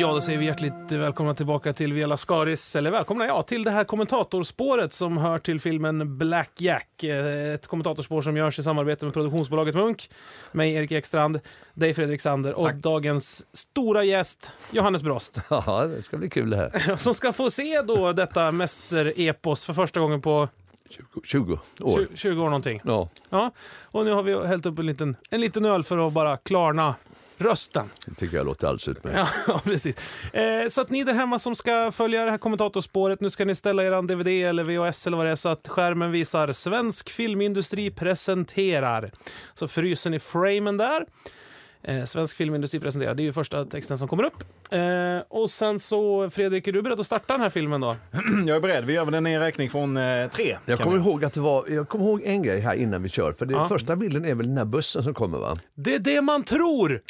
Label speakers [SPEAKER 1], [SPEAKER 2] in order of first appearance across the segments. [SPEAKER 1] Ja, då säger vi hjärtligt välkomna tillbaka till Vela Skaris, eller välkomna ja, till det här kommentatorspåret som hör till filmen Black Jack. Eh, Ett kommentatorspår som görs i samarbete med produktionsbolaget Munk, mig Erik Ekstrand, dig Fredrik Sander och dagens stora gäst Johannes Brost.
[SPEAKER 2] Ja, det ska bli kul det här.
[SPEAKER 1] Som ska få se då detta mästerepos för första gången på
[SPEAKER 2] 20, 20 år.
[SPEAKER 1] 20, 20 år någonting.
[SPEAKER 2] Ja,
[SPEAKER 1] Ja, och nu har vi hällt upp en liten, en liten öl för att bara klarna rösten.
[SPEAKER 2] det tycker jag låter alldeles utmärkt.
[SPEAKER 1] Ja, ja, precis. Eh, så att ni där hemma som ska följa det här kommentatorspåret, nu ska ni ställa er DVD eller VHS eller vad det är så att skärmen visar Svensk Filmindustri presenterar. Så fryser ni framen där. Eh, Svensk Filmindustri presenterar, det är ju första texten som kommer upp. Eh, och sen så, Fredrik, är du beredd att starta den här filmen då?
[SPEAKER 3] Jag är beredd. Vi gör väl en nedräkning från eh, tre.
[SPEAKER 2] Jag
[SPEAKER 3] kan
[SPEAKER 2] kommer,
[SPEAKER 3] vi.
[SPEAKER 2] ihåg att det var, jag kommer ihåg en grej här innan vi kör. För den
[SPEAKER 1] Ja.
[SPEAKER 2] första bilden är väl den här bussen som kommer va?
[SPEAKER 1] Det är det man tror!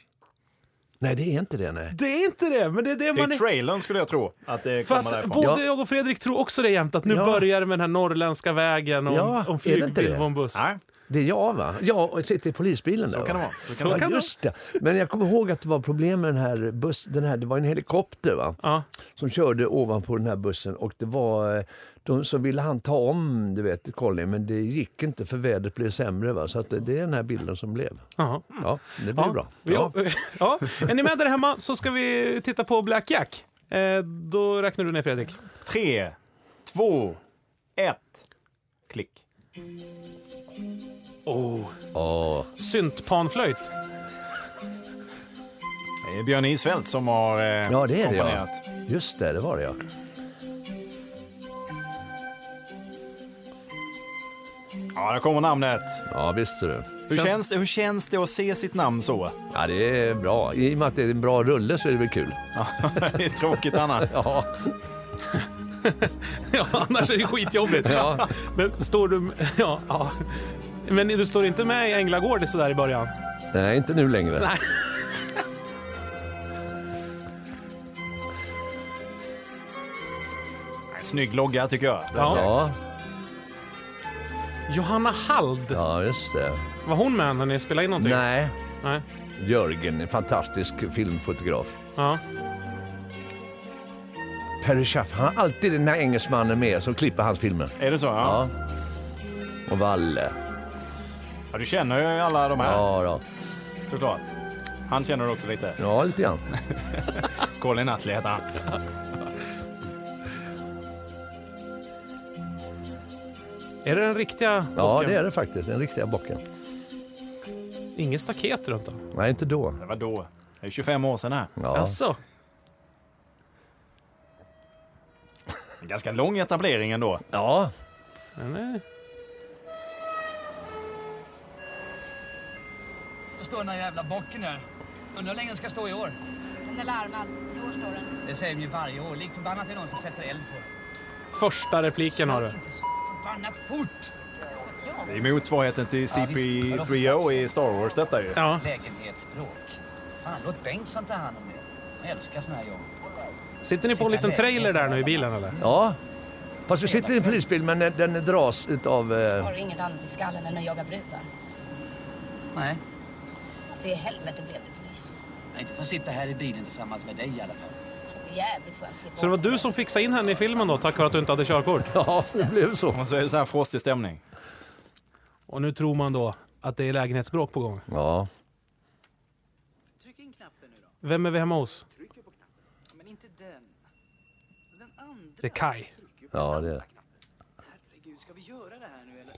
[SPEAKER 2] Nej, det är inte det nej.
[SPEAKER 1] Det är inte det, men det är det
[SPEAKER 3] Det
[SPEAKER 1] man...
[SPEAKER 3] är
[SPEAKER 1] Är...
[SPEAKER 3] trailern skulle jag tro att det
[SPEAKER 1] För
[SPEAKER 3] kommer
[SPEAKER 1] att
[SPEAKER 3] därifrån.
[SPEAKER 1] både
[SPEAKER 2] Ja.
[SPEAKER 1] jag och Fredrik tror också det jämt, att nu
[SPEAKER 2] Ja.
[SPEAKER 1] börjar det med den här norrländska vägen och
[SPEAKER 2] Ja,
[SPEAKER 1] om, om
[SPEAKER 2] är det inte
[SPEAKER 1] flygbil
[SPEAKER 2] det?
[SPEAKER 1] och en buss.
[SPEAKER 3] Nej,
[SPEAKER 2] Det är jag va? Ja, och jag sitter i polisbilen där
[SPEAKER 3] så kan det
[SPEAKER 2] va?
[SPEAKER 3] vara. Så kan
[SPEAKER 1] Så
[SPEAKER 3] det
[SPEAKER 2] Ja,
[SPEAKER 1] kan det
[SPEAKER 2] just det. Men jag kommer ihåg att det var problem med den här bussen. Den här, det var en helikopter va?
[SPEAKER 1] Ja.
[SPEAKER 2] som körde ovanpå den här bussen och det var eh, de som ville han ta om, du vet, Colin, men det gick inte för vädret blev sämre. Va? Så att det, det är den här bilden som blev.
[SPEAKER 1] Jaha.
[SPEAKER 2] Ja, det blev bra.
[SPEAKER 1] Ja.
[SPEAKER 2] Ja.
[SPEAKER 1] ja. Är ni med där hemma så ska vi titta på Black Jack. Eh, då räknar du ner Fredrik.
[SPEAKER 3] vara. Tre, två, ett, klick.
[SPEAKER 2] Ja.
[SPEAKER 1] Syntpanflöjt.
[SPEAKER 3] Det är Björn Isfeldt som har eh,
[SPEAKER 2] ja, det är det ja.
[SPEAKER 3] komponerat.
[SPEAKER 2] Just det, det var det ja.
[SPEAKER 3] Ja, där kommer namnet.
[SPEAKER 2] Ja, visste du.
[SPEAKER 3] Hur känns... det, hur känns det att se sitt namn så?
[SPEAKER 2] Ja, det är bra. I och med att det är en bra rulle så är det väl kul.
[SPEAKER 3] det är tråkigt annars.
[SPEAKER 2] Ja,
[SPEAKER 1] Ja, annars är det skitjobbigt.
[SPEAKER 2] Ja.
[SPEAKER 1] Men står du... Ja, ja. Men du står inte med i Änglagård sådär i början?
[SPEAKER 2] nej, inte nu längre.
[SPEAKER 1] Nej.
[SPEAKER 3] Snygg logga tycker jag.
[SPEAKER 1] Ja.
[SPEAKER 2] Ja,
[SPEAKER 1] Johanna Hald,
[SPEAKER 2] ja just det.
[SPEAKER 1] var hon med när ni spelade in någonting?
[SPEAKER 2] Nej,
[SPEAKER 1] Nej.
[SPEAKER 2] Jörgen, en fantastisk filmfotograf.
[SPEAKER 1] Ja.
[SPEAKER 2] Perry Schaff, han har alltid den här engelsmannen med som klipper hans filmer.
[SPEAKER 3] Är det så? Ja.
[SPEAKER 2] Ja. Och Valle.
[SPEAKER 3] ja. Du känner ju alla de här
[SPEAKER 2] Ja, då.
[SPEAKER 3] såklart. Han känner du också lite.
[SPEAKER 2] ja lite grann.
[SPEAKER 3] Colin Nutley heter han.
[SPEAKER 1] Är det den riktiga
[SPEAKER 2] Ja,
[SPEAKER 1] bocken?
[SPEAKER 2] det är det faktiskt. Den riktiga bocken.
[SPEAKER 1] Inget staket runt den?
[SPEAKER 2] Nej, inte då.
[SPEAKER 3] Det var då. Det är 25 år sedan här.
[SPEAKER 2] Ja.
[SPEAKER 1] Jaså?
[SPEAKER 3] En ganska lång etablering ändå.
[SPEAKER 2] ja.
[SPEAKER 1] Den är-
[SPEAKER 4] Då står den här jävla bocken här. Undrar hur länge den ska stå i år.
[SPEAKER 5] Den är larmad. I år står den.
[SPEAKER 4] Det säger de ju varje år. Lik förbannat är det någon som sätter eld på den.
[SPEAKER 1] Första repliken har du.
[SPEAKER 4] Inte så förbannat fort!
[SPEAKER 3] Det är motsvarigheten till CP3O oh i Star Wars detta ju.
[SPEAKER 1] Ja.
[SPEAKER 4] Lägenhetsbråk. Fan, låt Bengtsson ta hand om det. Jag älskar såna här jobb.
[SPEAKER 1] Sitter ni på en liten trailer där nu i bilen eller?
[SPEAKER 2] ja. Fast vi sitter i en polisbil, men den, den dras utav... Eh,
[SPEAKER 5] Har du inget annat i skallen än att jaga brudar?
[SPEAKER 4] Nej,
[SPEAKER 5] För i helvete blev du polis.
[SPEAKER 4] jag inte få sitta här i bilen tillsammans med dig i alla fall.
[SPEAKER 5] Det ska bli jävligt skönt att slippa
[SPEAKER 1] Så det var
[SPEAKER 5] åka.
[SPEAKER 1] du som fixade in henne i filmen då, tack vare att du inte hade körkort?
[SPEAKER 2] ja, det blev så.
[SPEAKER 3] Och så är det så här frostig stämning.
[SPEAKER 1] Och nu tror man då att det är lägenhetsbråk på gång.
[SPEAKER 2] Ja.
[SPEAKER 6] Tryck in knappen nu då.
[SPEAKER 1] Vem är vi hemma hos?
[SPEAKER 6] Ja, Men inte den. Den andra.
[SPEAKER 1] Det är Kai.
[SPEAKER 2] Ja, det är det.
[SPEAKER 6] Herregud, ska vi göra det här nu eller?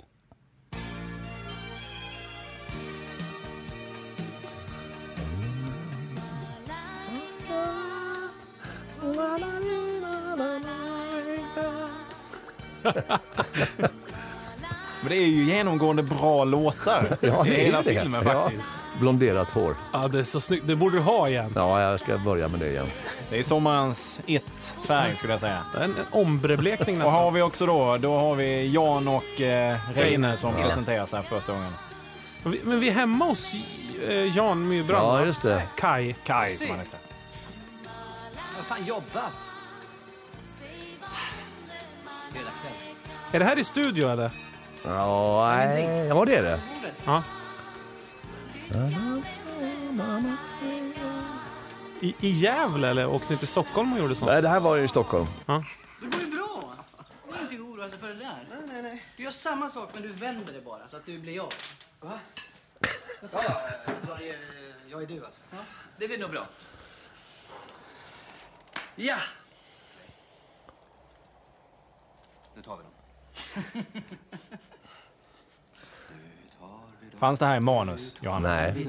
[SPEAKER 3] Men det är ju genomgående bra låtar
[SPEAKER 2] Ja,
[SPEAKER 3] i
[SPEAKER 2] det är
[SPEAKER 3] hela
[SPEAKER 2] det.
[SPEAKER 3] filmen
[SPEAKER 2] Ja.
[SPEAKER 3] faktiskt.
[SPEAKER 2] Blonderat hår.
[SPEAKER 1] Ja, det är så snyggt. Det borde du ha igen.
[SPEAKER 2] Ja, jag ska börja med det igen.
[SPEAKER 3] Det är sommarens it-färg skulle jag säga.
[SPEAKER 1] En, en ombre-blekning
[SPEAKER 3] Och
[SPEAKER 1] nästan.
[SPEAKER 3] har vi också då, då har vi Jan och eh, Reine som
[SPEAKER 2] Ja.
[SPEAKER 3] presenteras här första gången.
[SPEAKER 1] Men vi- Men vi är hemma hos eh, Jan Myrbrand,
[SPEAKER 2] Ja,
[SPEAKER 1] va?
[SPEAKER 2] just det.
[SPEAKER 1] Kai.
[SPEAKER 3] Kai som han heter.
[SPEAKER 4] Jag har fan jobbat. Fredag kväll.
[SPEAKER 1] Är det här i studio eller?
[SPEAKER 2] Ja, nej. ja det är det.
[SPEAKER 1] Ja. I, I Gävle eller åkte ni till Stockholm och gjorde sånt?
[SPEAKER 2] Nej, det här var ju i Stockholm.
[SPEAKER 6] Det går ju bra. Du behöver inte oroa dig för det där. Nej, nej, nej. Du gör samma sak men du vänder det bara så att du blir jag.
[SPEAKER 7] Jag är du alltså.
[SPEAKER 6] Ja, det blir nog bra. Ja!
[SPEAKER 7] Nu tar vi dem. nu tar vi dem.
[SPEAKER 3] Fanns det här i manus, Johannes?
[SPEAKER 2] Nej.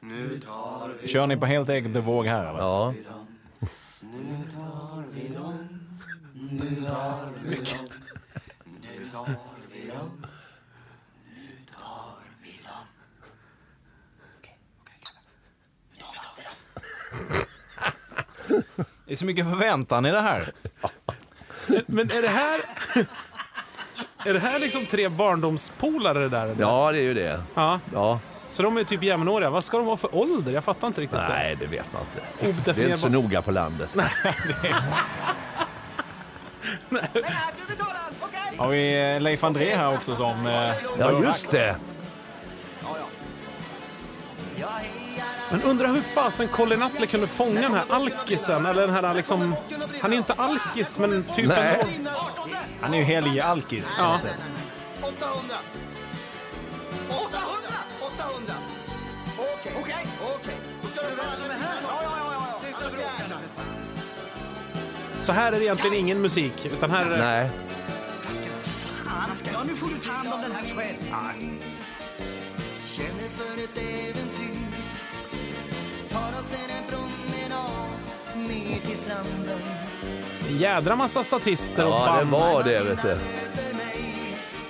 [SPEAKER 7] Nu tar vi
[SPEAKER 3] Kör ni på helt egen våg här? Eller?
[SPEAKER 2] Ja.
[SPEAKER 7] dem. Nu tar vi dem. Nu tar vi dem. Nu tar vi dem. Nu tar vi dem. Okej, okej, grabbar. Nu tar vi dem.
[SPEAKER 3] Det är så mycket förväntan i det här.
[SPEAKER 1] Men är det här... Är det här liksom tre barndomspolare det där? eller?
[SPEAKER 2] ja, det är ju det.
[SPEAKER 1] ja.
[SPEAKER 2] Ja.
[SPEAKER 1] Så de är typ jämnåriga. Vad ska de vara för ålder? Jag fattar inte riktigt
[SPEAKER 2] Nej, det vet man inte.
[SPEAKER 1] Odefinierbar-
[SPEAKER 2] Det är inte så noga på landet.
[SPEAKER 3] Har vi eh, Leif André här också som... eh,
[SPEAKER 2] Ja,
[SPEAKER 3] dörrvakt?
[SPEAKER 2] just det.
[SPEAKER 1] det. Men undrar hur fasen Colin Nutley kunde fånga den här alkisen? Eller den här liksom... Han är ju inte alkis, men typ
[SPEAKER 2] Nej.
[SPEAKER 1] ändå.
[SPEAKER 7] In 18
[SPEAKER 3] Han är ju helig alkis.
[SPEAKER 1] Ja.
[SPEAKER 7] 800! 800! 800! Okej, okej, okej. Då ska du vem som är här. Ja, ja, ja. ja. Sluta bråka nu för fan.
[SPEAKER 1] Så här är det egentligen ingen musik, utan här är det...
[SPEAKER 2] Nej.
[SPEAKER 7] Fan, ska jag nu får du ta hand om den här själv. Känner för ett äventyr. Tar oss en promenad ner till stranden.
[SPEAKER 1] en jädra massa statister och
[SPEAKER 2] Ja, det
[SPEAKER 1] band.
[SPEAKER 2] var det, vet du.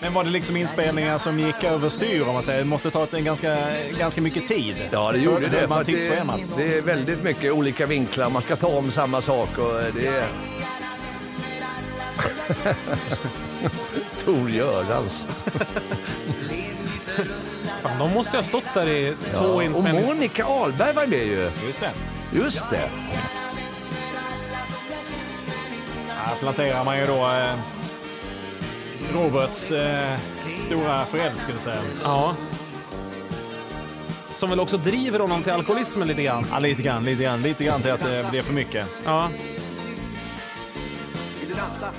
[SPEAKER 3] Men var det liksom inspelningar som gick överstyr om man säger? Det måste ta ett- en ganska, ganska mycket tid.
[SPEAKER 2] Ja, det gjorde det.
[SPEAKER 3] Höll
[SPEAKER 2] för
[SPEAKER 3] man
[SPEAKER 2] att
[SPEAKER 3] tidsschemat?
[SPEAKER 2] det, det är väldigt mycket olika vinklar. Man ska ta om samma sak och det är... Stor görans.
[SPEAKER 1] Fan, de måste ju ha stått där i två
[SPEAKER 2] Och
[SPEAKER 1] inspelningar.
[SPEAKER 2] Monica Ahlberg var med ju.
[SPEAKER 3] Just det.
[SPEAKER 2] Just det.
[SPEAKER 3] Här planterar man ju då eh, Roberts eh, stora förälskelse.
[SPEAKER 1] Ja. Som väl också driver honom till alkoholismen lite grann.
[SPEAKER 3] Ja, lite grann, lite grann, lite grann till att det blev för mycket.
[SPEAKER 1] Ja.
[SPEAKER 7] Vill du dansa?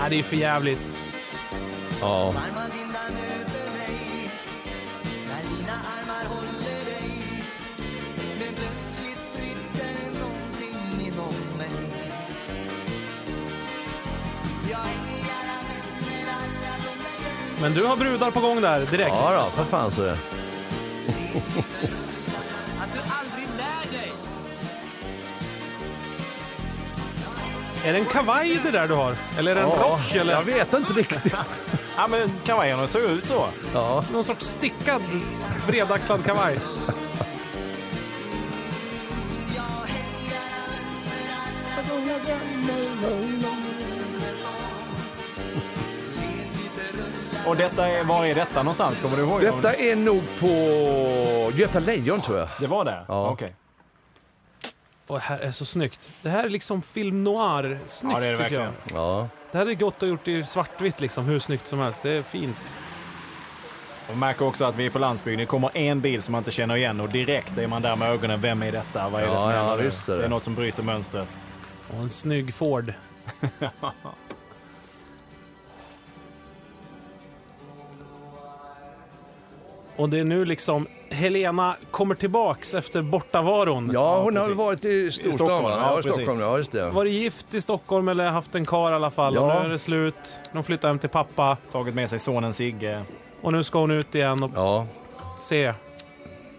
[SPEAKER 1] Nej, det är ju för jävligt.
[SPEAKER 2] Ja.
[SPEAKER 7] Varma vindar möter mig när dina armar håller dig Men plötsligt spritter någonting inom mig Jag hejar alla vänner, alla som jag känner
[SPEAKER 1] Men du har brudar på gång där direkt.
[SPEAKER 2] Ja då, för fan så.
[SPEAKER 6] Att du aldrig lär dig!
[SPEAKER 1] Är det en kavaj det där du har? Eller är det en
[SPEAKER 2] Ja,
[SPEAKER 1] rock? Eller
[SPEAKER 2] jag vet inte riktigt.
[SPEAKER 3] Ja, men kavajerna såg ut så.
[SPEAKER 2] Ja.
[SPEAKER 1] någon sorts stickad bredaxlad kavaj?
[SPEAKER 3] Och detta är, var är detta någonstans? Kommer du ihåg?
[SPEAKER 2] Detta är nog på Göta Lejon tror jag.
[SPEAKER 3] Det var det?
[SPEAKER 2] Ja.
[SPEAKER 3] Okej.
[SPEAKER 1] Och det här är så snyggt. Det här är liksom film noir. Snyggt
[SPEAKER 3] Ja, det är det
[SPEAKER 1] tycker jag.
[SPEAKER 3] verkligen.
[SPEAKER 2] Ja.
[SPEAKER 1] Det här är gott att gjort i svartvitt liksom, hur snyggt som helst. Det är fint.
[SPEAKER 3] Och märker också att vi är på landsbygden. Det kommer en bil som man inte känner igen och direkt är man där med ögonen. Vem är detta? Vad är det
[SPEAKER 2] Ja,
[SPEAKER 3] som
[SPEAKER 2] ja,
[SPEAKER 3] händer?
[SPEAKER 2] visst är
[SPEAKER 3] det
[SPEAKER 2] det.
[SPEAKER 3] är något som bryter mönstret.
[SPEAKER 1] Och en snygg Ford. Och det är nu liksom Helena kommer tillbaks efter bortavaron.
[SPEAKER 2] Ja, hon har
[SPEAKER 3] precis.
[SPEAKER 2] varit i Stockholm.
[SPEAKER 3] Stockholm,
[SPEAKER 2] va?
[SPEAKER 3] ja,
[SPEAKER 2] Ja, Stockholm,
[SPEAKER 3] precis.
[SPEAKER 2] ja, just det.
[SPEAKER 1] Varit gift i Stockholm eller haft en kar i alla fall.
[SPEAKER 2] Ja.
[SPEAKER 1] Och nu är det slut. De flyttar hem till pappa.
[SPEAKER 3] Tagit med sig sonen Sigge.
[SPEAKER 1] Och nu ska hon ut igen och
[SPEAKER 2] Ja,
[SPEAKER 1] se.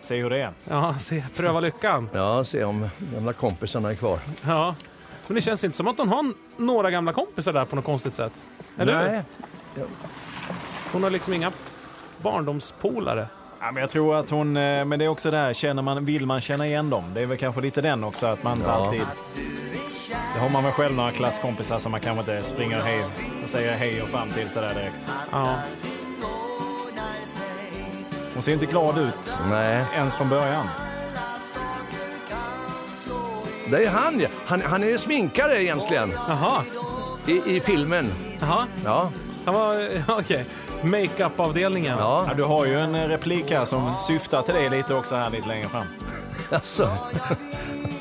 [SPEAKER 3] Se hur det är.
[SPEAKER 1] Ja, se. Pröva lyckan.
[SPEAKER 2] ja, se om gamla kompisarna är kvar.
[SPEAKER 1] Ja. Men det känns inte som att hon har n- några gamla kompisar där på något konstigt sätt. Eller hur?
[SPEAKER 2] Nej,
[SPEAKER 1] Hon har liksom inga barndomspolare.
[SPEAKER 3] Ja, men jag tror att hon... eh, Men det är också det här, känner man, vill man känna igen dem? Det är väl kanske lite den också, att man inte
[SPEAKER 2] Ja.
[SPEAKER 3] alltid... Det har man väl själv några klasskompisar som man kanske inte springer och hej och säger hej och fram till sådär direkt.
[SPEAKER 1] Ja.
[SPEAKER 3] Hon ser inte glad ut
[SPEAKER 2] nej.
[SPEAKER 3] ens från början.
[SPEAKER 2] Det är han ja. Han, han är sminkare egentligen
[SPEAKER 1] Jaha.
[SPEAKER 2] i, i filmen.
[SPEAKER 1] Jaha.
[SPEAKER 2] Ja,
[SPEAKER 1] Han var... ja, Okej. Makeup-avdelningen.
[SPEAKER 2] Ja,
[SPEAKER 3] Ja, du har ju en eh, replik här som syftar till dig lite också här lite längre fram.
[SPEAKER 2] alltså.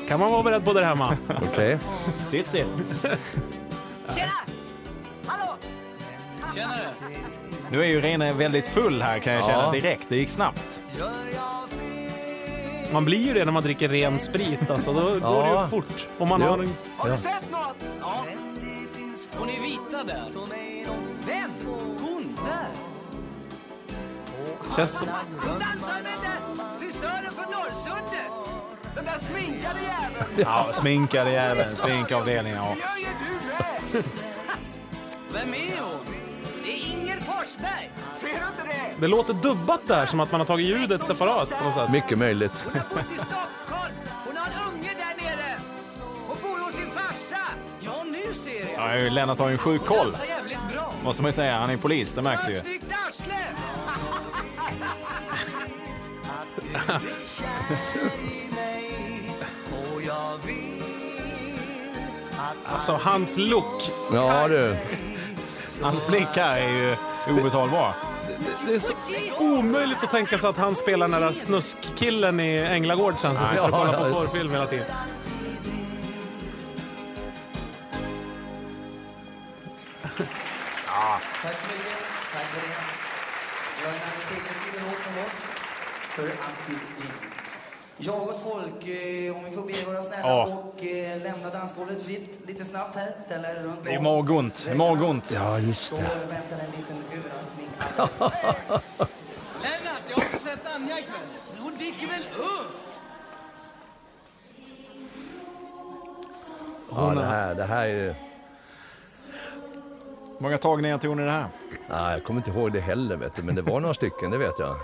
[SPEAKER 1] Kan man vara beredd på det här, man?
[SPEAKER 2] Okej.
[SPEAKER 3] Sitt still.
[SPEAKER 8] Tjenare!
[SPEAKER 3] Nu är ju Rene väldigt full här kan jag
[SPEAKER 2] Ja.
[SPEAKER 3] känna direkt. Det gick snabbt.
[SPEAKER 1] Man blir ju det när man dricker ren sprit. Alltså, då går det
[SPEAKER 2] Ja.
[SPEAKER 1] ju fort. Om man
[SPEAKER 2] Jo.
[SPEAKER 1] har en...
[SPEAKER 9] Har du sett något?
[SPEAKER 7] Ja. Hon är vita där. Sen, hon där.
[SPEAKER 1] Känns som...
[SPEAKER 6] Ah,
[SPEAKER 7] Han dansar med den frisören från Norrsundet.
[SPEAKER 9] Den där sminkade jäveln!
[SPEAKER 3] Ja, sminkade jäveln, sminkavdelningen.
[SPEAKER 9] Det
[SPEAKER 3] Ja.
[SPEAKER 9] gör ju du med!
[SPEAKER 7] Vem är hon? Det är Inger Forsberg.
[SPEAKER 9] Ser du inte det?
[SPEAKER 1] Det låter dubbat där, som att man har tagit ljudet separat på något sätt.
[SPEAKER 2] Mycket möjligt.
[SPEAKER 7] Hon har bott i Stockholm. Hon har en unge där nere. Hon bor hos sin farsa. Ja, nu ser jag.
[SPEAKER 3] Ja, ju- Lennart har ju en sjuk
[SPEAKER 7] Hon
[SPEAKER 3] koll.
[SPEAKER 7] dansar jävligt bra.
[SPEAKER 3] Måste man ju säga. Han är polis, det märks
[SPEAKER 7] Vad
[SPEAKER 3] ju.
[SPEAKER 7] ett snyggt arsle!
[SPEAKER 1] Alltså, hans look.
[SPEAKER 2] Ja, du.
[SPEAKER 3] Hans blick här är ju obetalbar.
[SPEAKER 1] Det är så omöjligt att tänka sig att han spelar den där snuskkillen i Änglagård sen som sitter och
[SPEAKER 2] Ja,
[SPEAKER 1] kollar på
[SPEAKER 2] ja.
[SPEAKER 1] porrfilm hela tiden.
[SPEAKER 10] Tack så mycket. Tack för det. Jag är Nanne Steger, skriver låt från oss för alltid din. Jag och ett folk, eh, om vi får be vara snälla
[SPEAKER 3] Ja.
[SPEAKER 10] och eh, lämna dansgolvet fritt lite snabbt här. Ställa er runt
[SPEAKER 3] Det är magont. Det är magont.
[SPEAKER 2] Ja, just
[SPEAKER 10] Så
[SPEAKER 2] det.
[SPEAKER 10] väntar en liten överraskning alldeles strax.
[SPEAKER 7] Lennart, jag har inte sett Anja ikväll. Men hon dricker väl upp?
[SPEAKER 2] Ja, det här, det här är...
[SPEAKER 3] Hur många tagningar tog ni det här?
[SPEAKER 2] Nej, jag kommer inte ihåg det heller, vet du. men det var några stycken, det vet jag.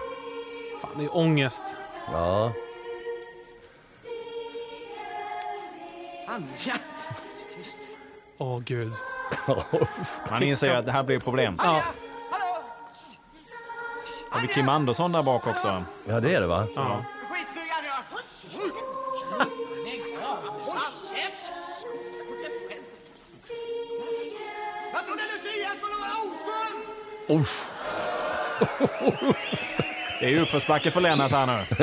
[SPEAKER 1] Fan, det är ångest.
[SPEAKER 2] Ja.
[SPEAKER 7] Anja!
[SPEAKER 1] Åh, gud.
[SPEAKER 3] Han inser ju att det här blir problem.
[SPEAKER 1] Ja.
[SPEAKER 3] Har vi Kim Andersson där bak också?
[SPEAKER 2] ja, det är det, va?
[SPEAKER 9] Skitsnygg Anja! Jag trodde Lucia skulle vara oskuld!
[SPEAKER 2] Usch.
[SPEAKER 3] Det är ju uppförsbacke för Lennart här nu.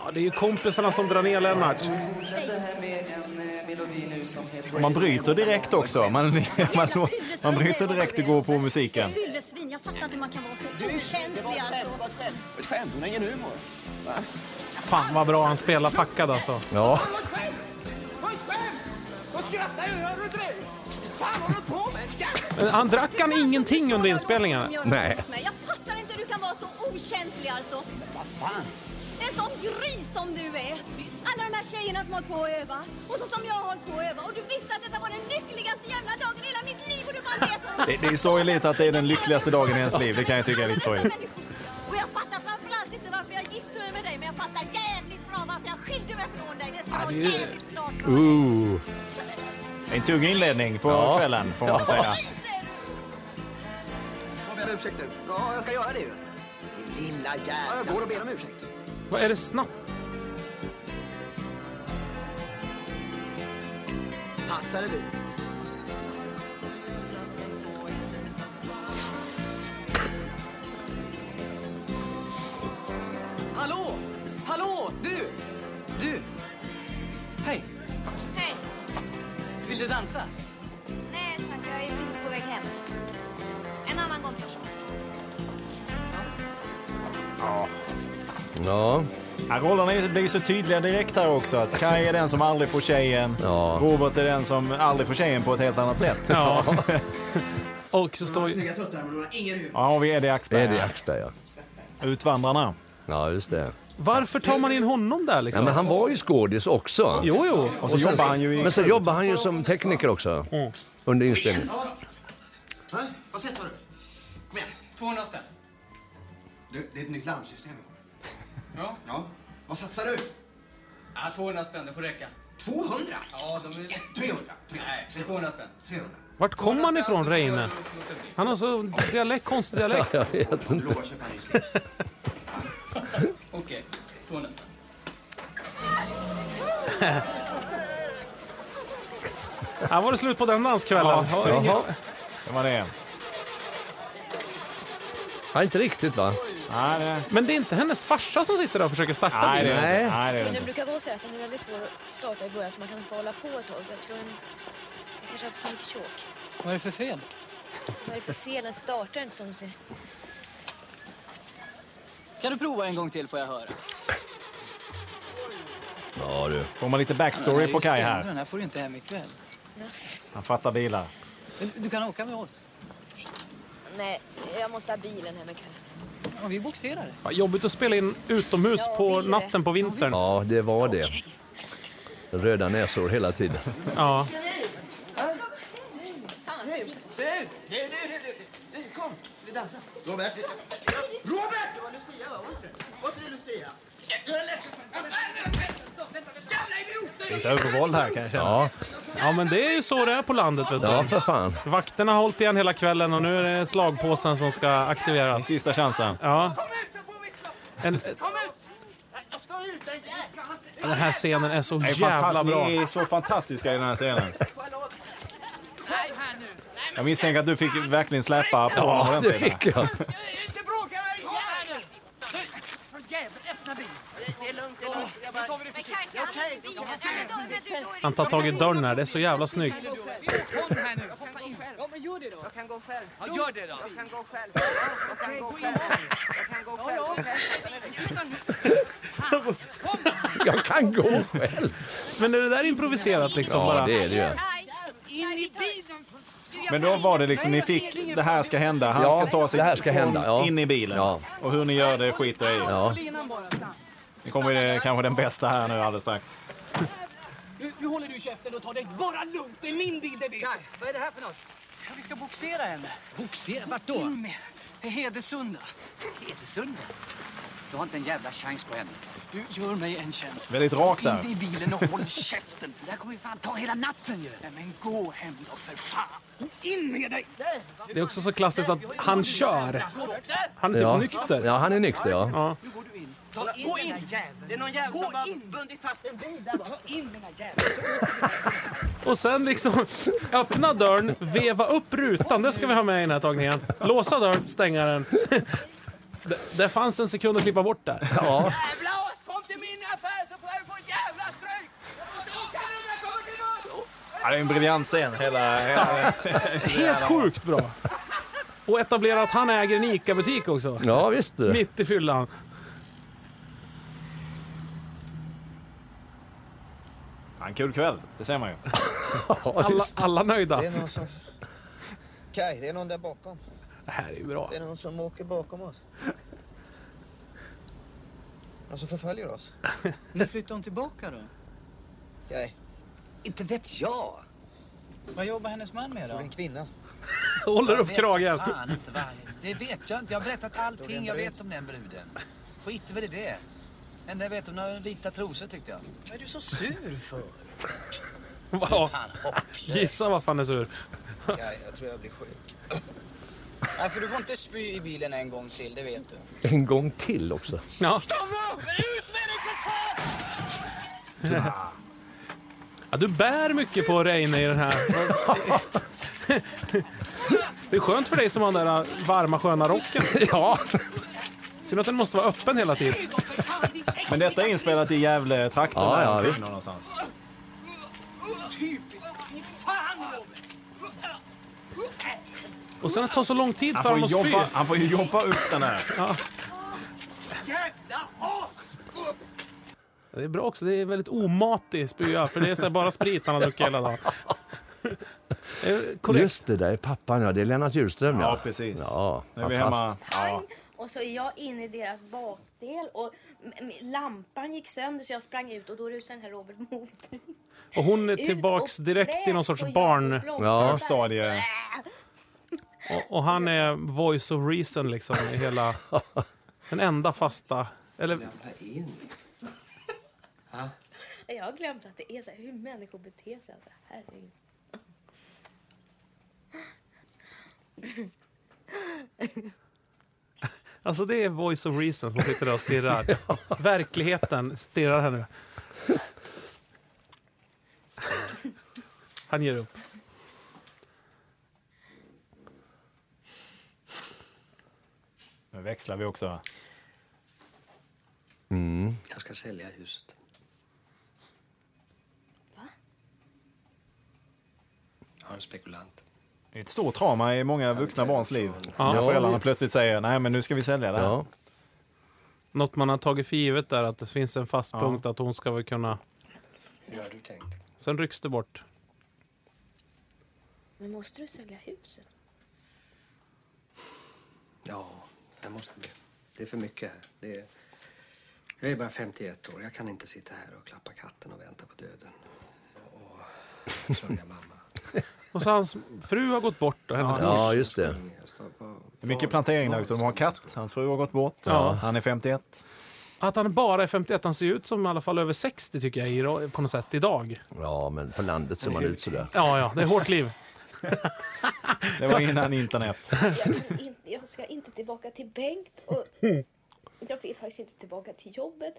[SPEAKER 1] Ja, det är ju kompisarna som drar ner Lennart.
[SPEAKER 10] Fortsätter här med en eh, melodi nu som heter...
[SPEAKER 3] Man bryter direkt också. Man, man, man bryter direkt och går på musiken.
[SPEAKER 11] Fyllesvin, jag fattar inte hur man kan vara så okänslig alltså.
[SPEAKER 9] Ett skämt, hon har ingen humor.
[SPEAKER 1] Fan vad bra han spelar packad alltså.
[SPEAKER 2] Ja,
[SPEAKER 9] Det var ett skämt! Det var ett skämt! De skrattar ju, hör du inte det? Fan håller du på med? Jävlar!
[SPEAKER 1] Men han drack han ingenting under inspelningen?
[SPEAKER 2] Nej.
[SPEAKER 11] Jag fattar inte hur du kan vara så okänslig alltså.
[SPEAKER 9] Vad fan?
[SPEAKER 11] En sån gris som du är! Alla de här tjejerna som hållit på att öva och så som jag har hållit på att öva och du visste att detta var den lyckligaste jävla dagen i hela mitt liv och du bara vet vad
[SPEAKER 3] Det, det är sorgligt att det är den lyckligaste dagen i ens liv. Det kan jag tycka är lite sorgligt.
[SPEAKER 11] Och jag fattar framförallt inte varför jag gifte mig med dig men jag fattar jävligt bra varför jag skilde mig från dig. Det ska vara jävligt klart för dig.
[SPEAKER 2] uh.
[SPEAKER 3] En tung inledning på
[SPEAKER 2] Ja.
[SPEAKER 3] kvällen får man säga.
[SPEAKER 11] Gris är du!
[SPEAKER 9] Jag ber om ursäkt nu. Ja, jag ska göra det ju. Din lilla jävla... Ja, jag går och ber om ursäkt.
[SPEAKER 1] Vad är det snabbt?
[SPEAKER 9] Passar det du?
[SPEAKER 7] Hallå! Hallå, du! Du! Hej!
[SPEAKER 12] Hej.
[SPEAKER 7] Vill du dansa?
[SPEAKER 12] Nej tack, jag är precis på väg hem. En annan gång kanske.
[SPEAKER 2] Ja,
[SPEAKER 3] Ja, rollerna blir så tydliga direkt här också. Att Kaj är den som aldrig får tjejen.
[SPEAKER 2] Ja.
[SPEAKER 3] Robert är den som aldrig får tjejen på ett helt annat sätt.
[SPEAKER 1] Ja. Och så står ju...
[SPEAKER 10] Snygga tuttar, men hon har ingen humor.
[SPEAKER 3] Ja, och vi är det Axberg.
[SPEAKER 2] Eddie Axberg, ja. Alltså,
[SPEAKER 3] Utvandrarna.
[SPEAKER 2] Ja, just det.
[SPEAKER 1] Varför tar man in honom där
[SPEAKER 2] Ja,
[SPEAKER 1] liksom?
[SPEAKER 2] men han var ju skådis också.
[SPEAKER 1] Jo, jo. Mm.
[SPEAKER 3] Och så jobbar han ju i...
[SPEAKER 2] Men så jobbar han ju som tekniker också, under inspelningen.
[SPEAKER 10] Va? Vad sett sa du? Kom igen.
[SPEAKER 7] 200 spänn.
[SPEAKER 10] Du, det är ett nytt larmsystem vi har.
[SPEAKER 7] Ja.
[SPEAKER 10] Ja. Vad satsar du?
[SPEAKER 7] ja, 200 spänn, det får räcka.
[SPEAKER 10] 200?
[SPEAKER 7] Ja, de är...
[SPEAKER 10] 300?
[SPEAKER 7] Nej, det är 200 spänn.
[SPEAKER 10] 300?
[SPEAKER 1] Vart kom han ifrån, Reine? Han har så dialekt, konstig dialekt.
[SPEAKER 2] Jag vet
[SPEAKER 10] Du
[SPEAKER 2] inte.
[SPEAKER 10] lovar att köpa en ny slips.
[SPEAKER 7] Okej, 200 spänn.
[SPEAKER 1] Här var det slut på den danskvällen.
[SPEAKER 3] Ja.
[SPEAKER 1] Har ingen-
[SPEAKER 2] Jaha.
[SPEAKER 3] Det var det.
[SPEAKER 2] Ja, inte riktigt va?
[SPEAKER 3] Nej, det...
[SPEAKER 1] Men det är inte hennes farsa som sitter där och försöker starta
[SPEAKER 3] Nej, det
[SPEAKER 1] bilen.
[SPEAKER 3] är det
[SPEAKER 2] Nej.
[SPEAKER 3] inte. Nej, det är det
[SPEAKER 13] Tunneln
[SPEAKER 3] inte.
[SPEAKER 13] brukar vara så att den är väldigt svår att starta i början så man kan få hålla på ett tag. Jag tror den den kanske har haft för mycket tjåk.
[SPEAKER 6] Vad är det för fel?
[SPEAKER 13] Vad är det för fel? Den startar inte som du ser.
[SPEAKER 6] Kan du prova en gång till får jag höra?
[SPEAKER 2] Ja du.
[SPEAKER 3] Får man lite backstory på Kaj här?
[SPEAKER 6] Den här får du inte hem ikväll.
[SPEAKER 13] Jaså?
[SPEAKER 3] Han fattar bilar.
[SPEAKER 6] Men Du kan åka med oss.
[SPEAKER 13] Nej, jag måste ha bilen hem ikväll.
[SPEAKER 6] Ja, vi boxerar det.
[SPEAKER 1] Ja, Jobbigt att spela in utomhus
[SPEAKER 13] Ja, det
[SPEAKER 1] på
[SPEAKER 13] är det.
[SPEAKER 1] natten på vintern.
[SPEAKER 2] Ja, det var det. Röda näsor hela tiden.
[SPEAKER 1] Ja.
[SPEAKER 7] Robert! Robert! Det var Lucia, va? Var inte det? Var inte det Lucia? Jag är ledsen för... Jävla idiot!
[SPEAKER 3] Lite övervåld här kan jag känna.
[SPEAKER 2] Ja,
[SPEAKER 1] ja, men det är ju så det är på landet. Vet du.
[SPEAKER 2] ja för fan.
[SPEAKER 1] Vakterna har hållit igen hela kvällen och nu är det slagpåsen som ska
[SPEAKER 3] Den
[SPEAKER 1] aktiveras.
[SPEAKER 3] Sista chansen.
[SPEAKER 1] Ja,
[SPEAKER 7] Kom ut så får vi slå!
[SPEAKER 1] en,
[SPEAKER 7] Kom ut! Jag ska ut! Jag ska inte...
[SPEAKER 1] den här scenen är så
[SPEAKER 3] Det är
[SPEAKER 1] jävla
[SPEAKER 3] fantastiskt- Ni
[SPEAKER 1] bra.
[SPEAKER 3] är så fantastiska i den här scenen.
[SPEAKER 7] Nej, här nu! Nej,
[SPEAKER 3] Jag misstänker att du fick verkligen släpa på
[SPEAKER 2] Ja, det
[SPEAKER 3] ordentligt.
[SPEAKER 2] fick jag.
[SPEAKER 7] men inte bråka med dig! Kom här nu! För jävel, öppna bilen! Det är lugnt, det är lugnt. Jag bara...
[SPEAKER 6] tar vi det
[SPEAKER 12] Men Kaj, ska han inte bilen? Är det dåligt med du då är det-
[SPEAKER 1] Han tar tag i dörren här, det är så jävla snyggt.
[SPEAKER 6] Kom här nu. Hoppa in. Ja, men gör det då.
[SPEAKER 7] Jag kan gå själv.
[SPEAKER 6] Ja, gör det då.
[SPEAKER 7] Jag kan gå själv. Jag kan gå själv. Jag kan gå själv.
[SPEAKER 2] Jag kan gå själv.
[SPEAKER 1] Men är det där improviserat liksom
[SPEAKER 2] Ja,
[SPEAKER 1] bara?
[SPEAKER 2] det är det ju.
[SPEAKER 12] Kaj, in i bilen!
[SPEAKER 3] Men då var det liksom, ni fick, det här ska hända. Han
[SPEAKER 2] Ja,
[SPEAKER 3] ska ta sig
[SPEAKER 2] det här ska
[SPEAKER 3] från-
[SPEAKER 2] hända, ja.
[SPEAKER 3] in i bilen.
[SPEAKER 2] Ja.
[SPEAKER 3] Och hur ni gör det skiter jag i.
[SPEAKER 2] Ja.
[SPEAKER 6] Linan bara.
[SPEAKER 3] Nu kommer det, kanske den bästa här nu alldeles strax.
[SPEAKER 6] Nu, nu håller du käften och tar det bara lugnt. Det är min bil, det vet Kaj, vad är det här för något? Ja, vi ska boxera henne. Boxera? Vart då? In med henne. Hedesunda. Hedesunda?
[SPEAKER 4] Du har inte en jävla chans på henne.
[SPEAKER 6] Du, gör mig en tjänst.
[SPEAKER 3] Väldigt rak där.
[SPEAKER 6] In i bilen och håll käften.
[SPEAKER 4] Det här kommer ju fan ta hela natten ju.
[SPEAKER 6] Nej, men gå hem då för fan. In med dig!
[SPEAKER 1] Det är också så klassiskt att han kör. Han är typ
[SPEAKER 2] Ja.
[SPEAKER 1] nykter.
[SPEAKER 2] Ja, han är nykter ja.
[SPEAKER 6] Nu går du in. Ta in Gå in!
[SPEAKER 7] Det är någon jävel som
[SPEAKER 6] Gå
[SPEAKER 7] har
[SPEAKER 6] in!
[SPEAKER 7] bundit fast en bil där bak.
[SPEAKER 6] Ta in den här jäveln.
[SPEAKER 1] Och sen liksom öppna dörren, veva upp rutan. Det ska vi ha med i den här tagningen. Låsa dörren, stänga den. Det, det fanns en sekund att klippa bort där.
[SPEAKER 2] Ja,
[SPEAKER 7] Jävla as! Kom till min affär så får jag få ett jävla stryk! Jag får inte åka nu när jag kommer tillbaka!
[SPEAKER 3] Ja, det är en briljant scen. Hela, hela,
[SPEAKER 1] Helt sjukt bra. Och etablera att han äger en ICA-butik också.
[SPEAKER 2] ja visst du.
[SPEAKER 1] Mitt i fyllan.
[SPEAKER 3] ja, en kul kväll, det ser man ju.
[SPEAKER 2] Ja,
[SPEAKER 1] Alla,
[SPEAKER 2] visst.
[SPEAKER 1] alla nöjda.
[SPEAKER 7] Det är någon som... Kaj, det är någon där bakom.
[SPEAKER 1] Det här är ju bra.
[SPEAKER 7] Det är någon som åker bakom oss. Någon som förföljer oss.
[SPEAKER 6] När flyttar hon tillbaka då?
[SPEAKER 7] Kaj,
[SPEAKER 4] Inte vet jag.
[SPEAKER 6] Vad jobbar hennes man med
[SPEAKER 7] det är
[SPEAKER 6] då?
[SPEAKER 7] en kvinna.
[SPEAKER 1] Håller upp
[SPEAKER 4] vet
[SPEAKER 1] kragen.
[SPEAKER 4] Fan, inte vad. Det vet jag inte. Jag har berättat allting jag vet om den bruden. Skit väl i det. Enda jag vet om några vita trosor tyckte jag.
[SPEAKER 6] Vad är du så sur för?
[SPEAKER 1] Ja,
[SPEAKER 4] Fan, hopplöst.
[SPEAKER 1] gissa vad fan är sur.
[SPEAKER 7] Kaj, jag tror jag blir sjuk.
[SPEAKER 6] Nej, för du får inte spy i bilen en gång till, det vet du.
[SPEAKER 2] En gång till också.
[SPEAKER 1] Ja. Ja, du bär mycket på Reine i den här. Det är skönt för dig som har den där varma sköna rocken.
[SPEAKER 2] Ja,
[SPEAKER 1] Synd att den måste vara öppen hela tiden.
[SPEAKER 3] Men detta är inspelat i Gävle-trakten.
[SPEAKER 2] Ja,
[SPEAKER 3] där
[SPEAKER 2] ja,
[SPEAKER 3] omkring
[SPEAKER 2] visst.
[SPEAKER 3] någonstans.
[SPEAKER 1] Och sen att det tar så lång tid
[SPEAKER 3] Han
[SPEAKER 1] för
[SPEAKER 3] får,
[SPEAKER 1] honom
[SPEAKER 3] ju
[SPEAKER 1] att spy.
[SPEAKER 3] jobba, han får ju jobba upp den här.
[SPEAKER 1] Det är bra också. Det är väldigt omatig spya, för det är så här bara sprit han har druckit hela dagen. Det är Korrekt.
[SPEAKER 2] just det, där är pappan ja. Det är Lennart Hjulström
[SPEAKER 3] Ja, precis.
[SPEAKER 2] Ja,
[SPEAKER 3] Nu är vi
[SPEAKER 2] fantastiskt.
[SPEAKER 3] hemma. Ja.
[SPEAKER 13] Och så är jag inne i deras bakdel och m- m- lampan gick sönder så jag sprang ut och då rusade den här Robert mot mig.
[SPEAKER 1] Och hon är
[SPEAKER 13] Ut
[SPEAKER 1] tillbaks
[SPEAKER 13] och
[SPEAKER 1] direkt i någon
[SPEAKER 13] grät
[SPEAKER 1] sorts
[SPEAKER 13] och jag tog
[SPEAKER 1] barn...
[SPEAKER 13] blomsterna
[SPEAKER 2] Ja.
[SPEAKER 13] där.
[SPEAKER 3] Stadie.
[SPEAKER 1] Och, och han är voice of reason liksom i hela... Den enda fasta... Eller
[SPEAKER 13] Jag har glömt att det är så här, hur människor beter sig. Alltså, herregud.
[SPEAKER 1] Alltså det är voice of reason som sitter där och stirrar. Verkligheten stirrar här nu. Han ger upp.
[SPEAKER 3] Nu växlar vi också.
[SPEAKER 14] Mm.
[SPEAKER 4] Jag ska sälja huset. Va? Har en spekulant.
[SPEAKER 3] Det är ett stort trauma i många vuxna barns liv.
[SPEAKER 1] Ja.
[SPEAKER 3] När föräldrarna
[SPEAKER 1] Ja.
[SPEAKER 3] plötsligt säger nej men nu ska vi sälja det här.
[SPEAKER 1] Något man har tagit för givet där, att det finns en fast
[SPEAKER 3] Ja.
[SPEAKER 1] punkt att hon ska väl kunna...
[SPEAKER 4] Hur har du tänkt?
[SPEAKER 1] Sen rycks det bort.
[SPEAKER 13] Men måste du sälja huset?
[SPEAKER 4] Ja, jag måste det. Det är för mycket här. Det är... Jag är bara 51 år. Jag kan inte sitta här och klappa katten och vänta på döden. Och sörja mamma.
[SPEAKER 1] Och så hans fru har gått bort. Och hennes
[SPEAKER 3] Ja,
[SPEAKER 1] mors.
[SPEAKER 2] just det.
[SPEAKER 3] Det är mycket plantering där också. De har katt, hans fru har gått bort,
[SPEAKER 1] Ja.
[SPEAKER 3] han är 51.
[SPEAKER 1] Att han bara är 51, han ser ut som i alla fall över 60 tycker jag i- på något sätt idag.
[SPEAKER 2] Ja, men på landet ser man ut sådär.
[SPEAKER 1] Ja, ja, det är hårt liv.
[SPEAKER 3] Det var innan internet.
[SPEAKER 13] In, jag ska inte tillbaka till Bengt och jag vill faktiskt inte tillbaka till jobbet.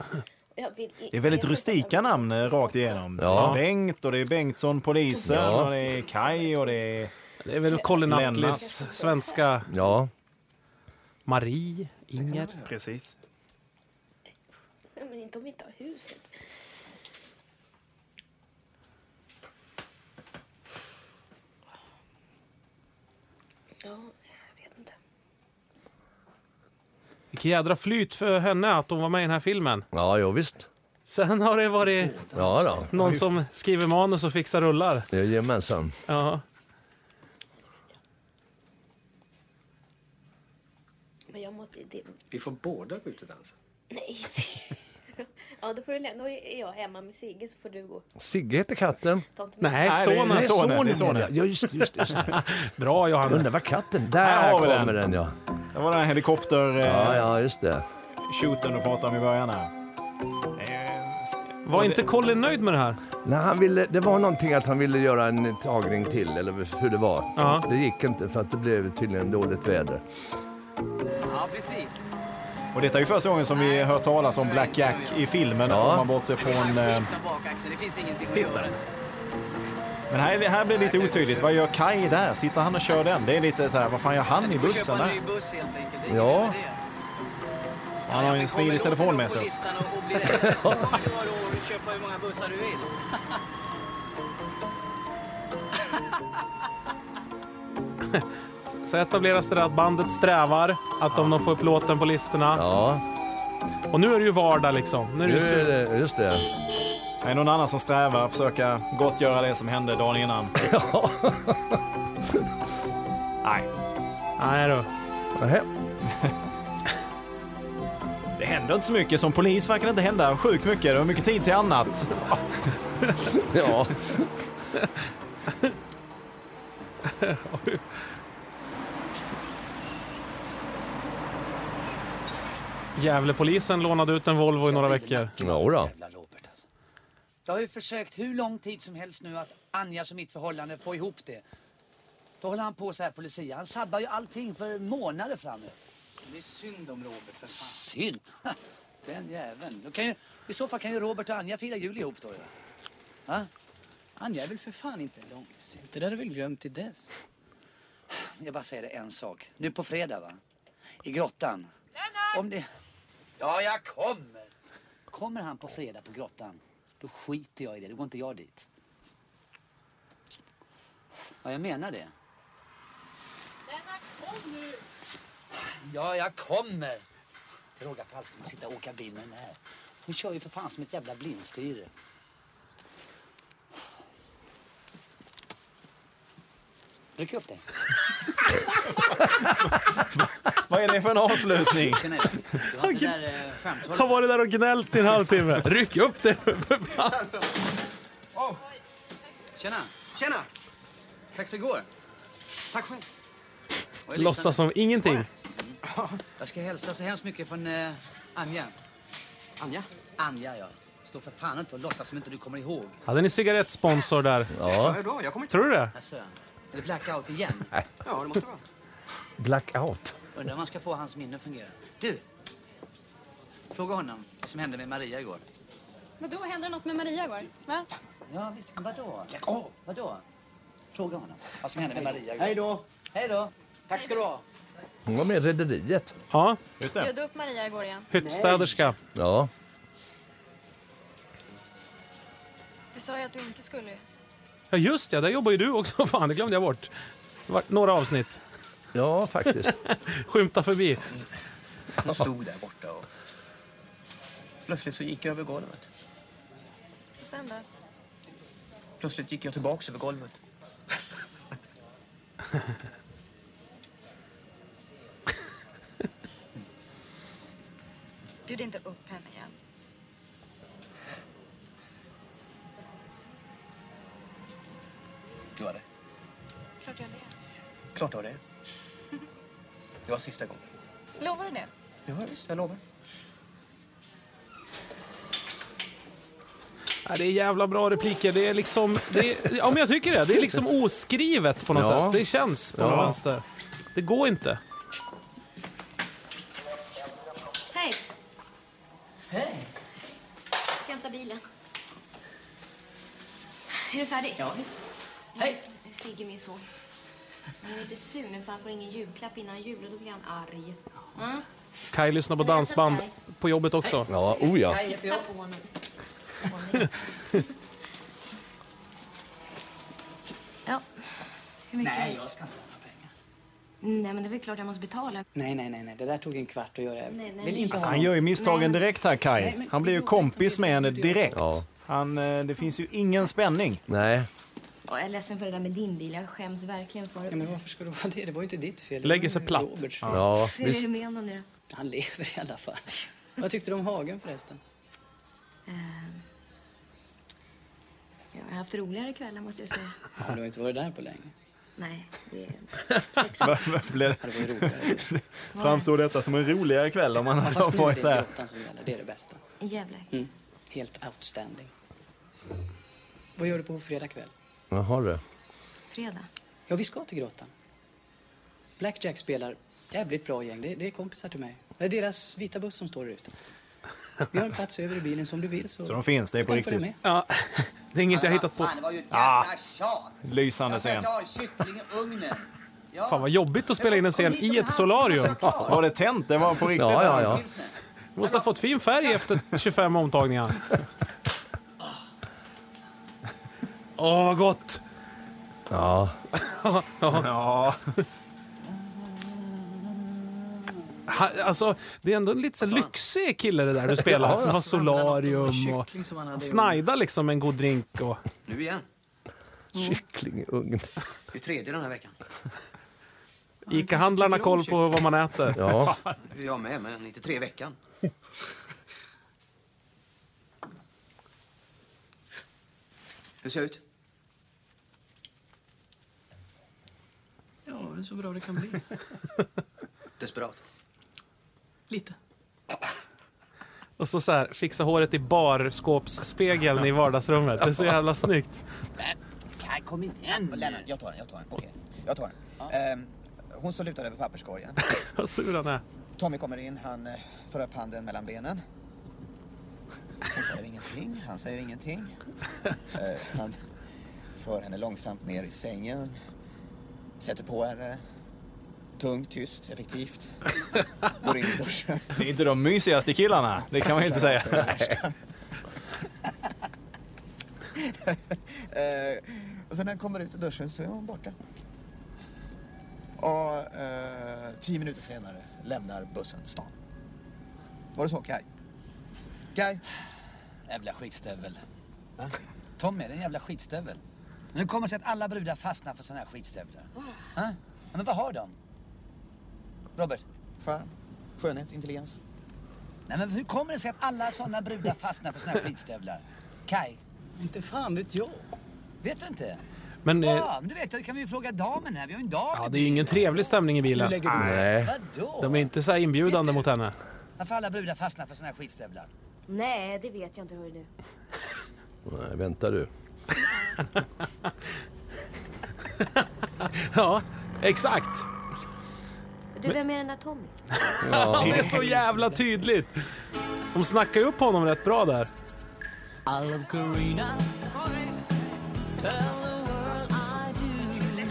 [SPEAKER 13] Jag vill i-
[SPEAKER 3] Det är väldigt rustika namn eh, rakt igenom.
[SPEAKER 2] Ja.
[SPEAKER 3] Det är Bengt och det är Bengtsson, polisen,
[SPEAKER 2] Ja.
[SPEAKER 3] och det är Kai och det är...
[SPEAKER 1] Det är väl Colin Atlis svenska
[SPEAKER 2] Ja.
[SPEAKER 1] Marie, Inger.
[SPEAKER 3] Precis.
[SPEAKER 13] Nej, Men inte om vi inte har huset. Ja, jag vet inte.
[SPEAKER 1] Vilket jädra flyt för henne att hon var med i den här filmen.
[SPEAKER 2] Ja, jo, visst.
[SPEAKER 1] Sen har det varit
[SPEAKER 2] Ja, då.
[SPEAKER 1] någon som skriver manus och fixar rullar.
[SPEAKER 2] Jajamensan.
[SPEAKER 1] Ja.
[SPEAKER 13] Men jag måste... Det,
[SPEAKER 4] Vi får båda gå ut och dansa.
[SPEAKER 13] nej. ja, då, får du, lä- då är jag hemma med Sigge så får du gå.
[SPEAKER 2] Sigge heter katten.
[SPEAKER 13] Ta inte med.
[SPEAKER 1] Nej, sonen.
[SPEAKER 2] Nej, sonen.
[SPEAKER 1] Det är
[SPEAKER 2] är det. Ja, just, just, just. det. Jag
[SPEAKER 1] Bra Johannes.
[SPEAKER 2] undrar var katten...
[SPEAKER 3] Här
[SPEAKER 2] Där
[SPEAKER 3] har vi
[SPEAKER 2] kommer
[SPEAKER 3] den.
[SPEAKER 2] den, ja.
[SPEAKER 3] Det var den här helikopter... eh,
[SPEAKER 2] Ja, ja, just det.
[SPEAKER 3] Shooten du pratade om i början här.
[SPEAKER 1] Var inte Colin nöjd med det här?
[SPEAKER 2] Nej, han ville, det var någonting att han ville göra en tagning till, eller hur det var.
[SPEAKER 1] Ja.
[SPEAKER 2] Det gick inte för att det blev tydligen dåligt väder.
[SPEAKER 6] Ja, precis.
[SPEAKER 3] Och detta är ju första gången som vi hört talas om Black Jack i filmen, om man bortser från... eh,
[SPEAKER 6] Skjuta bak Axel, det finns ingenting att
[SPEAKER 3] titta.
[SPEAKER 6] göra.
[SPEAKER 3] Men här, är det- här blir det lite otydligt. Vad gör Kai där? Sitter han och kör den? Det är lite så här, vad fan gör han i
[SPEAKER 6] Du får köpa
[SPEAKER 3] bussen
[SPEAKER 6] en
[SPEAKER 3] där?
[SPEAKER 6] ny buss helt enkelt. Det är
[SPEAKER 3] Ja.
[SPEAKER 6] ingen idé.
[SPEAKER 3] Han har ju en smidig telefon med sig.
[SPEAKER 6] På listan och, och bli rädd. Då har du råd att köpa hur många bussar du vill.
[SPEAKER 1] Så etableras det där att bandet strävar, att om de får upp låten på listorna.
[SPEAKER 2] Ja.
[SPEAKER 1] Och nu är det ju vardag liksom. Nu är det,
[SPEAKER 2] Nu
[SPEAKER 1] ju
[SPEAKER 2] är
[SPEAKER 1] så...
[SPEAKER 2] det, just det.
[SPEAKER 3] Är det någon annan som strävar att försöka gottgöra det som hände dagen innan? Nej,
[SPEAKER 1] Nej då.
[SPEAKER 2] Nähä.
[SPEAKER 3] det händer inte så mycket. Som polis verkar det inte hända sjukt mycket. Du har mycket tid till annat.
[SPEAKER 2] Ja.
[SPEAKER 1] Gävlepolisen lånade ut en Volvo i några veckor.
[SPEAKER 2] Jodå.
[SPEAKER 4] alltså.
[SPEAKER 6] Jag har ju försökt hur lång tid som helst nu att Anjas och mitt förhållande få ihop det.
[SPEAKER 4] Då håller han på så här på Lucia. Han sabbar ju allting för månader framöver.
[SPEAKER 6] Det är synd om Robert för fan.
[SPEAKER 4] Synd! Den jäveln. Då kan ju, I så fall kan ju Robert och Anja fira jul ihop då. ju. Va?
[SPEAKER 6] Anja är väl för fan inte långsint. Det där är väl glömt till dess.
[SPEAKER 4] Jag bara säger det en sak. Nu på fredag va? I grottan. Om det... Ja, jag kommer! Kommer han på fredag på grottan, då skiter jag i det. Då går inte jag dit. Ja, jag menar det. Ja, jag kommer! Till råga på allt ska man sitta och åka bil med den här. Hon kör ju för fan som ett jävla blindstyre. Ryck upp dig.
[SPEAKER 3] Vad är det för en avslutning?
[SPEAKER 6] Tjena Eva. Du har inte det där eh,
[SPEAKER 1] Han
[SPEAKER 6] skämthållet?
[SPEAKER 1] var där och gnällt i en halvtimme. Ryck upp det!
[SPEAKER 6] Tjena.
[SPEAKER 4] Tjena!
[SPEAKER 6] Tack för igår.
[SPEAKER 4] Tack själv.
[SPEAKER 6] Och Elisabeth.
[SPEAKER 1] Låtsas som ingenting.
[SPEAKER 6] Jag ska hälsa så hemskt mycket från eh, Anja.
[SPEAKER 4] Anja?
[SPEAKER 6] Anja, ja. Stå för fan inte och låtsas som inte du kommer ihåg.
[SPEAKER 1] Hade ni cigarettsponsor där?
[SPEAKER 2] Ja.
[SPEAKER 4] Ja, då, jag kommer
[SPEAKER 1] Tror du det?
[SPEAKER 6] Alltså, är det blackout igen?
[SPEAKER 4] Ja, det måste vara.
[SPEAKER 2] Blackout.
[SPEAKER 6] Undrar om man ska få hans minne att fungera. Du! Fråga honom vad som hände med Maria igår.
[SPEAKER 5] Vadå, hände det något med Maria igår? Va?
[SPEAKER 6] Ja, visst. Vadå? Vadå? Fråga honom vad som hände med Maria igår. Hej
[SPEAKER 4] då!
[SPEAKER 6] Hej då! Tack ska du ha.
[SPEAKER 2] Hon var med i Rederiet.
[SPEAKER 1] Ja,
[SPEAKER 2] just
[SPEAKER 12] Bjöd upp Maria igår igen.
[SPEAKER 1] Hyttstäderska.
[SPEAKER 2] Ja.
[SPEAKER 12] Du sa ju att du inte skulle.
[SPEAKER 1] Ja, just ja, där jobbar ju du också. Fan, det glömde jag bort. Det var några avsnitt.
[SPEAKER 2] Ja, faktiskt.
[SPEAKER 1] Skymta förbi.
[SPEAKER 9] Hon stod där borta och plötsligt så gick jag över golvet.
[SPEAKER 12] Och sen då?
[SPEAKER 9] Plötsligt gick jag tillbaks över golvet.
[SPEAKER 12] Bjud inte upp henne igen.
[SPEAKER 9] Du har det.
[SPEAKER 12] Klart jag vet.
[SPEAKER 9] Klart du har det. Det var sista gången.
[SPEAKER 12] Lovar du det?
[SPEAKER 9] Ja, visst, jag lovar.
[SPEAKER 1] Ja, det är jävla bra repliker. Det är liksom... Det är, ja, men jag tycker det. Det är liksom oskrivet på något
[SPEAKER 3] Ja.
[SPEAKER 1] sätt. Det känns på något
[SPEAKER 3] Ja.
[SPEAKER 1] vänster. Det går inte.
[SPEAKER 12] Hej,
[SPEAKER 6] Hej!
[SPEAKER 12] ska hämta bilen. Är du färdig?
[SPEAKER 6] Ja, visst. Hej!
[SPEAKER 12] Sigge, min son. Han är lite sur nu för han får ingen julklapp innan jul och då blir han arg. Mm?
[SPEAKER 1] Kaj lyssnar på dansband på jobbet också.
[SPEAKER 2] Ja, oh ja.
[SPEAKER 12] Titta på honom. Ja. Hur mycket?
[SPEAKER 6] Nej, jag ska inte ha några pengar.
[SPEAKER 12] Nej, men det är väl klart jag måste betala.
[SPEAKER 6] Nej, nej, nej, nej. Det där tog en kvart att göra.
[SPEAKER 12] Nej, nej.
[SPEAKER 6] Vill inte
[SPEAKER 12] Alltså,
[SPEAKER 6] ha
[SPEAKER 3] Han
[SPEAKER 6] någon.
[SPEAKER 3] gör ju misstagen direkt här,
[SPEAKER 6] Nej,
[SPEAKER 3] Kai.
[SPEAKER 6] men
[SPEAKER 3] Han blir ju kompis med henne direkt. Han, eh, det finns ju ingen spänning.
[SPEAKER 2] Nej.
[SPEAKER 12] Ja, jag är ledsen för det där med din bil. Jag skäms verkligen för det.
[SPEAKER 6] Ja, men varför ska du vara det? Det var ju inte ditt fel.
[SPEAKER 1] Lägger sig
[SPEAKER 6] Det var ju
[SPEAKER 1] platt.
[SPEAKER 6] Roberts fel.
[SPEAKER 2] Ja,
[SPEAKER 12] Hur är det med honom nu då?
[SPEAKER 6] Han lever i alla fall. Vad tyckte du om Hagen förresten?
[SPEAKER 12] Eh, Jag har haft roligare kvällar måste jag säga.
[SPEAKER 6] Ja, Du har inte varit där på länge.
[SPEAKER 12] Nej, det är...
[SPEAKER 3] Framstår detta som en roligare kväll om man
[SPEAKER 6] Ja,
[SPEAKER 3] hade
[SPEAKER 6] fast nu är
[SPEAKER 3] varit
[SPEAKER 6] det
[SPEAKER 3] där?
[SPEAKER 6] grottan som gäller. Det är det bästa.
[SPEAKER 12] Jävlar.
[SPEAKER 6] Mm. Helt outstanding. Vad gör du på fredag kväll?
[SPEAKER 2] Jaha du.
[SPEAKER 12] Fredag.
[SPEAKER 6] Ja, vi ska till grottan. Blackjack spelar jävligt bra gäng. Det, det är kompisar till mig. Det är deras vita buss som står där ute. Vi har en plats över i bilen som du vill. Så,
[SPEAKER 3] Så de finns, det är
[SPEAKER 6] du
[SPEAKER 3] på
[SPEAKER 6] kan följa
[SPEAKER 3] riktigt.
[SPEAKER 6] Med.
[SPEAKER 1] Ja, det är inget jag hittat på.
[SPEAKER 4] Fan, det var ju ett
[SPEAKER 3] Ah.
[SPEAKER 4] jävla tjat.
[SPEAKER 3] Lysande
[SPEAKER 4] Jag ska
[SPEAKER 3] scen.
[SPEAKER 4] ta en kyckling i ugnen. Ja.
[SPEAKER 1] Fan vad jobbigt att spela in en scen i ett solarium.
[SPEAKER 3] Var det tänt? Det var på riktigt?
[SPEAKER 2] Ja, ja, ja.
[SPEAKER 1] Du måste ha fått fin färg efter 25 omtagningar. Åh, vad gott!
[SPEAKER 2] Ja.
[SPEAKER 3] Ja.
[SPEAKER 1] Ha, alltså, det är ändå en lite så här lyxig kille det där du spelar.
[SPEAKER 2] Alltså. Ja, ja.
[SPEAKER 1] Han har solarium och
[SPEAKER 6] Kyckling som han hade i ugnen.
[SPEAKER 1] snajda liksom en god drink och...
[SPEAKER 4] Nu igen.
[SPEAKER 2] Kycklingugn.
[SPEAKER 4] Det är tredje den här veckan.
[SPEAKER 1] Ica-handlarna koll på vad man äter.
[SPEAKER 2] Ja.
[SPEAKER 4] Jag med, men inte tre i veckan. Hur ser jag ut?
[SPEAKER 6] Ja, det är så bra det kan bli.
[SPEAKER 4] Desperat.
[SPEAKER 6] Lite.
[SPEAKER 1] Och så, så här, fixa håret i barskåpsspegeln i vardagsrummet. Det är så jävla snyggt.
[SPEAKER 6] Kaj, kom igen.
[SPEAKER 9] Lennart, jag tar den. Jag tar den. Okej, jag tar den. Ehm, hon står lutad över papperskorgen.
[SPEAKER 1] Vad sur han är.
[SPEAKER 9] Tommy kommer in, han eh, för upp handen mellan benen. Hon säger ingenting, han säger ingenting. Eh, han för henne långsamt ner i sängen. Sätter på henne. Tungt, tyst, effektivt. Går in i duschen.
[SPEAKER 3] Det är inte de mysigaste killarna, det kan man ju inte säga.
[SPEAKER 9] Eh, och sen när han kommer ut ur duschen så är hon borta. Och eh, tio minuter senare lämnar bussen stan. Var det så Kaj? Kaj?
[SPEAKER 6] Jävla skitstövel. Tommy, den jävla skitstövel. Nu kommer det sig att alla brudar fastnar för såna här skitstövlar. Ja, men vad har de? Robert?
[SPEAKER 9] Charm, skönhet, intelligens.
[SPEAKER 6] Nej, men hur kommer det sig att alla såna brudar fastnar för såna här skitstövlar? Kai? Inte fan vet jag. Vet du inte?
[SPEAKER 1] Men eh,
[SPEAKER 6] Ja, men du vet, jag, det kan vi ju fråga damen här. Vi har ju en dam
[SPEAKER 1] ja,
[SPEAKER 6] i
[SPEAKER 1] det är ju ingen trevlig stämning i bilen.
[SPEAKER 2] Nej.
[SPEAKER 6] Vadå?
[SPEAKER 1] De är inte så här inbjudande mot henne.
[SPEAKER 6] Varför alla brudar fastnar för såna här skitstövlar?
[SPEAKER 12] Nej, det vet jag inte hur du.
[SPEAKER 2] Nej, vänta du.
[SPEAKER 1] Ja, exakt.
[SPEAKER 12] Du, vem är den där Tommy?
[SPEAKER 1] Ja, det är så jävla tydligt. De snackar ju upp honom rätt bra där.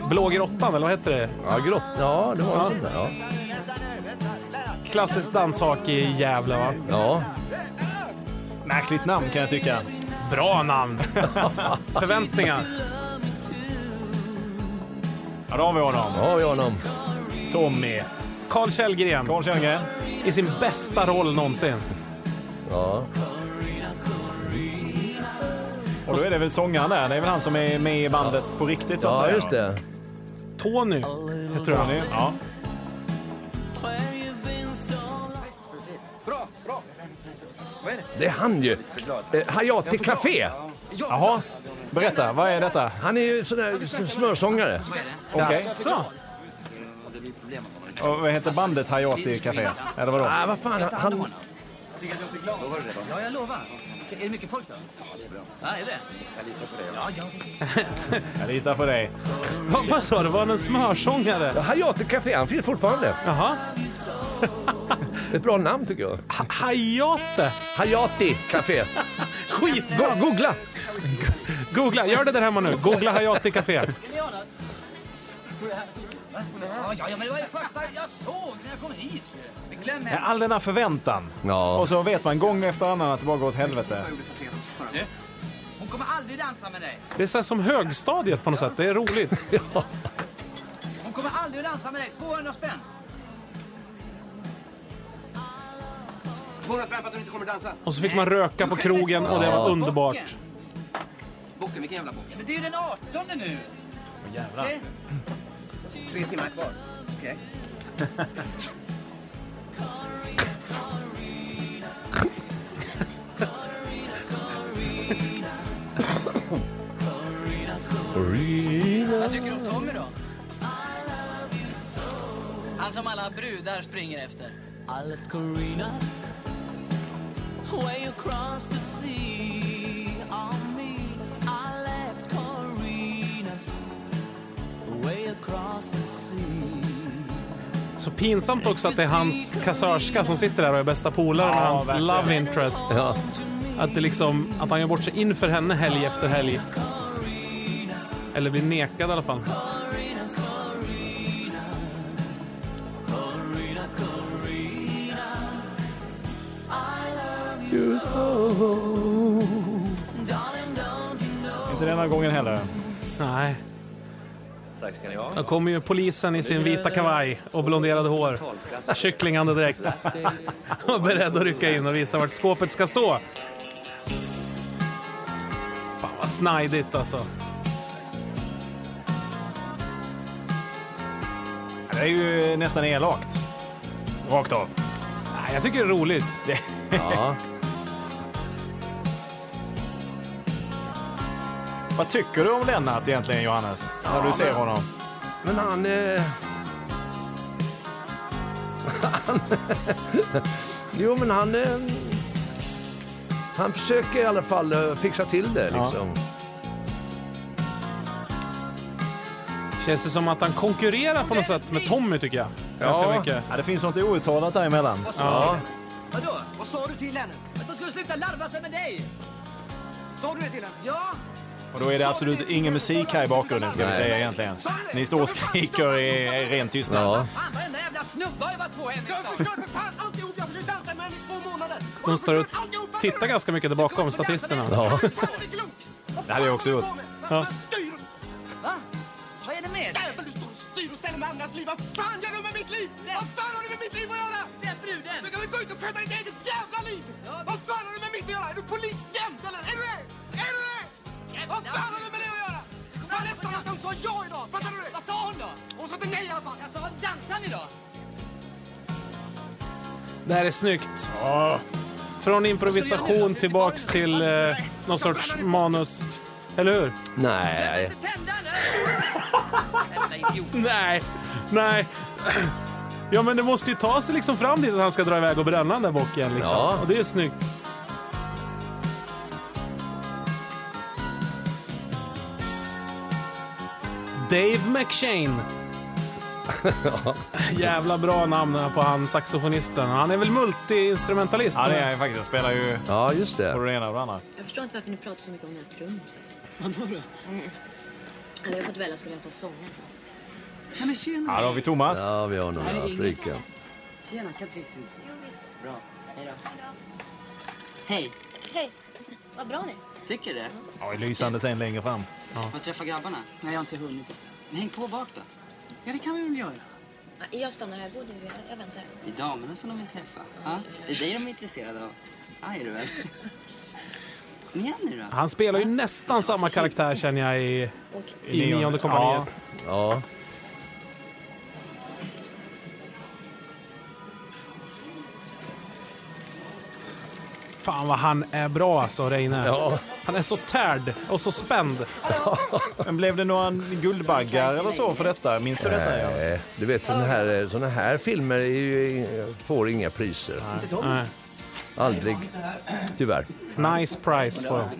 [SPEAKER 1] Blå grottan, eller vad heter det?
[SPEAKER 2] Ja, grott. Ja, det var en sån där. Ja.
[SPEAKER 1] Klassiskt danshake i Gävle, va?
[SPEAKER 2] Ja.
[SPEAKER 3] Märkligt namn kan jag tycka.
[SPEAKER 1] Bra namn! Förväntningar.
[SPEAKER 3] Ja, då har vi honom.
[SPEAKER 2] Ja, vi har honom.
[SPEAKER 3] Tommy.
[SPEAKER 1] Carl Källgren.
[SPEAKER 3] Carl Källgren.
[SPEAKER 1] I sin bästa roll någonsin.
[SPEAKER 2] Ja.
[SPEAKER 3] Och då är det väl sångaren där. Det är väl han som är med i bandet på riktigt så att
[SPEAKER 2] ja,
[SPEAKER 3] säga.
[SPEAKER 2] just det.
[SPEAKER 1] Tony, det tror jag.
[SPEAKER 3] Tony, Ja.
[SPEAKER 7] Bra, bra. Vad är det?
[SPEAKER 2] Det är han ju. Eh, Hayati Café.
[SPEAKER 3] Jaha. Berätta, vad är detta?
[SPEAKER 2] Han är ju sån där s- smörsångare.
[SPEAKER 3] Okej.
[SPEAKER 1] Jaså?
[SPEAKER 3] Och vad heter bandet Hayati Café? Eller vadå?
[SPEAKER 2] Ah, vad fan, han, han,
[SPEAKER 6] Ja, jag lovar. Är det mycket folk då? Ja, det är bra. Ja, är det?
[SPEAKER 3] Jag litar på dig.
[SPEAKER 1] Vad vad sa du? Var han en smörsångare?
[SPEAKER 2] Hayati Café, han finns fortfarande.
[SPEAKER 1] Jaha.
[SPEAKER 2] Ett bra namn tycker jag.
[SPEAKER 1] Ha- Hayate.
[SPEAKER 2] Hayati Café.
[SPEAKER 1] Skitbra!
[SPEAKER 2] Go- Googla!
[SPEAKER 1] Googla, gör det där hemma nu. Googla Hayati Café.
[SPEAKER 6] Vill ni ha något? Ja, ja, ja, men det var det första jag såg när jag kom hit. Men Glöm henne.
[SPEAKER 3] All den här förväntan.
[SPEAKER 2] Ja.
[SPEAKER 3] Och så vet man gång efter annan att det bara går åt helvete.
[SPEAKER 6] Hon kommer aldrig dansa med dig.
[SPEAKER 1] Det är så här som högstadiet på något sätt. Det är roligt.
[SPEAKER 6] Hon kommer aldrig att dansa med dig. 200 spänn.
[SPEAKER 7] 200 spänn på att du inte kommer dansa.
[SPEAKER 1] Och så fick man röka på krogen och det var underbart.
[SPEAKER 7] Boken, vilken jävla bok?
[SPEAKER 6] Men det är ju den 18 nu. Jävlar.
[SPEAKER 7] Tre timmar kvar. Okej.
[SPEAKER 6] Vad tycker du om Tommy då? Han som alla brudar springer efter.
[SPEAKER 1] Så pinsamt också att det är hans kassörska som sitter där och är bästa polaren och
[SPEAKER 3] Ja,
[SPEAKER 1] hans
[SPEAKER 3] verkligen.
[SPEAKER 1] love interest.
[SPEAKER 2] Ja.
[SPEAKER 1] Att, det liksom, att han gör bort sig inför henne helg efter helg. Eller blir nekad i alla fall.
[SPEAKER 3] Inte denna gången heller.
[SPEAKER 1] Nej. Då kommer ju polisen i sin vita kavaj och blonderade hår. Kycklingande direkt. Och beredd att rycka in och visa vart skåpet ska stå. Fan vad snajdigt alltså.
[SPEAKER 3] Det är ju nästan elakt. Rakt av.
[SPEAKER 1] Nej, jag tycker det är roligt.
[SPEAKER 2] ja.
[SPEAKER 3] Vad tycker du om Lennart egentligen, Johannes? När du ser honom?
[SPEAKER 2] Men han... Eh... han jo, men han... Eh... Han försöker i alla fall eh, fixa till det. Liksom.
[SPEAKER 1] Känns det som att han konkurrerar på något sätt med Tommy tycker jag. Ganska mycket.
[SPEAKER 3] Ja, det finns något outtalat däremellan.
[SPEAKER 2] Ja.
[SPEAKER 6] Vadå?
[SPEAKER 7] Vad sa du till henne?
[SPEAKER 6] Att de skulle sluta larva sig med dig?
[SPEAKER 7] Sa du det till henne?
[SPEAKER 6] Ja,
[SPEAKER 3] Och då är det absolut ingen musik här i bakgrunden, ska vi
[SPEAKER 2] Nej.
[SPEAKER 3] säga egentligen. Ni står och skriker i ren tystnad.
[SPEAKER 2] ja.
[SPEAKER 6] fan varenda jävla snubbe har ju varit på henne.
[SPEAKER 7] Jag har
[SPEAKER 6] liksom.
[SPEAKER 7] förstört för fan alltihop! Jag har försökt dansa med henne i två månader! Och
[SPEAKER 1] De
[SPEAKER 7] jag
[SPEAKER 1] står och
[SPEAKER 7] förstört alltihopa nu.
[SPEAKER 1] tittar ganska mycket där bakom, statisterna.
[SPEAKER 2] Ja.
[SPEAKER 7] Fan, jag är inte klok! Vad
[SPEAKER 3] Det hade jag
[SPEAKER 7] fan
[SPEAKER 3] också
[SPEAKER 7] håller
[SPEAKER 3] gjort.
[SPEAKER 7] på med? Vad fan styr och
[SPEAKER 6] Va? Vad är det med dig?
[SPEAKER 7] jävel du står och styr och ställer med andras liv! Vad fan gör du med mitt liv? Vad fan har du med mitt liv att göra?
[SPEAKER 6] Den bruden!
[SPEAKER 7] Du kan väl gå ut och sköta ditt eget jävla liv! Vad fan har du med mitt att göra? Är du polis jämt eller? Är du det? Är du det? Vad fan har du med det att göra? Jag är ledsen att de sa ja idag, fattar du det?
[SPEAKER 6] Vad sa hon då?
[SPEAKER 7] Hon sa inte nej i alla fall.
[SPEAKER 6] Alltså, dansar ni då?
[SPEAKER 1] Det här är snyggt. Från improvisation tillbaks till eh, någon sorts manus. Eller hur?
[SPEAKER 2] Nej.
[SPEAKER 6] Tända nu! Jävla idiot.
[SPEAKER 1] Nej, nej. Ja, men det måste ju ta sig liksom fram dit att han ska dra iväg och bränna den där bocken. Liksom.
[SPEAKER 2] Ja.
[SPEAKER 1] Och det är snyggt. Dave McShane. Jävla bra namn här på han saxofonisten. Han är väl multiinstrumentalist?
[SPEAKER 3] Ja, det är jag faktiskt. Jag spelar ju
[SPEAKER 2] Ja, just
[SPEAKER 3] på
[SPEAKER 2] det.
[SPEAKER 3] det ena och det andra.
[SPEAKER 12] Jag förstår inte varför ni pratar så mycket om den här trummisen. Vadå då? Hade jag fått välja skulle jag ta sångaren.
[SPEAKER 6] Nej, men tjena.
[SPEAKER 3] Ja, då har vi Thomas.
[SPEAKER 2] Ja, vi har honom. Afrika.
[SPEAKER 10] Tjena, kan inte vi susa?
[SPEAKER 11] Jo, visst.
[SPEAKER 10] Bra, hej då.
[SPEAKER 11] Hej då.
[SPEAKER 10] Hej,
[SPEAKER 11] Hej. Vad bra ni
[SPEAKER 10] tycker du det?
[SPEAKER 3] Ja, lysande scen längre fram.
[SPEAKER 10] Får jag träffa grabbarna? Nej, jag har inte hunnit. Men häng på bak då. Ja, det kan vi väl göra.
[SPEAKER 12] Jag stannar här. Gå du, jag, jag väntar.
[SPEAKER 10] Det är damerna som de vill träffa. Ja, det är dig de är intresserade av. Ja, är du väl? Kom igen nu då.
[SPEAKER 1] Han spelar ju nästan samma karaktär känner jag i, i
[SPEAKER 3] Nionde.
[SPEAKER 1] nionde kompaniet.
[SPEAKER 2] Ja.
[SPEAKER 1] Fan vad han är bra alltså, Reine. Han är så tärd och så spänd.
[SPEAKER 3] Men blev det några guldbaggar eller så för detta? Minns du detta? Ja.
[SPEAKER 2] Nej, du vet såna här, eh, såna här filmer är ju, in- får inga priser.
[SPEAKER 1] Inte Tom? Nej.
[SPEAKER 2] Aldrig, tyvärr.
[SPEAKER 1] Nice price får de.
[SPEAKER 6] Ett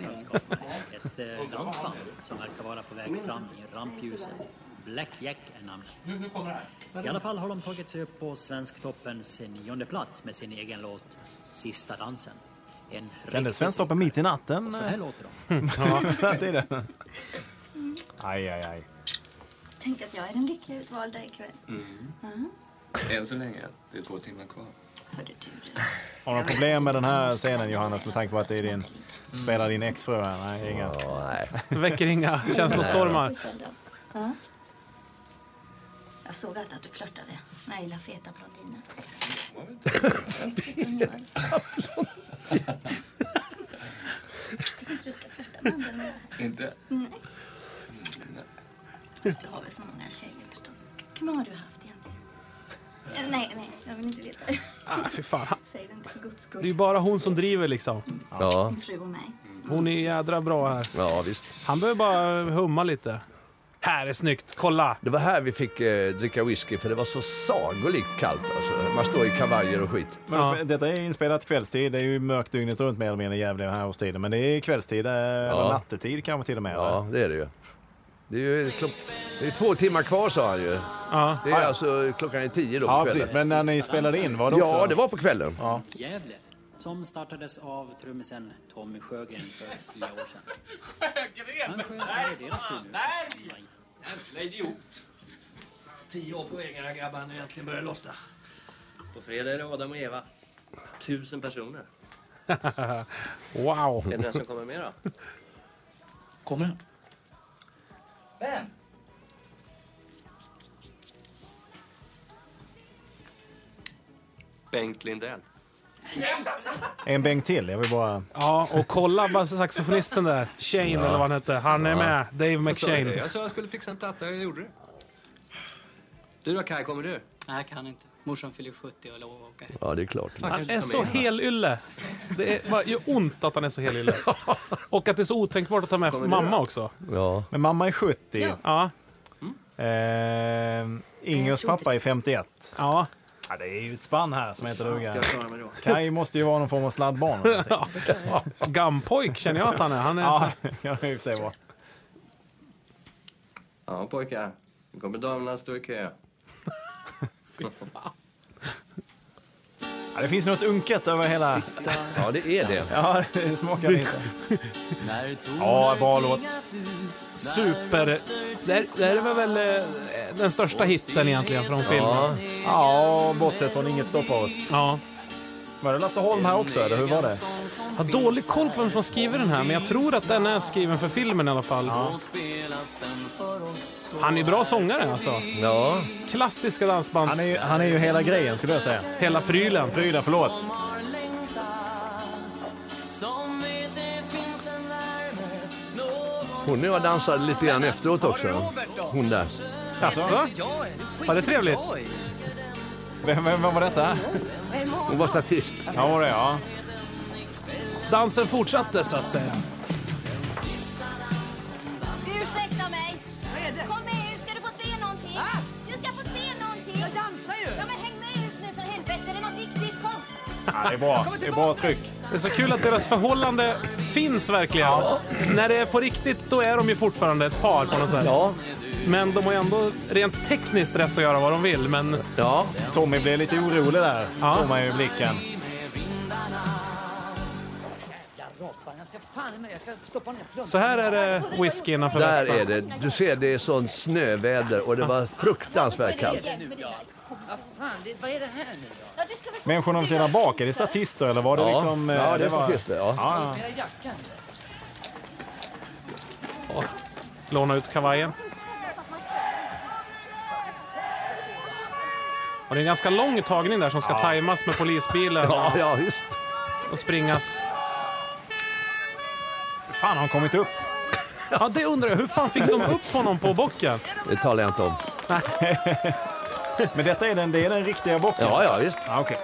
[SPEAKER 6] eh, landsband som verkar vara på väg fram i rampljuset. Blackjack är namnet. I alla fall har de tagit sig upp på Svensktoppens nionde plats med sin egen låt Sista dansen. En
[SPEAKER 3] Sände
[SPEAKER 6] riktig-
[SPEAKER 3] Svensktoppen mitt i natten?
[SPEAKER 6] Så här låter
[SPEAKER 3] de. ja, det är det. Aj, aj, aj.
[SPEAKER 11] Tänk att jag är den lyckliga utvalda ikväll.
[SPEAKER 15] Mm.
[SPEAKER 11] Mm.
[SPEAKER 15] Än så länge. Det är två timmar kvar.
[SPEAKER 3] Har du några problem med den här scenen Johannes med tanke på att det är din, spelar din exfru här? Nej, inga.
[SPEAKER 1] Väcker inga känslostormar.
[SPEAKER 11] Ja. Jag såg alltid att du flörtade med jag gillar feta blondiner. Tycker inte du ska flörta med andra med
[SPEAKER 15] Inte?
[SPEAKER 11] Nej.
[SPEAKER 15] Nej.
[SPEAKER 11] Fast du har väl så många tjejer förstås. Hur många har du haft egentligen? Eh, Nej, nej, jag vill inte veta det.
[SPEAKER 1] Ah, fy fan.
[SPEAKER 11] Säg det inte för guds
[SPEAKER 1] Det
[SPEAKER 11] skull.
[SPEAKER 1] är ju bara hon som driver liksom.
[SPEAKER 2] Ja.
[SPEAKER 11] Min fru och mig.
[SPEAKER 1] Hon är jädra bra här.
[SPEAKER 2] Ja, visst.
[SPEAKER 1] Han behöver bara humma lite. Här är snyggt, kolla!
[SPEAKER 2] Det var här vi fick eh, dricka whisky för det var så sagolikt kallt. Alltså. Man står i kavajer och skit.
[SPEAKER 3] Men Detta är inspelat kvällstid. Det är ju mörkt dygnet runt mer eller mindre i Gävle här hos tiden. Men det är kvällstid, eh, eller nattetid kanske till och med.
[SPEAKER 2] Ja, det är det ju. Det är ju klock... det är två timmar kvar sa han ju.
[SPEAKER 3] Ja.
[SPEAKER 2] Det är alltså klockan är tio då på
[SPEAKER 3] Ja,
[SPEAKER 2] kvällen.
[SPEAKER 3] precis. Men när ni spelade in, var det
[SPEAKER 2] ja,
[SPEAKER 3] också-
[SPEAKER 2] Ja, det var på kvällen.
[SPEAKER 6] Gävle, som startades av trummisen Tommy Sjögren för fyra år sedan.
[SPEAKER 15] Sjögren!
[SPEAKER 6] Nej, fan,
[SPEAKER 15] berg! Jävla idiot! Tio år på vägarna grabbar när äntligen börjar lossna.
[SPEAKER 16] På fredag är det Adam och Eva. Tusen personer.
[SPEAKER 1] wow!
[SPEAKER 16] Vet ni vem som kommer med då?
[SPEAKER 1] Kommer han?
[SPEAKER 16] Vem? Bengt Lindell.
[SPEAKER 3] En bänk till. Jag vill bara...
[SPEAKER 1] Ja, och kolla bara saxofonisten där. Shane
[SPEAKER 3] Ja.
[SPEAKER 1] eller vad han hette. Han är
[SPEAKER 3] Ja.
[SPEAKER 1] med. Dave
[SPEAKER 16] Jag sa ju det.
[SPEAKER 1] McShane.
[SPEAKER 16] Jag sa jag skulle fixa en platta, jag gjorde det. Du då Kaj, kommer du?
[SPEAKER 10] Nej, jag kan inte. Morsan fyller 70 och jag lovar att åka hem.
[SPEAKER 2] Ja, det är klart.
[SPEAKER 1] Han är så helylle. Det är, bara, gör ont att han är så helylle. Och att det är så otänkbart att ta med
[SPEAKER 3] Kommer du
[SPEAKER 1] mamma
[SPEAKER 3] då?
[SPEAKER 1] också.
[SPEAKER 2] Ja.
[SPEAKER 3] Men mamma är 70.
[SPEAKER 1] Ja. ja.
[SPEAKER 3] Eh, Ingers pappa är 51.
[SPEAKER 1] Ja.
[SPEAKER 3] det är ju ett spann här som heter
[SPEAKER 1] Fan,
[SPEAKER 3] duga.
[SPEAKER 1] ska jag klara mig då?
[SPEAKER 3] Kaj måste ju vara någon form av sladdbarn.
[SPEAKER 1] Gampojk känner jag att han är. Han är
[SPEAKER 3] ja, ja, i och för sig bra.
[SPEAKER 16] Ja pojkar, nu kommer damerna stå i kö. Fy fan.
[SPEAKER 3] Ja, det finns något unket över hela...
[SPEAKER 2] Ja, det är det.
[SPEAKER 3] Ja, det smakar lite. Ja, bra låt.
[SPEAKER 1] Super. Det här, det här var väl eh, den största hitten egentligen från filmen.
[SPEAKER 3] Ja. ja, bortsett från Inget stoppar oss.
[SPEAKER 1] Ja.
[SPEAKER 3] Var det Lasse Holm här också, eller hur var det?
[SPEAKER 1] Jag har dålig koll på vem som har skrivit den här, men jag tror att den är skriven för filmen i alla fall. Han är ju bra sångare alltså.
[SPEAKER 2] Ja.
[SPEAKER 1] Klassiska dansbands...
[SPEAKER 3] Han är ju- han är ju hela grejen, skulle jag säga.
[SPEAKER 1] Hela prylen.
[SPEAKER 3] Prylen, förlåt.
[SPEAKER 2] Hon och jag dansade lite grann efteråt också. Hon där.
[SPEAKER 1] Jaså? Var det trevligt?
[SPEAKER 3] Vem, vem, vem var detta?
[SPEAKER 2] Hon var statist.
[SPEAKER 3] Ja, var det ja.
[SPEAKER 1] Dansen fortsatte så att säga.
[SPEAKER 11] Ursäkta mig! Kom med ut, ska du få se någonting?
[SPEAKER 3] Ah!
[SPEAKER 11] Du ska få se någonting! Jag dansar ju! Ja, men häng med ut nu för helvete, det är något viktigt, kom!
[SPEAKER 3] Ja, det är bra. Det är bra tryck.
[SPEAKER 1] Det är så kul att deras förhållande finns verkligen. När det är på riktigt, då är de ju fortfarande ett par på något sätt.
[SPEAKER 2] Ja.
[SPEAKER 1] Men de har ju ändå rent tekniskt rätt att göra vad de vill. Men...
[SPEAKER 2] Ja.
[SPEAKER 3] Tommy blev lite orolig där,
[SPEAKER 1] Ja.
[SPEAKER 3] såg man ju i blicken.
[SPEAKER 7] Ropan, jag ska fan med, jag ska stoppa ner plumpen.
[SPEAKER 1] Så här är det whisky innanför
[SPEAKER 2] Där
[SPEAKER 1] västan.
[SPEAKER 2] är det. Du ser, det är sånt snöväder och det var fruktansvärt kallt.
[SPEAKER 17] Vad fan, det, vad är det här nu då?
[SPEAKER 5] Ja, det ska väl...
[SPEAKER 3] Människorna vid sidan bak, är det statister eller var det
[SPEAKER 2] Ja.
[SPEAKER 3] liksom... eh,
[SPEAKER 2] Ja, det är
[SPEAKER 3] var-
[SPEAKER 2] statister, ja.
[SPEAKER 3] ja.
[SPEAKER 17] Mera jackan.
[SPEAKER 1] Åh, Låna ut kavajen. Och det är en ganska lång tagning där som ska tajmas med polisbilen.
[SPEAKER 2] Ja,
[SPEAKER 1] och-
[SPEAKER 2] ja, visst.
[SPEAKER 1] Och springas. Hur fan har han kommit upp? Ja, det undrar jag. Hur fan fick de upp honom på bocken?
[SPEAKER 2] Det talar jag inte om.
[SPEAKER 3] Men detta är den, det är den riktiga bocken?
[SPEAKER 2] Ja, ja, visst.
[SPEAKER 3] Ja, okej.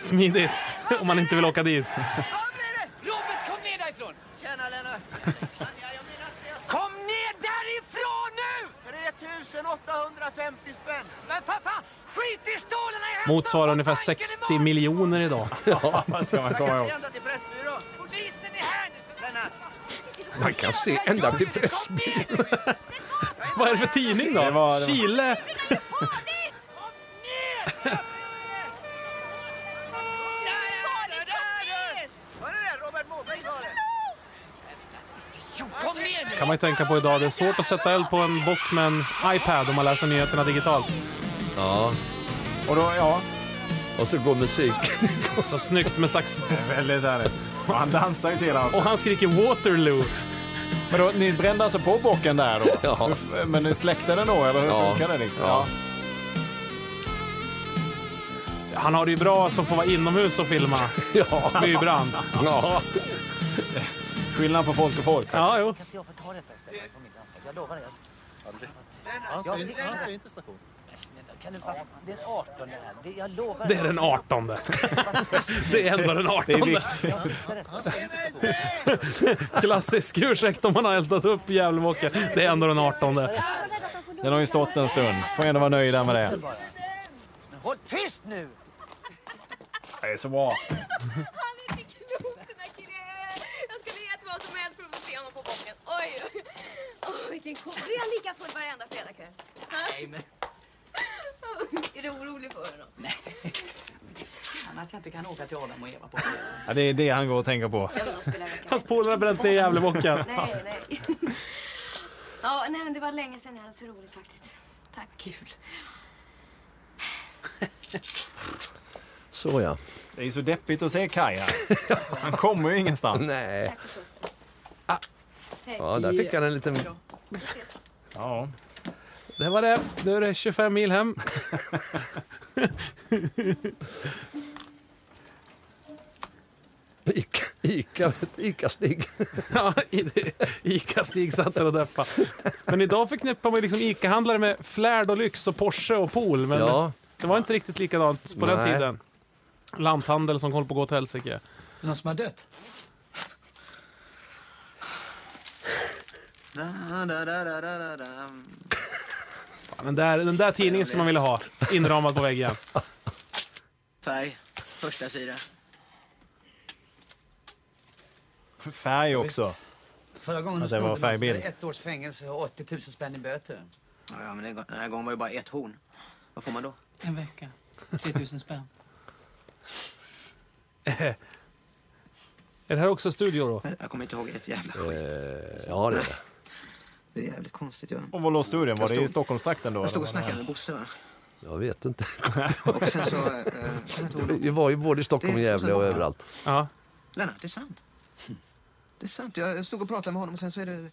[SPEAKER 1] Smidigt, om man inte vill åka dit.
[SPEAKER 7] Robert, kom ner därifrån! Tjena, Lennart. Kom ner därifrån nu! 3850 spänn. Men för fan, skit i stolarna i hemma!
[SPEAKER 1] Motsvarar ungefär 60 miljoner idag. Ja,
[SPEAKER 3] ska man
[SPEAKER 7] Jag kan se ända till Pressbyrån. Polisen är här nu, Lennart!
[SPEAKER 2] Man kan se ända till Pressbyrån.
[SPEAKER 1] Vad är det för tidning då?
[SPEAKER 3] Det var- det var-
[SPEAKER 1] Chile?
[SPEAKER 7] Hörde du det? Robert Måbrink har det. Jo, kom ner nu!
[SPEAKER 1] kan man ju tänka på idag. Det är svårt att sätta eld på en bock med en iPad om man läser nyheterna digitalt.
[SPEAKER 2] Ja.
[SPEAKER 3] Och då, ja.
[SPEAKER 2] Och så går musik.
[SPEAKER 1] Så snyggt med sax.
[SPEAKER 3] Väldigt härligt. Och han dansar ju till hela
[SPEAKER 1] Och han skriker Waterloo.
[SPEAKER 3] Men då, ni brände alltså på bocken där då? Hur f- Men ni släckte den då, eller hur
[SPEAKER 1] Ja.
[SPEAKER 3] funkar det liksom?
[SPEAKER 1] Ja. Han har det ju bra som får vara inomhus och filma.
[SPEAKER 2] Ja.
[SPEAKER 1] Bybrand.
[SPEAKER 2] Ja.
[SPEAKER 3] Skillnad på folk och folk.
[SPEAKER 1] Ja, jo.
[SPEAKER 7] Kan inte jag få ta detta istället? På mitt ansvar? Jag lovar dig. jag ska-
[SPEAKER 9] Aldrig.
[SPEAKER 7] Han ska in- han ska in
[SPEAKER 9] till station.
[SPEAKER 7] Kan du bara... Det är den 18 det här. Det- Jag lovar.
[SPEAKER 1] Det är den 18. Det är ändå den 18.
[SPEAKER 7] Det är viktigt. Jag fixar det.
[SPEAKER 1] Klassisk ursäkt om man har eldat upp Gävlebocken. Det är ändå den 18.
[SPEAKER 3] Den har ju stått en stund. Får ändå vara nöjda med det.
[SPEAKER 7] Men håll tyst nu!
[SPEAKER 3] Det är så bra.
[SPEAKER 18] Han är inte klok den här killen. Jag skulle gett vad som helst för att få se honom på bocken. Oj, oj. Åh, vilken kåt. Blir han lika full varenda fredagkväll?
[SPEAKER 17] Nej, men...
[SPEAKER 18] Är du orolig för honom?
[SPEAKER 17] Nej. Fan att jag inte kan åka till Adam och Eva på
[SPEAKER 3] Ja, det är det han går och tänker på.
[SPEAKER 1] Hans polare har bränt ner Gävlebocken.
[SPEAKER 12] Nej, nej. Ja, nej men det var länge sedan jag hade så roligt faktiskt. Tack. Kul.
[SPEAKER 2] Så ja.
[SPEAKER 3] Det är ju så deppigt att se Kaj här. Han kommer ju ingenstans.
[SPEAKER 2] Nej. Ah.
[SPEAKER 12] Hej.
[SPEAKER 2] Ja, där fick han en liten...
[SPEAKER 3] Ja.
[SPEAKER 1] Det var det. Nu är det 25 mil hem.
[SPEAKER 2] Ica, Ica, Ica-Stig.
[SPEAKER 1] Ja, i- Ica-Stig satt där och deppade. Men idag förknippar man ju liksom Ica-handlare med flärd och lyx och Porsche och pool. Men
[SPEAKER 2] Ja.
[SPEAKER 1] det var inte riktigt likadant på den
[SPEAKER 2] Nej.
[SPEAKER 1] tiden. Lanthandel som håller på att gå till helsike.
[SPEAKER 4] Någon som har dött?
[SPEAKER 9] Da, da, da, da, da, da, da.
[SPEAKER 1] Fan, den, där, den där tidningen skulle man vilja ha inramad på väggen.
[SPEAKER 9] Färg, första sida.
[SPEAKER 3] Färg också.
[SPEAKER 4] Förra gången
[SPEAKER 3] Ja,
[SPEAKER 4] de
[SPEAKER 3] det var
[SPEAKER 4] snodde mig så var
[SPEAKER 3] färgbild.
[SPEAKER 4] det ett års fängelse och 80 000 spänn i böter.
[SPEAKER 9] Ja, ja, men den gång- den här gången var det bara ett horn. Vad får man då?
[SPEAKER 4] En vecka. 3 000 spänn.
[SPEAKER 1] Är det här också studio då?
[SPEAKER 9] Jag kommer inte ihåg ett jävla skit.
[SPEAKER 2] Eh, ja, det är det.
[SPEAKER 9] Det är jävligt konstigt. Jag,
[SPEAKER 3] Och var låg studien? Var
[SPEAKER 9] Jag
[SPEAKER 3] det i
[SPEAKER 9] stod-
[SPEAKER 3] Stockholmstrakten då?
[SPEAKER 9] jag stod och
[SPEAKER 3] eller var det-
[SPEAKER 9] snackade med Bosse. Va?
[SPEAKER 2] Jag vet inte.
[SPEAKER 9] Och sen så... eh, kommer jag inte ihåg.
[SPEAKER 2] Det var ju både i Stockholm och
[SPEAKER 9] Det är
[SPEAKER 2] Gävle och
[SPEAKER 9] fortfarande-
[SPEAKER 2] överallt.
[SPEAKER 1] Ja.
[SPEAKER 9] Lennart, det är sant. Det är sant. Jag jag stod och pratade med honom och sen så är det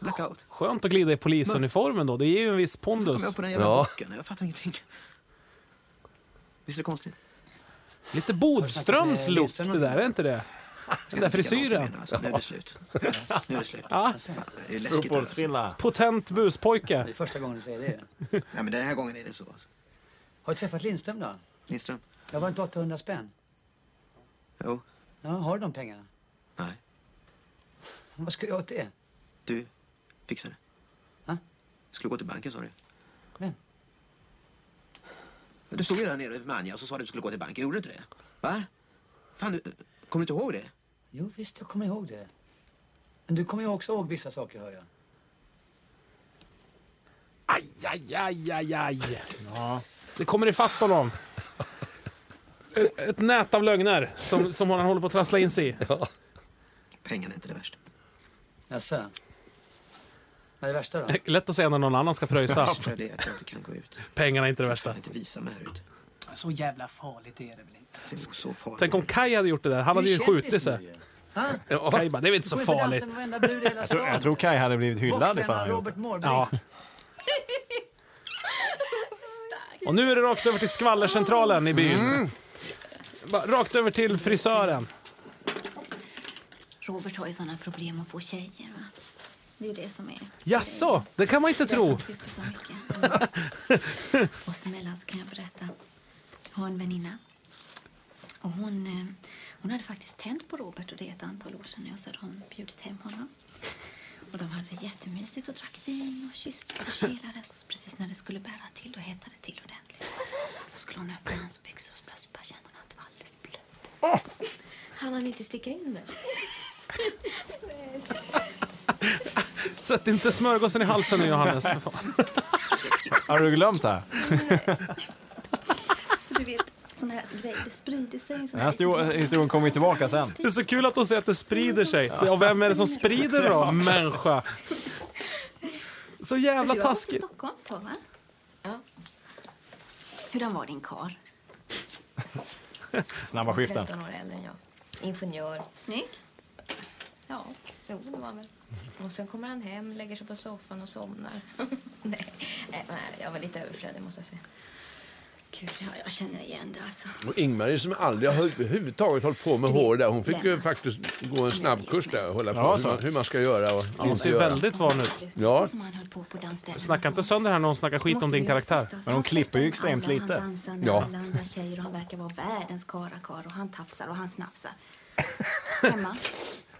[SPEAKER 9] blackout.
[SPEAKER 1] Skönt att glida i polisuniformen då. Det ger ju en viss pondus.
[SPEAKER 9] Kom jag på den jävla bocken? Jag fattar ingenting. Visst är det konstigt?
[SPEAKER 1] Lite Bodströms look det där, är inte det? Den där frisyren.
[SPEAKER 9] Alltså, nu är det slut. Nu är det slut.
[SPEAKER 1] Ja.
[SPEAKER 9] Fan, Det är läskigt. det här, Alltså.
[SPEAKER 1] Potent buspojke.
[SPEAKER 4] Det är första gången du säger det.
[SPEAKER 9] Nej, men den här gången är det så. Alltså.
[SPEAKER 4] Har du träffat Lindström då?
[SPEAKER 9] Lindström?
[SPEAKER 4] Jag var inte 800 spänn.
[SPEAKER 9] Jo.
[SPEAKER 4] Ja, har du de pengarna?
[SPEAKER 9] Nej.
[SPEAKER 4] Vad ska jag åt det?
[SPEAKER 9] Du fixar det.
[SPEAKER 4] Ha?
[SPEAKER 9] Skulle gå till banken sa du.
[SPEAKER 4] Vem?
[SPEAKER 9] Du stod ju där nere med Anja och så sa du att du skulle gå till banken. Gjorde du inte det? Va? Fan, du, kommer du inte ihåg det?
[SPEAKER 4] Jo, visst, jag kommer ihåg det. Men du kommer ju också ihåg vissa saker, hör jag.
[SPEAKER 1] Aj, aj, aj, aj, aj. Det kommer i fatt honom. Ett, ett nät av lögner som, som han håller på att trassla in sig i.
[SPEAKER 9] Pengarna är inte det värsta.
[SPEAKER 4] Jaså? Vad är det värsta då?
[SPEAKER 1] Lätt att säga när någon annan ska pröjsa.
[SPEAKER 9] Det värsta är att jag inte kan gå ut.
[SPEAKER 1] Pengarna är inte det värsta.
[SPEAKER 9] Visa mig här ute.
[SPEAKER 17] Så jävla farligt är det väl inte?
[SPEAKER 9] Det är så farligt.
[SPEAKER 1] Tänk om Kaj hade gjort det där. Han hade
[SPEAKER 17] Du
[SPEAKER 1] ju
[SPEAKER 17] är
[SPEAKER 1] skjutit
[SPEAKER 17] kändis nu
[SPEAKER 1] sig.
[SPEAKER 17] Ha?
[SPEAKER 1] Ja. Kaj bara, det alltså är väl inte så
[SPEAKER 17] Du får ju
[SPEAKER 1] farligt.
[SPEAKER 17] dansa med varenda brud i hela
[SPEAKER 3] Jag tror,
[SPEAKER 17] stan.
[SPEAKER 3] jag tror Kaj hade blivit hyllad ifall
[SPEAKER 17] Bortglömda
[SPEAKER 3] han gjort
[SPEAKER 17] Robert
[SPEAKER 3] det.
[SPEAKER 17] Mårbrink.
[SPEAKER 1] Och nu är det rakt över till skvallercentralen i byn.
[SPEAKER 3] Mm.
[SPEAKER 1] Bara Rakt över till frisören.
[SPEAKER 11] Robert har ju såna problem att få tjejer. Va? Det är ju det som är...
[SPEAKER 1] Jaså, det kan man inte
[SPEAKER 11] Han
[SPEAKER 1] tro.
[SPEAKER 11] super så mycket. Oss emellan så kan jag berätta. Jag har en väninna. Och hon, eh, hon hade faktiskt tänt på Robert och det är ett antal år sedan nu. Och så hade hon bjudit hem honom. Och de hade det jättemysigt och drack vin och kysstes och kelades. Och så precis när det skulle bära till, då hettade det till ordentligt. Då skulle hon öppna hans byxor och så plötsligt bara kände hon att det var alldeles blött. Han hann inte sticka in det.
[SPEAKER 1] Sätt inte smörgåsen i halsen nu, Johannes. för fan.
[SPEAKER 3] Har du glömt det?
[SPEAKER 11] Så du vet, såna här grejer, det sprider sig. en sån
[SPEAKER 3] Den här stor- historien kommer ju tillbaka sen.
[SPEAKER 1] Det är så kul att de säger att det sprider sig. Ja, och vem är det som sprider det då, människa? Så jävla
[SPEAKER 11] Du har varit i
[SPEAKER 1] taskigt.
[SPEAKER 11] Stockholm ett tag, va? Ja. Hurdan var din kar?
[SPEAKER 3] Snabba skiften.
[SPEAKER 11] 13 år äldre än jag. Ingenjör. Snygg? Ja, jo, det var han väl.
[SPEAKER 19] Mm.
[SPEAKER 11] Och sen kommer han hem, lägger sig på soffan och somnar. nej, nej, nej, jag var lite överflödig måste jag säga. Gud, jag, jag känner igen det alltså.
[SPEAKER 2] Och Ingmar är som aldrig har överhuvudtaget hållit på med hår där. Hon fick ju faktiskt gå en snabbkurs där och hålla på
[SPEAKER 1] Ja,
[SPEAKER 2] hur,
[SPEAKER 1] så.
[SPEAKER 2] man, hur man ska göra och
[SPEAKER 1] Ja, hon
[SPEAKER 2] inte
[SPEAKER 1] ser
[SPEAKER 2] göra.
[SPEAKER 1] väldigt van ut.
[SPEAKER 2] Ja.
[SPEAKER 11] Så som han höll på på dansställen.
[SPEAKER 1] Snacka inte sönder här när hon snackar skit om din karaktär.
[SPEAKER 11] Alltså,
[SPEAKER 1] Men hon klipper ju extremt
[SPEAKER 11] Han dansar med
[SPEAKER 1] Ja.
[SPEAKER 11] alla andra tjejer och han verkar vara världens karakar och han tafsar och han snafsar. Emma,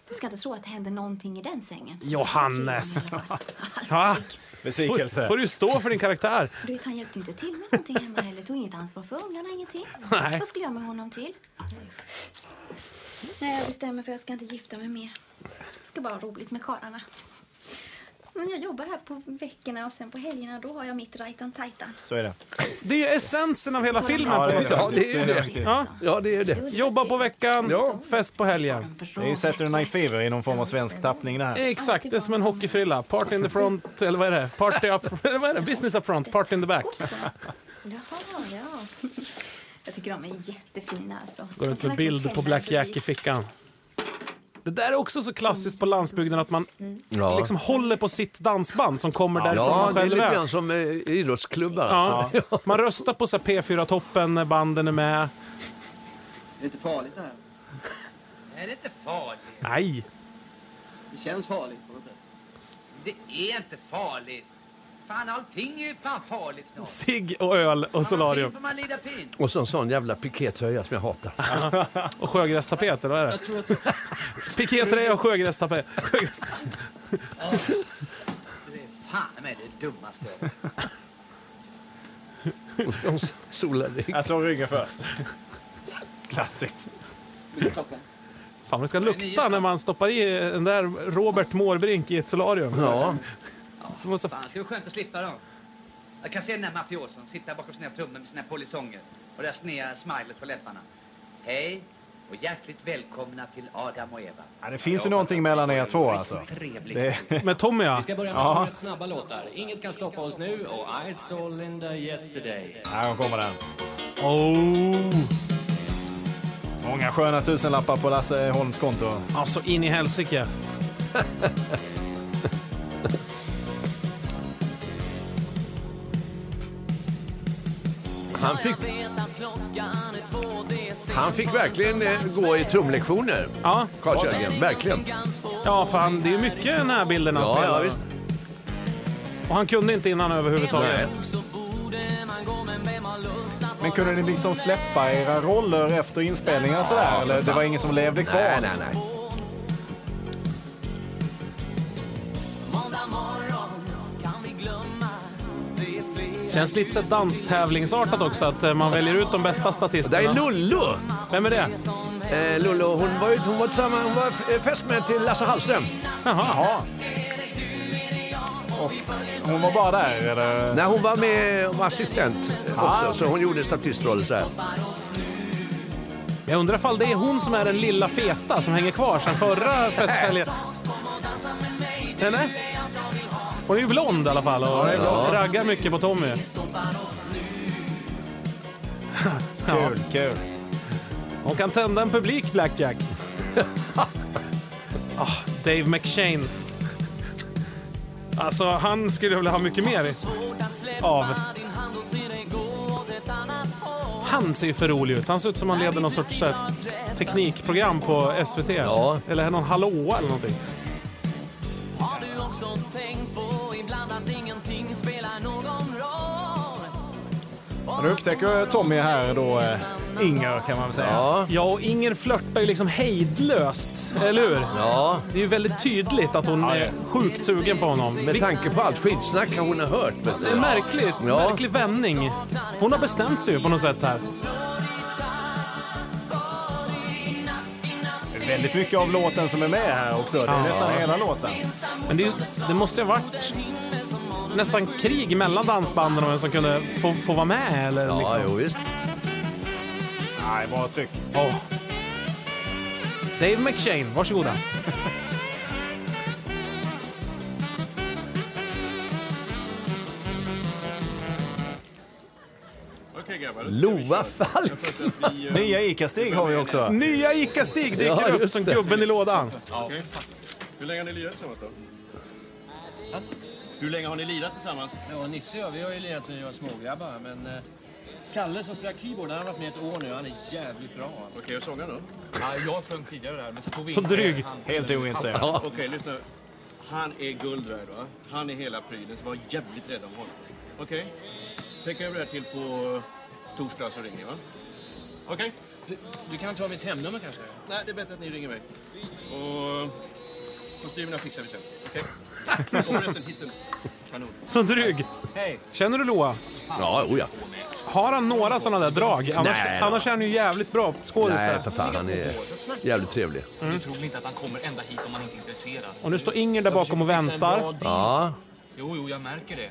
[SPEAKER 11] du ska inte tro att det händer någonting i den sängen.
[SPEAKER 1] Johannes! Ja.
[SPEAKER 3] Besvikelse.
[SPEAKER 1] Får, får du stå för din karaktär.
[SPEAKER 11] Du vet, han hjälpte ju inte till med någonting hemma heller. Tog inget ansvar för ungarna, ingenting.
[SPEAKER 1] Nej.
[SPEAKER 11] Vad skulle jag med honom till? Nej, jag bestämmer för jag ska inte gifta mig mer. Jag ska bara ha roligt med karlarna. Men jag jobbar här på veckorna och sen på helgerna då har jag mitt rajtan-tajtan.
[SPEAKER 3] Så är det.
[SPEAKER 1] Det är ju essensen av hela filmen.
[SPEAKER 3] Ja, det
[SPEAKER 1] på
[SPEAKER 3] är
[SPEAKER 1] något
[SPEAKER 3] det
[SPEAKER 1] sätt.
[SPEAKER 3] faktiskt. Ja, det
[SPEAKER 2] Ja,
[SPEAKER 1] Ja.
[SPEAKER 3] är det. Det är det
[SPEAKER 2] det är
[SPEAKER 1] det. Jobba på veckan, fest på helgen.
[SPEAKER 3] Det är ju Saturday Night Fever i någon form av svensk tappning det här.
[SPEAKER 1] Exakt, det är som en hockeyfrilla. Part in the front, eller vad är det? Party up, vad är det? Business up front, part in the back.
[SPEAKER 11] Jaha, ja. Jag tycker de är jättefina alltså.
[SPEAKER 1] Går
[SPEAKER 11] De
[SPEAKER 1] runt
[SPEAKER 11] kan verkligen
[SPEAKER 1] med bild på
[SPEAKER 11] sälja
[SPEAKER 1] Black
[SPEAKER 11] förbi.
[SPEAKER 1] Jack i fickan. Det där är också så klassiskt på landsbygden att man
[SPEAKER 2] Ja.
[SPEAKER 1] liksom håller på sitt dansband som kommer därifrån
[SPEAKER 2] Ja,
[SPEAKER 1] man
[SPEAKER 2] det är
[SPEAKER 1] själv
[SPEAKER 2] lite
[SPEAKER 1] är.
[SPEAKER 2] grann som eh, idrottsklubbar.
[SPEAKER 1] Ja.
[SPEAKER 2] alltså.
[SPEAKER 1] Man röstar på så här P4-toppen när banden är med.
[SPEAKER 7] Är det inte farligt det här?
[SPEAKER 10] Nej, det är inte farligt.
[SPEAKER 1] Nej!
[SPEAKER 7] Det känns farligt på något sätt.
[SPEAKER 10] Det är inte farligt. Fan, allting är ju fan farligt snart.
[SPEAKER 1] Sig och öl och solarium.
[SPEAKER 10] Fin får man lida pin.
[SPEAKER 2] Och så en sån jävla pikétröja som jag hatar.
[SPEAKER 1] Och sjögrästapeter, vad är det? Pikétröja och sjögrästapeter.
[SPEAKER 10] Du är fan med det dummaste jag vet.
[SPEAKER 2] Solarygg.
[SPEAKER 3] Jag tar ryggen först. Klassiskt.
[SPEAKER 1] Fan vad det ska lukta när man stoppar i den där Robert Mårbrink i ett solarium.
[SPEAKER 2] Ja.
[SPEAKER 1] Så måste...
[SPEAKER 10] Fan, ska vara skönt att slippa dem. Jag kan se den där mafioson sitta bakom sina trummor med sina polisonger och det där snea smilet på läpparna. Hej och hjärtligt välkomna till Adam och Eva.
[SPEAKER 3] Ja, det finns ju någonting mellan er två alltså. Det-
[SPEAKER 1] Med Tommy ja.
[SPEAKER 16] Vi ska börja med
[SPEAKER 3] Ja.
[SPEAKER 16] två rätt snabba låtar. Inget kan stoppa oss nu och I saw Linda yesterday.
[SPEAKER 3] Här kommer den.
[SPEAKER 1] Oh.
[SPEAKER 3] Många sköna tusenlappar på Lasse Holms konto.
[SPEAKER 1] Alltså in i helsike.
[SPEAKER 2] Han fick, han fick verkligen eh, gå i trumlektioner,
[SPEAKER 1] ja.
[SPEAKER 2] Carl Sjögren. Verkligen.
[SPEAKER 1] Ja, fan, det är ju mycket den här bilden han
[SPEAKER 2] Ja,
[SPEAKER 1] spelar.
[SPEAKER 2] ja, visst.
[SPEAKER 1] Och han kunde inte innan överhuvudtaget.
[SPEAKER 3] Men kunde ni liksom släppa era roller efter inspelningen sådär? Eller det var ingen som levde kvar?
[SPEAKER 2] Nej, nej, nej.
[SPEAKER 7] Måndag morgon kan vi glömma. Det är fler.
[SPEAKER 1] Känns lite så här danstävlingsartat också, att eh, man väljer ut de bästa statisterna.
[SPEAKER 2] Det är Lollo!
[SPEAKER 1] Vem är det?
[SPEAKER 2] Eh, Lollo, hon var, ju- hon var, tillsammans, hon var eh, fästmö till Lasse Hallström.
[SPEAKER 3] Jaha. Och hon var bara där eller?
[SPEAKER 2] Nej, hon var med och var assistent också,
[SPEAKER 3] Ah.
[SPEAKER 2] så hon gjorde en statistrollen så här.
[SPEAKER 1] Jag undrar ifall det är hon som är den lilla feta som hänger kvar sedan förra festhelgen. Nej, nej. Hon är ju blond i alla fall och
[SPEAKER 3] Ja.
[SPEAKER 1] raggar mycket på Tommy. Kul, kul. Hon kan tända en publik, Blackjack. Ah, Dave McShane. Alltså, han skulle jag vilja ha mycket mer i- av. Han ser ju för rolig ut. Han ser ut som han leder någon sorts så här, teknikprogram på SVT. Eller någon hallåa eller någonting.
[SPEAKER 7] Har du också tänkt på ibland att ingenting spelar någon roll?
[SPEAKER 3] Nu upptäcker Tommy här då eh, Inger kan man väl säga.
[SPEAKER 1] Ja. och Inger flörtar ju liksom hejdlöst, eller hur? Ja. Det är ju väldigt tydligt att hon är sjukt sugen på honom.
[SPEAKER 2] Med tanke på allt skitsnack hon har hört. Vet du.
[SPEAKER 1] Det är märkligt.
[SPEAKER 2] Ja.
[SPEAKER 1] Märklig vändning. Hon har bestämt sig ju på något sätt här.
[SPEAKER 3] Väldigt mycket av låten som är med här också. Det är
[SPEAKER 1] Ja.
[SPEAKER 3] nästan hela låten.
[SPEAKER 1] Men det, är ju- det måste ju ha varit nästan krig mellan dansbanden om vem som kunde få, få vara med. Eller,
[SPEAKER 2] Ja,
[SPEAKER 1] liksom.
[SPEAKER 2] jo, visst.
[SPEAKER 1] Nej, bra tryck. Dave McShane, varsågoda.
[SPEAKER 2] Lova Falk!
[SPEAKER 20] eh,
[SPEAKER 3] Nya ICA-Stig har vi också.
[SPEAKER 1] Nya Ica-Stig dyker
[SPEAKER 3] Ja,
[SPEAKER 1] upp
[SPEAKER 3] just
[SPEAKER 1] som
[SPEAKER 3] det.
[SPEAKER 1] gubben i lådan.
[SPEAKER 20] Okej. Hur länge har ni lirat tillsammans då? Hur länge har ni lirat tillsammans?
[SPEAKER 16] Ja, Nisse och jag, vi har ju lirat sen vi var smågrabbar, men... eh, Kalle som spelar keyboard, han har varit med ett år nu. Han är jävligt bra. Okej, okay, och sångaren då? Ja, jag sjöng tidigare där, men så tog vi
[SPEAKER 20] Så
[SPEAKER 16] in-
[SPEAKER 20] dryg.
[SPEAKER 16] han-
[SPEAKER 20] Helt
[SPEAKER 16] ointresserad.
[SPEAKER 20] Okej, lyssna. Han är guld värd, va? Han är hela prylen, så var jävligt rädd om honom. Okej? Tänk över det här till på torsdag så ringer jag, va? Okej? Du kan ta mitt hemnummer kanske? Nej, det är bättre att ni ringer mig. Och kostymerna fixar vi sen. Okej? Och förresten, hitten. Kanon.
[SPEAKER 1] Som dryg.
[SPEAKER 20] Hej.
[SPEAKER 1] Känner du Loa?
[SPEAKER 2] Ja, oja.
[SPEAKER 1] Har han några sådana där drag? Annars,
[SPEAKER 2] Nej, då.
[SPEAKER 1] annars är han ju jävligt bra skådis
[SPEAKER 2] Nej,
[SPEAKER 1] där.
[SPEAKER 2] för fan. Han är jävligt trevlig.
[SPEAKER 1] Mm.
[SPEAKER 7] Du tror väl inte att han kommer ända hit om han inte är intresserad?
[SPEAKER 1] Och nu står Inger där bakom och väntar.
[SPEAKER 2] Ja.
[SPEAKER 7] Jo, jo, jag märker det.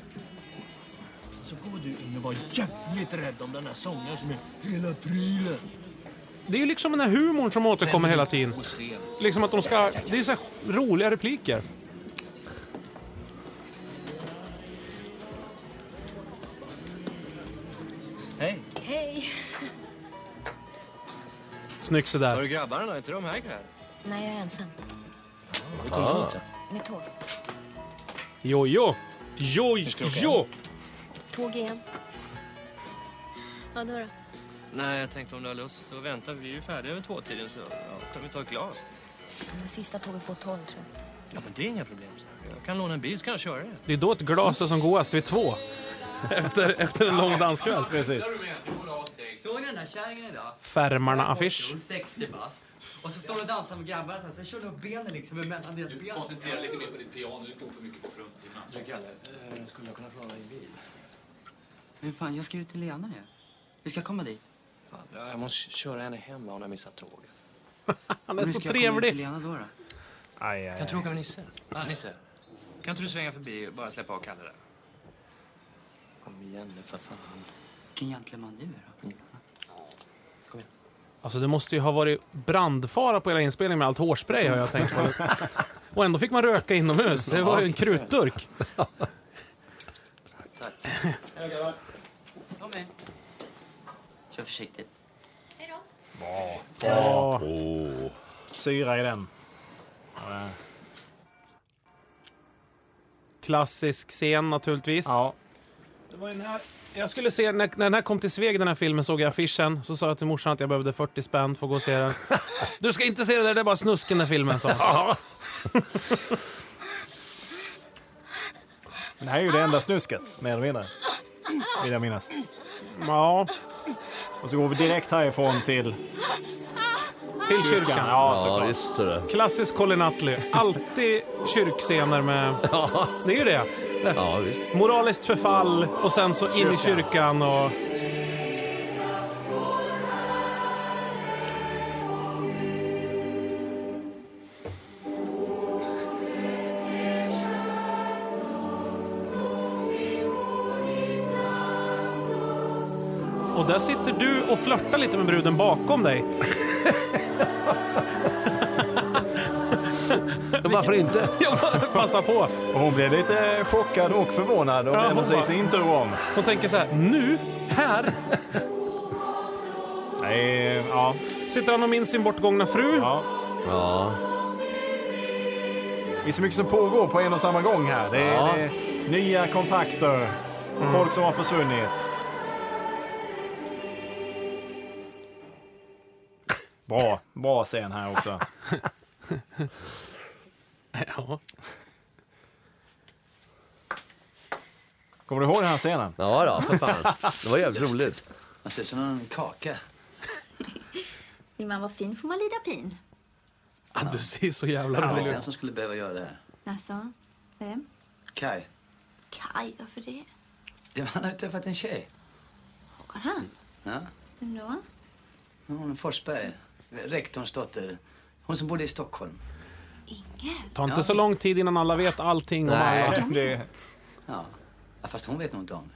[SPEAKER 7] Så går du in och var jävligt rädd om den här sångaren som är hela prylen.
[SPEAKER 1] Det är ju liksom den här humorn som återkommer hela tiden. Liksom att de ska... Det är så här roliga repliker.
[SPEAKER 16] Hej.
[SPEAKER 11] Hej!
[SPEAKER 1] Snyggt det där.
[SPEAKER 16] Har du grabbarna då? Är inte de här grabbarna?
[SPEAKER 11] Nej, jag är ensam.
[SPEAKER 16] Hur kom du hit då?
[SPEAKER 11] Med tåg.
[SPEAKER 1] Jojo! Jojo!
[SPEAKER 11] Tåg igen. Vadå då?
[SPEAKER 16] Nej, jag tänkte om du har lust att vänta. Vi är ju färdiga vid tvåtiden så ja, kan vi ta ett glas.
[SPEAKER 11] Det sista tåget går tolv, tror jag.
[SPEAKER 16] Ja, men det är inga problem. så. Jag kan låna en bil så kan jag köra det.
[SPEAKER 1] Det är då ett glas är som godast vid två. Efter, efter en lång danskväll. Precis.
[SPEAKER 10] Såg ni den där kärringen idag?
[SPEAKER 1] Färmarna-affisch.
[SPEAKER 10] 60 bast. Och så står hon och dansar med grabbarna så här, så kör hon upp benen liksom emellan deras ben.
[SPEAKER 7] Koncentrera lite mer på ditt piano, du tog för mycket på fruntimmen.
[SPEAKER 10] Du, Kalle, eh, skulle jag kunna få låna din bil? Men fan, jag ska ut till Lena ju. Vi ska komma dit.
[SPEAKER 16] Fan, jag måste köra henne hem va, om jag missar tåget.
[SPEAKER 1] Han är
[SPEAKER 10] Men
[SPEAKER 1] så
[SPEAKER 10] ska jag komma ut till
[SPEAKER 1] trevlig.
[SPEAKER 10] Lena då, då?
[SPEAKER 1] Aj,
[SPEAKER 16] Kan jag tråka med Nisse? Ja, Nisse. Kan inte du svänga förbi och bara släppa av Kalle där? Kom igen nu för fan.
[SPEAKER 10] Vilken gentleman du är då.
[SPEAKER 4] Mm.
[SPEAKER 1] Alltså det måste ju ha varit brandfara på hela inspelningen med allt hårspray har jag tänkt på. Och ändå fick man röka inomhus. Det var ju en krutdurk.
[SPEAKER 10] Hej grabbar. Kom med. Kör försiktigt.
[SPEAKER 1] Ja.
[SPEAKER 3] Syra i den.
[SPEAKER 1] Klassisk scen naturligtvis. Ja. Det var den här. Jag skulle se, när, när den här kom till Sveg, den här filmen, såg jag affischen. Så sa jag till morsan att jag behövde 40 spänn för att gå och se den. Du ska inte se det där, det är bara snusk i den här filmen, sa hon.
[SPEAKER 3] Men det här är ju det enda snusket, mer eller mindre. Vill jag minnas.
[SPEAKER 1] Ja.
[SPEAKER 3] Och så går vi direkt härifrån till...
[SPEAKER 1] Till kyrkan.
[SPEAKER 3] Ja,
[SPEAKER 2] Alltså,
[SPEAKER 3] såklart.
[SPEAKER 2] visst är det.
[SPEAKER 1] Klassisk Colin Nutley. Alltid kyrkscener med... Det är ju det. det. Moraliskt förfall och sen så in
[SPEAKER 7] Kyrkan.
[SPEAKER 1] i kyrkan och... Och där sitter du och flörtar lite med bruden bakom dig.
[SPEAKER 2] Varför inte?
[SPEAKER 1] Passa på!
[SPEAKER 3] Och hon blev lite chockad och förvånad och
[SPEAKER 1] Ja,
[SPEAKER 3] vänder
[SPEAKER 1] hon
[SPEAKER 3] sig i
[SPEAKER 1] bara-
[SPEAKER 3] sin tur om.
[SPEAKER 1] Hon tänker så här, nu, här.
[SPEAKER 3] Nej, ja.
[SPEAKER 1] Sitter han och minns sin bortgångna fru?
[SPEAKER 3] Ja.
[SPEAKER 2] ja.
[SPEAKER 3] Det är så mycket som pågår på en och samma gång här. Det är,
[SPEAKER 1] Ja.
[SPEAKER 3] det är nya kontakter, folk som har försvunnit. Bra, bra scen här också.
[SPEAKER 1] ja.
[SPEAKER 3] Kommer du ihåg den här scenen?
[SPEAKER 2] Ja, då, för fan. Det var jävligt roligt.
[SPEAKER 4] Man ser ut som en kaka.
[SPEAKER 11] Vill man vara fin får man lida pin.
[SPEAKER 1] Ah, du ser så
[SPEAKER 4] Det
[SPEAKER 1] jävla
[SPEAKER 4] var
[SPEAKER 1] rolig
[SPEAKER 4] inte
[SPEAKER 1] ut.
[SPEAKER 4] den som skulle behöva göra det här.
[SPEAKER 11] Alltså, vem?
[SPEAKER 4] Kai,
[SPEAKER 11] Kaj, varför det?
[SPEAKER 4] det var- han har ju träffat en tjej.
[SPEAKER 11] Har han?
[SPEAKER 4] Ja.
[SPEAKER 11] Vem då?
[SPEAKER 4] Hon Forsberg, rektorns dotter. Hon som bodde i Stockholm.
[SPEAKER 1] Ta inte så lång tid innan alla vet allting om
[SPEAKER 4] Nej,
[SPEAKER 1] alla.
[SPEAKER 4] det- Ja. Ja, Fast hon vet nog inte om det.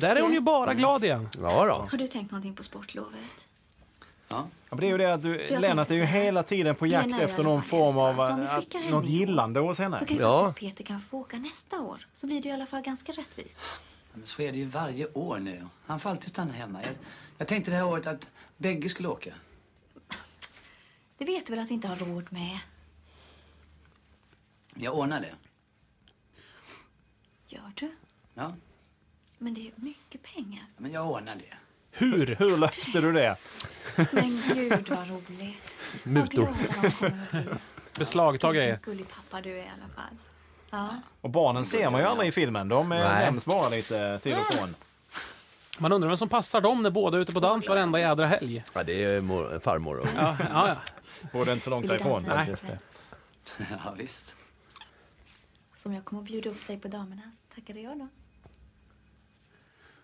[SPEAKER 1] Där är hon ju bara glad igen.
[SPEAKER 2] Ja, då.
[SPEAKER 11] Har du tänkt någonting på sportlovet?
[SPEAKER 3] Ja, men det är ju det att du,
[SPEAKER 11] För jag
[SPEAKER 3] Lennart är ju
[SPEAKER 11] tänkte så här.
[SPEAKER 3] hela tiden på jakt
[SPEAKER 11] Nej, nej,
[SPEAKER 3] efter
[SPEAKER 11] jag
[SPEAKER 3] någon
[SPEAKER 11] vill
[SPEAKER 3] form av
[SPEAKER 11] helst, va? Så om vi
[SPEAKER 3] att-
[SPEAKER 11] skickar henne
[SPEAKER 3] något
[SPEAKER 11] i år,
[SPEAKER 3] gillande hos henne.
[SPEAKER 11] Så kan ju
[SPEAKER 3] Ja.
[SPEAKER 11] faktiskt Peter kan få åka nästa år. Så blir det i alla fall ganska rättvist.
[SPEAKER 4] Men så är det ju varje år nu. Han får alltid stanna hemma. Jag, jag tänkte det här året att bägge skulle åka.
[SPEAKER 11] Det vet du väl att vi inte har råd med?
[SPEAKER 4] Jag ordnar det.
[SPEAKER 11] Gör du?
[SPEAKER 4] Ja.
[SPEAKER 11] Men det är ju mycket pengar.
[SPEAKER 4] Men jag ordnar det.
[SPEAKER 3] Hur? Hur löste du det?
[SPEAKER 11] Men gud vad roligt.
[SPEAKER 3] Mutor.
[SPEAKER 1] Beslagta grejer.
[SPEAKER 11] Gullig pappa du är i alla fall. Ja.
[SPEAKER 3] Och barnen ser man ju aldrig i filmen. De eh,
[SPEAKER 1] Nej.
[SPEAKER 3] nämns bara lite till och från.
[SPEAKER 1] Man undrar vem som passar dem när båda är ute på dans varenda jädra helg.
[SPEAKER 2] Ja, det är mor, farmor. Och.
[SPEAKER 1] Ja, ja, ja.
[SPEAKER 3] Borde inte så långt
[SPEAKER 11] Vill du därifrån, dansa? faktiskt.
[SPEAKER 3] Nej.
[SPEAKER 4] Ja, visst.
[SPEAKER 11] Som jag kommer att bjuda upp dig på damernas. Tackar jag då.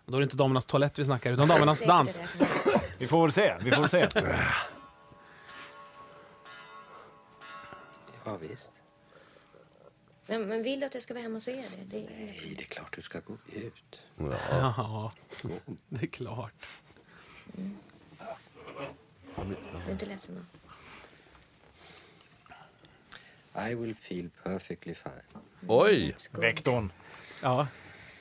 [SPEAKER 1] Då är det inte damernas toalett vi snackar utan damernas
[SPEAKER 11] Säkert är
[SPEAKER 1] dans.
[SPEAKER 11] det.
[SPEAKER 3] Vi får väl se. Vi får väl se.
[SPEAKER 7] Ja, visst.
[SPEAKER 19] Men, men vill du att jag ska vara hemma så är det. det är... inget-
[SPEAKER 7] Nej, det är klart du ska gå ut.
[SPEAKER 1] Ja, det är klart.
[SPEAKER 19] Jag är inte ledsen. Då.
[SPEAKER 7] I will feel perfectly fine.
[SPEAKER 2] Oj!
[SPEAKER 3] Rektorn.
[SPEAKER 1] Ja.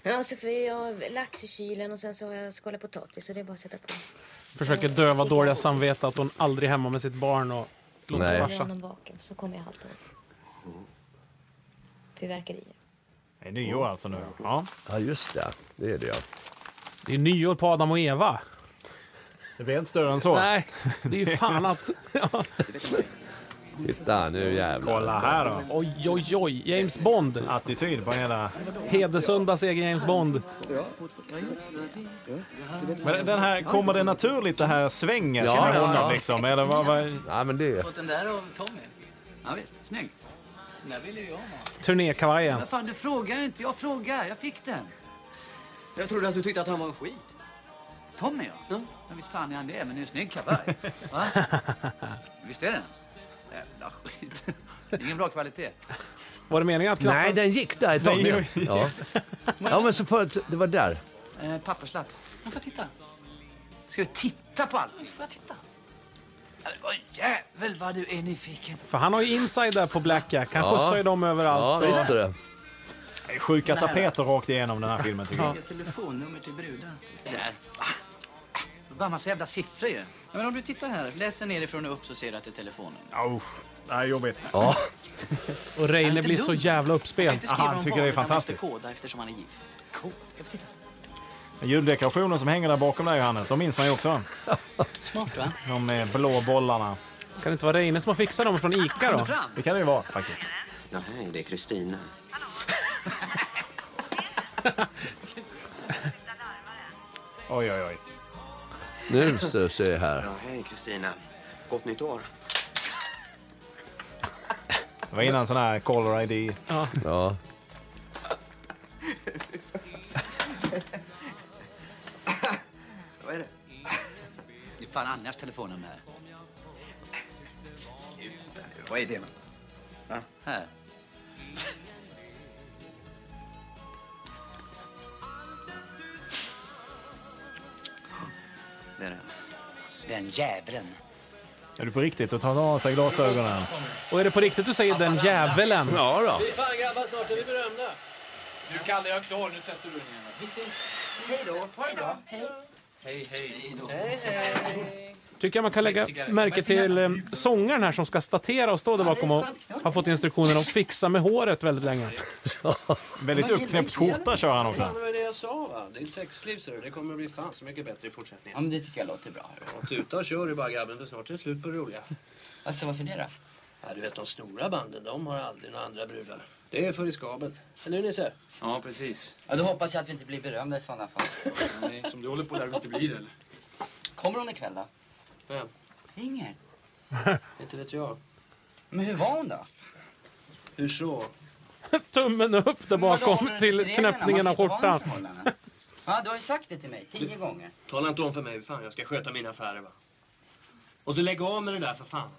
[SPEAKER 19] Ja, så får jag lax i kylen och sen så har jag skalat potatis så det är bara att sätta på.
[SPEAKER 1] Försöker döva dåliga samvete att hon aldrig är hemma med sitt barn
[SPEAKER 19] Nej.
[SPEAKER 1] och låter farsan.
[SPEAKER 19] honom vaken så kommer jag halta Fyrverkerier.
[SPEAKER 3] Det är nyår alltså nu. Ja.
[SPEAKER 2] ja, just det. Det är det, ja.
[SPEAKER 1] Det är nyår på Adam och Eva.
[SPEAKER 3] Det blir inte större än så.
[SPEAKER 1] Nej, det är ju fan att...
[SPEAKER 2] Titta, nu jävlar.
[SPEAKER 3] Kolla här då.
[SPEAKER 1] Oj, oj, oj. James Bond.
[SPEAKER 3] Attityd på hela...
[SPEAKER 1] Hedesunda egen James Bond.
[SPEAKER 3] Men den här, kommer det naturligt det här svänget?
[SPEAKER 2] Ja,
[SPEAKER 3] med
[SPEAKER 2] ja,
[SPEAKER 3] honom
[SPEAKER 2] ja.
[SPEAKER 3] liksom? Eller vad, vad...
[SPEAKER 2] Ja, men det...
[SPEAKER 4] Fått den där av Tommy? Ja, visst. Snygg. Den där ville ju jag ha.
[SPEAKER 1] Turnékavajen.
[SPEAKER 4] Vad fan, du frågar ju inte. Jag frågar. Jag fick den.
[SPEAKER 10] Jag trodde att du tyckte att han var en skit.
[SPEAKER 4] Tommy, ja. Men visst fan är han det. Men det är en snygg kavaj. Va? Visst är den? Jävla skit. Ingen bra kvalitet.
[SPEAKER 1] Var det meningen att knappen...
[SPEAKER 2] Nej, den gick där ett tag.
[SPEAKER 1] Den
[SPEAKER 2] ner.
[SPEAKER 1] gick-
[SPEAKER 2] Ja. ja, men så förut, det var där.
[SPEAKER 4] Eh, papperslapp. Nu får jag titta. Ska vi titta på allt? Nu får jag titta. Åh, jävel vad du är nyfiken.
[SPEAKER 1] För han har ju inside där på Blackjack. Han
[SPEAKER 3] Ja.
[SPEAKER 1] skjutsar ju dem överallt.
[SPEAKER 3] Ja,
[SPEAKER 1] och-
[SPEAKER 3] visst är det. Det är Sjuka tapeter rakt igenom den här filmen tycker jag.
[SPEAKER 4] Ge telefonnummer till brudar. Det där. Ah, ah, Det är bara en massa jävla siffror ju.
[SPEAKER 17] Ja, men om du tittar här, läser nerifrån och upp så ser du att det är telefonen.
[SPEAKER 3] Oh, det här är jobbigt.
[SPEAKER 2] Ja.
[SPEAKER 1] Och
[SPEAKER 17] Han är
[SPEAKER 1] Reine
[SPEAKER 17] inte
[SPEAKER 1] blir
[SPEAKER 17] dum.
[SPEAKER 1] så jävla
[SPEAKER 17] kan
[SPEAKER 1] uppspelt.
[SPEAKER 17] inte skriva om vanligt, Han måste koda eftersom han är gift. Cool. Ska vi titta?
[SPEAKER 3] Juldekorationen som hänger där bakom där Johannes, de minns man ju också. Smart va? De eh, blå bollarna.
[SPEAKER 1] Kan det inte vara Reine som har fixat dem från Ica då?
[SPEAKER 3] Det kan det ju vara faktiskt.
[SPEAKER 7] Nej, det är Kristina.
[SPEAKER 3] Oj, oj, oj.
[SPEAKER 2] Nu så ser jag här.
[SPEAKER 7] Ja, hej Kristina. Gott nytt år.
[SPEAKER 3] Det var innan sån här caller ID.
[SPEAKER 1] Ja.
[SPEAKER 2] ja.
[SPEAKER 4] Vad är det? Det är fan Anjas telefonnummer här.
[SPEAKER 10] Vad är det? då?
[SPEAKER 4] Här. det är det. Den jävlen.
[SPEAKER 3] Är du på riktigt? Då tar han av sig glasögonen.
[SPEAKER 1] Och är det på riktigt du säger den djävulen?
[SPEAKER 3] Ja då.
[SPEAKER 16] Fy fan grabbar, snart är vi berömda.
[SPEAKER 4] Nu Kalle, jag är klar. Nu sätter du dig ner.
[SPEAKER 16] Vi ses.
[SPEAKER 4] Hej då. Hej då. Hej, hej. Hej, hej.
[SPEAKER 1] Tycker jag man kan lägga märke till eh, sångaren här som ska statera och stå där bakom och har fått instruktionen att fixa med håret väldigt länge.
[SPEAKER 3] Väldigt uppknäppt skjorta kör han också.
[SPEAKER 16] Fan, det var ju det jag sa va? Ditt sexliv ser du, det kommer att bli fan så mycket bättre i fortsättningen.
[SPEAKER 4] Ja, men det tycker jag låter bra.
[SPEAKER 16] Ja, Tuta och kör du bara grabben för snart är det slut på det roliga.
[SPEAKER 4] Alltså varför det då?
[SPEAKER 16] Ja, du vet de stora banden, de har aldrig några andra brudar. Det är för riskabelt. Eller hur Nisse?
[SPEAKER 4] Ja, precis. Ja, då hoppas jag att vi inte blir berömda i sådana fall.
[SPEAKER 16] Nej, som du håller på lär vi inte bli det eller?
[SPEAKER 4] Kommer hon ikväll då?
[SPEAKER 16] Vem?
[SPEAKER 4] Inger.
[SPEAKER 16] Inte vet jag.
[SPEAKER 4] Men hur var hon då?
[SPEAKER 16] Hur så?
[SPEAKER 1] Tummen upp där bakom till knäppningen av skjortan.
[SPEAKER 4] Ja, du har ju sagt det till mig tio gånger.
[SPEAKER 16] Tala inte om för mig, fan jag ska sköta mina affärer va. Och så lägg av med det där för fan.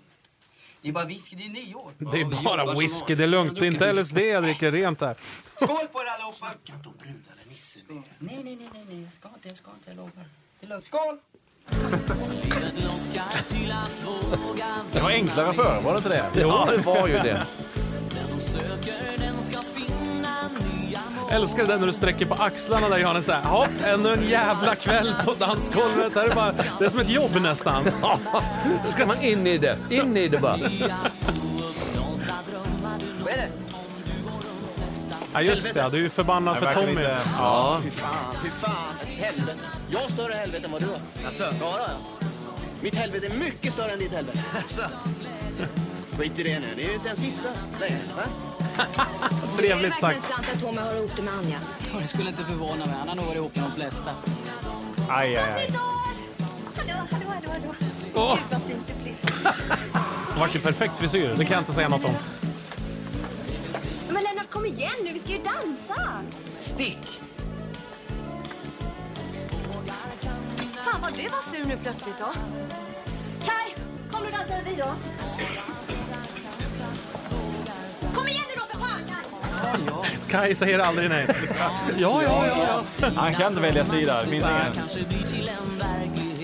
[SPEAKER 4] Det är bara whisky, det är nyår.
[SPEAKER 1] Det är bara whisky, det är lugnt. Det är inte LSD jag dricker rent här.
[SPEAKER 4] Skål på er allihopa! Snacka
[SPEAKER 16] inte om brudar eller Nisse mer.
[SPEAKER 4] Nej, nej, nej, nej, nej, jag ska inte, jag ska inte, jag lovar. Det är lugnt. Skål!
[SPEAKER 3] Det var enklare förr, var det inte det?
[SPEAKER 2] Ja, det var ju det.
[SPEAKER 1] Älskar det där när du sträcker på axlarna där Johannes säger ja, ännu en jävla kväll på dansgolvet. Det, här är, bara, det är som ett jobb nästan. Ja,
[SPEAKER 2] Ska man in i det? In i det bara.
[SPEAKER 4] Vad är det?
[SPEAKER 1] Ja, just det, du är förbannad för Tommy.
[SPEAKER 2] Ja.
[SPEAKER 9] Fy fan, fy fan. Ett helvete. Jag har större helvete än vad du har.
[SPEAKER 4] Alltså?
[SPEAKER 9] Ja, ja. ja. Mitt helvete är mycket större än ditt helvete.
[SPEAKER 4] Alltså?
[SPEAKER 9] Skit i det nu. Ni är ju inte ens gifta längre. Va?
[SPEAKER 1] Trevligt sagt.
[SPEAKER 7] sant att Tommy har ihop det med Anja.
[SPEAKER 6] Ja, Det skulle inte förvåna mig. Han har nog varit ihop med de flesta.
[SPEAKER 3] Aj, aj, aj.
[SPEAKER 11] Hallå, hallå, hallå, hallå.
[SPEAKER 1] Åh.
[SPEAKER 11] Gud vad fint det blir.
[SPEAKER 1] Det vart ju perfekt frisyr, det kan jag inte säga något om.
[SPEAKER 11] Men Lennart kom igen nu, vi ska ju dansa.
[SPEAKER 4] Stick!
[SPEAKER 11] Fan vad du var sur nu plötsligt då. Kaj, kom nu dansar vi då. Kom igen nu då för fan Kaj!
[SPEAKER 1] Kaj säger aldrig nej. Ja, ja, ja. ja.
[SPEAKER 3] Han kan inte välja sida, det finns ingen.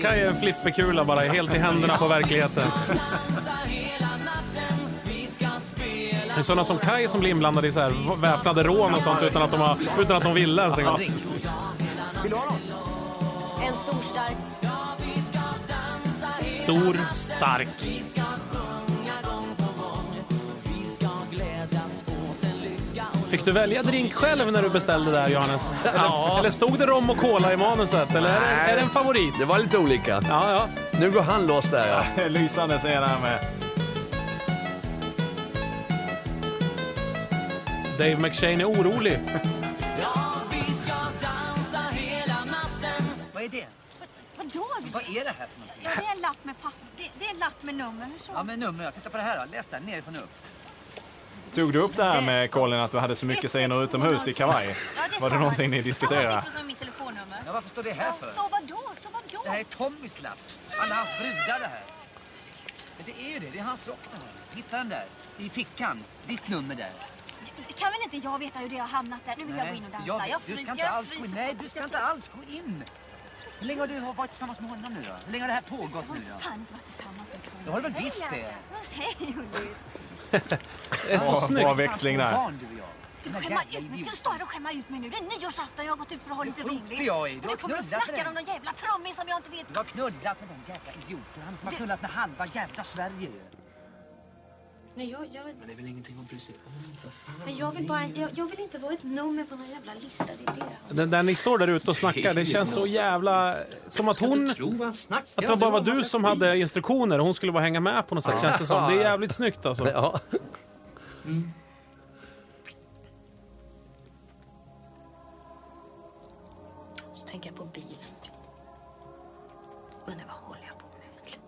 [SPEAKER 1] Kaj är en flipperkula bara, helt i händerna på verkligheten. Det är sådana som Kaj som blir inblandade i så här väpnade rån och sånt utan att de, har, utan att de ville ens en gång.
[SPEAKER 7] Vill du ha någon? En stor stark.
[SPEAKER 1] Stor, stark. Fick du välja drink själv när du beställde där, Johannes? Eller,
[SPEAKER 2] Ja.
[SPEAKER 1] eller stod det rom och cola i manuset? Eller är det, är det en favorit?
[SPEAKER 2] Det var lite olika.
[SPEAKER 1] Ja, ja.
[SPEAKER 2] Nu går han loss där ja.
[SPEAKER 3] Lysande scen här med.
[SPEAKER 1] Dave McShane är orolig.
[SPEAKER 4] Vad är det?
[SPEAKER 11] Vadå?
[SPEAKER 4] Vad är det här för någonting?
[SPEAKER 11] Ja, det är en lapp med papper. Det, det är en lapp med nummer. Hur så?
[SPEAKER 4] Ja, men nummer. Jag tittar på det här då. Läs där nerifrån och upp.
[SPEAKER 3] Tog du upp det här med Colin att du hade så mycket scener utomhus i kavaj? Var det någonting ni diskuterade?
[SPEAKER 11] Samma siffror som mitt telefonnummer.
[SPEAKER 4] Ja, varför står det här för?
[SPEAKER 11] Så vadå? Så vadå?
[SPEAKER 4] Det här är Tommys lapp. Alla hans brudar det här. Men det är ju det. Det är hans rock det här. Hitta den där. I fickan. Ditt nummer där.
[SPEAKER 11] Kan väl inte jag veta hur det har hamnat där? Nu vill jag gå in och dansa. Jag,
[SPEAKER 4] du
[SPEAKER 11] fryser.
[SPEAKER 4] ska inte
[SPEAKER 11] jag
[SPEAKER 4] alls gå in.
[SPEAKER 11] fryser.
[SPEAKER 4] Nej, du ska inte alls gå in. Hur länge har du varit tillsammans med honom nu då? Hur länge har det här pågått nu
[SPEAKER 11] Jag har
[SPEAKER 4] då?
[SPEAKER 11] fan inte varit tillsammans med Tommy.
[SPEAKER 4] Det har du väl visst det.
[SPEAKER 11] Hej, Janne. Hej, Ulrik.
[SPEAKER 1] Det är så
[SPEAKER 3] Bra-
[SPEAKER 1] snyggt.
[SPEAKER 3] Bra växling där.
[SPEAKER 11] Ska du skämma ut mig? Ska du stå här och skämma ut mig nu? Det är nyårsafton, jag har gått ut för att ha lite
[SPEAKER 4] skiter
[SPEAKER 11] roligt.
[SPEAKER 4] jag i. Du
[SPEAKER 11] Men
[SPEAKER 4] har
[SPEAKER 11] nu kommer du
[SPEAKER 4] knullat för
[SPEAKER 11] snacka
[SPEAKER 4] det.
[SPEAKER 11] om någon jävla trummis som jag inte vet.
[SPEAKER 4] Du har knullat med den jävla idioten. Han som har
[SPEAKER 11] Du-
[SPEAKER 4] knullat med halva jävla Sverige ju.
[SPEAKER 12] Nej, jag, jag,
[SPEAKER 4] Men det är väl ingenting att bry sig om för fan.
[SPEAKER 12] men jag vill bara... Jag, jag vill inte vara ett nummer på någon jävla lista. Det är det.
[SPEAKER 1] Den där ni står där ute och snackar, det känns så jävla... Som att hon... Att det bara var du som hade instruktioner och hon skulle bara hänga med på något sätt, känns det som. Det är jävligt snyggt alltså.
[SPEAKER 2] Ja.
[SPEAKER 12] Så tänker jag på bilen. Undrar vad håller jag på med egentligen?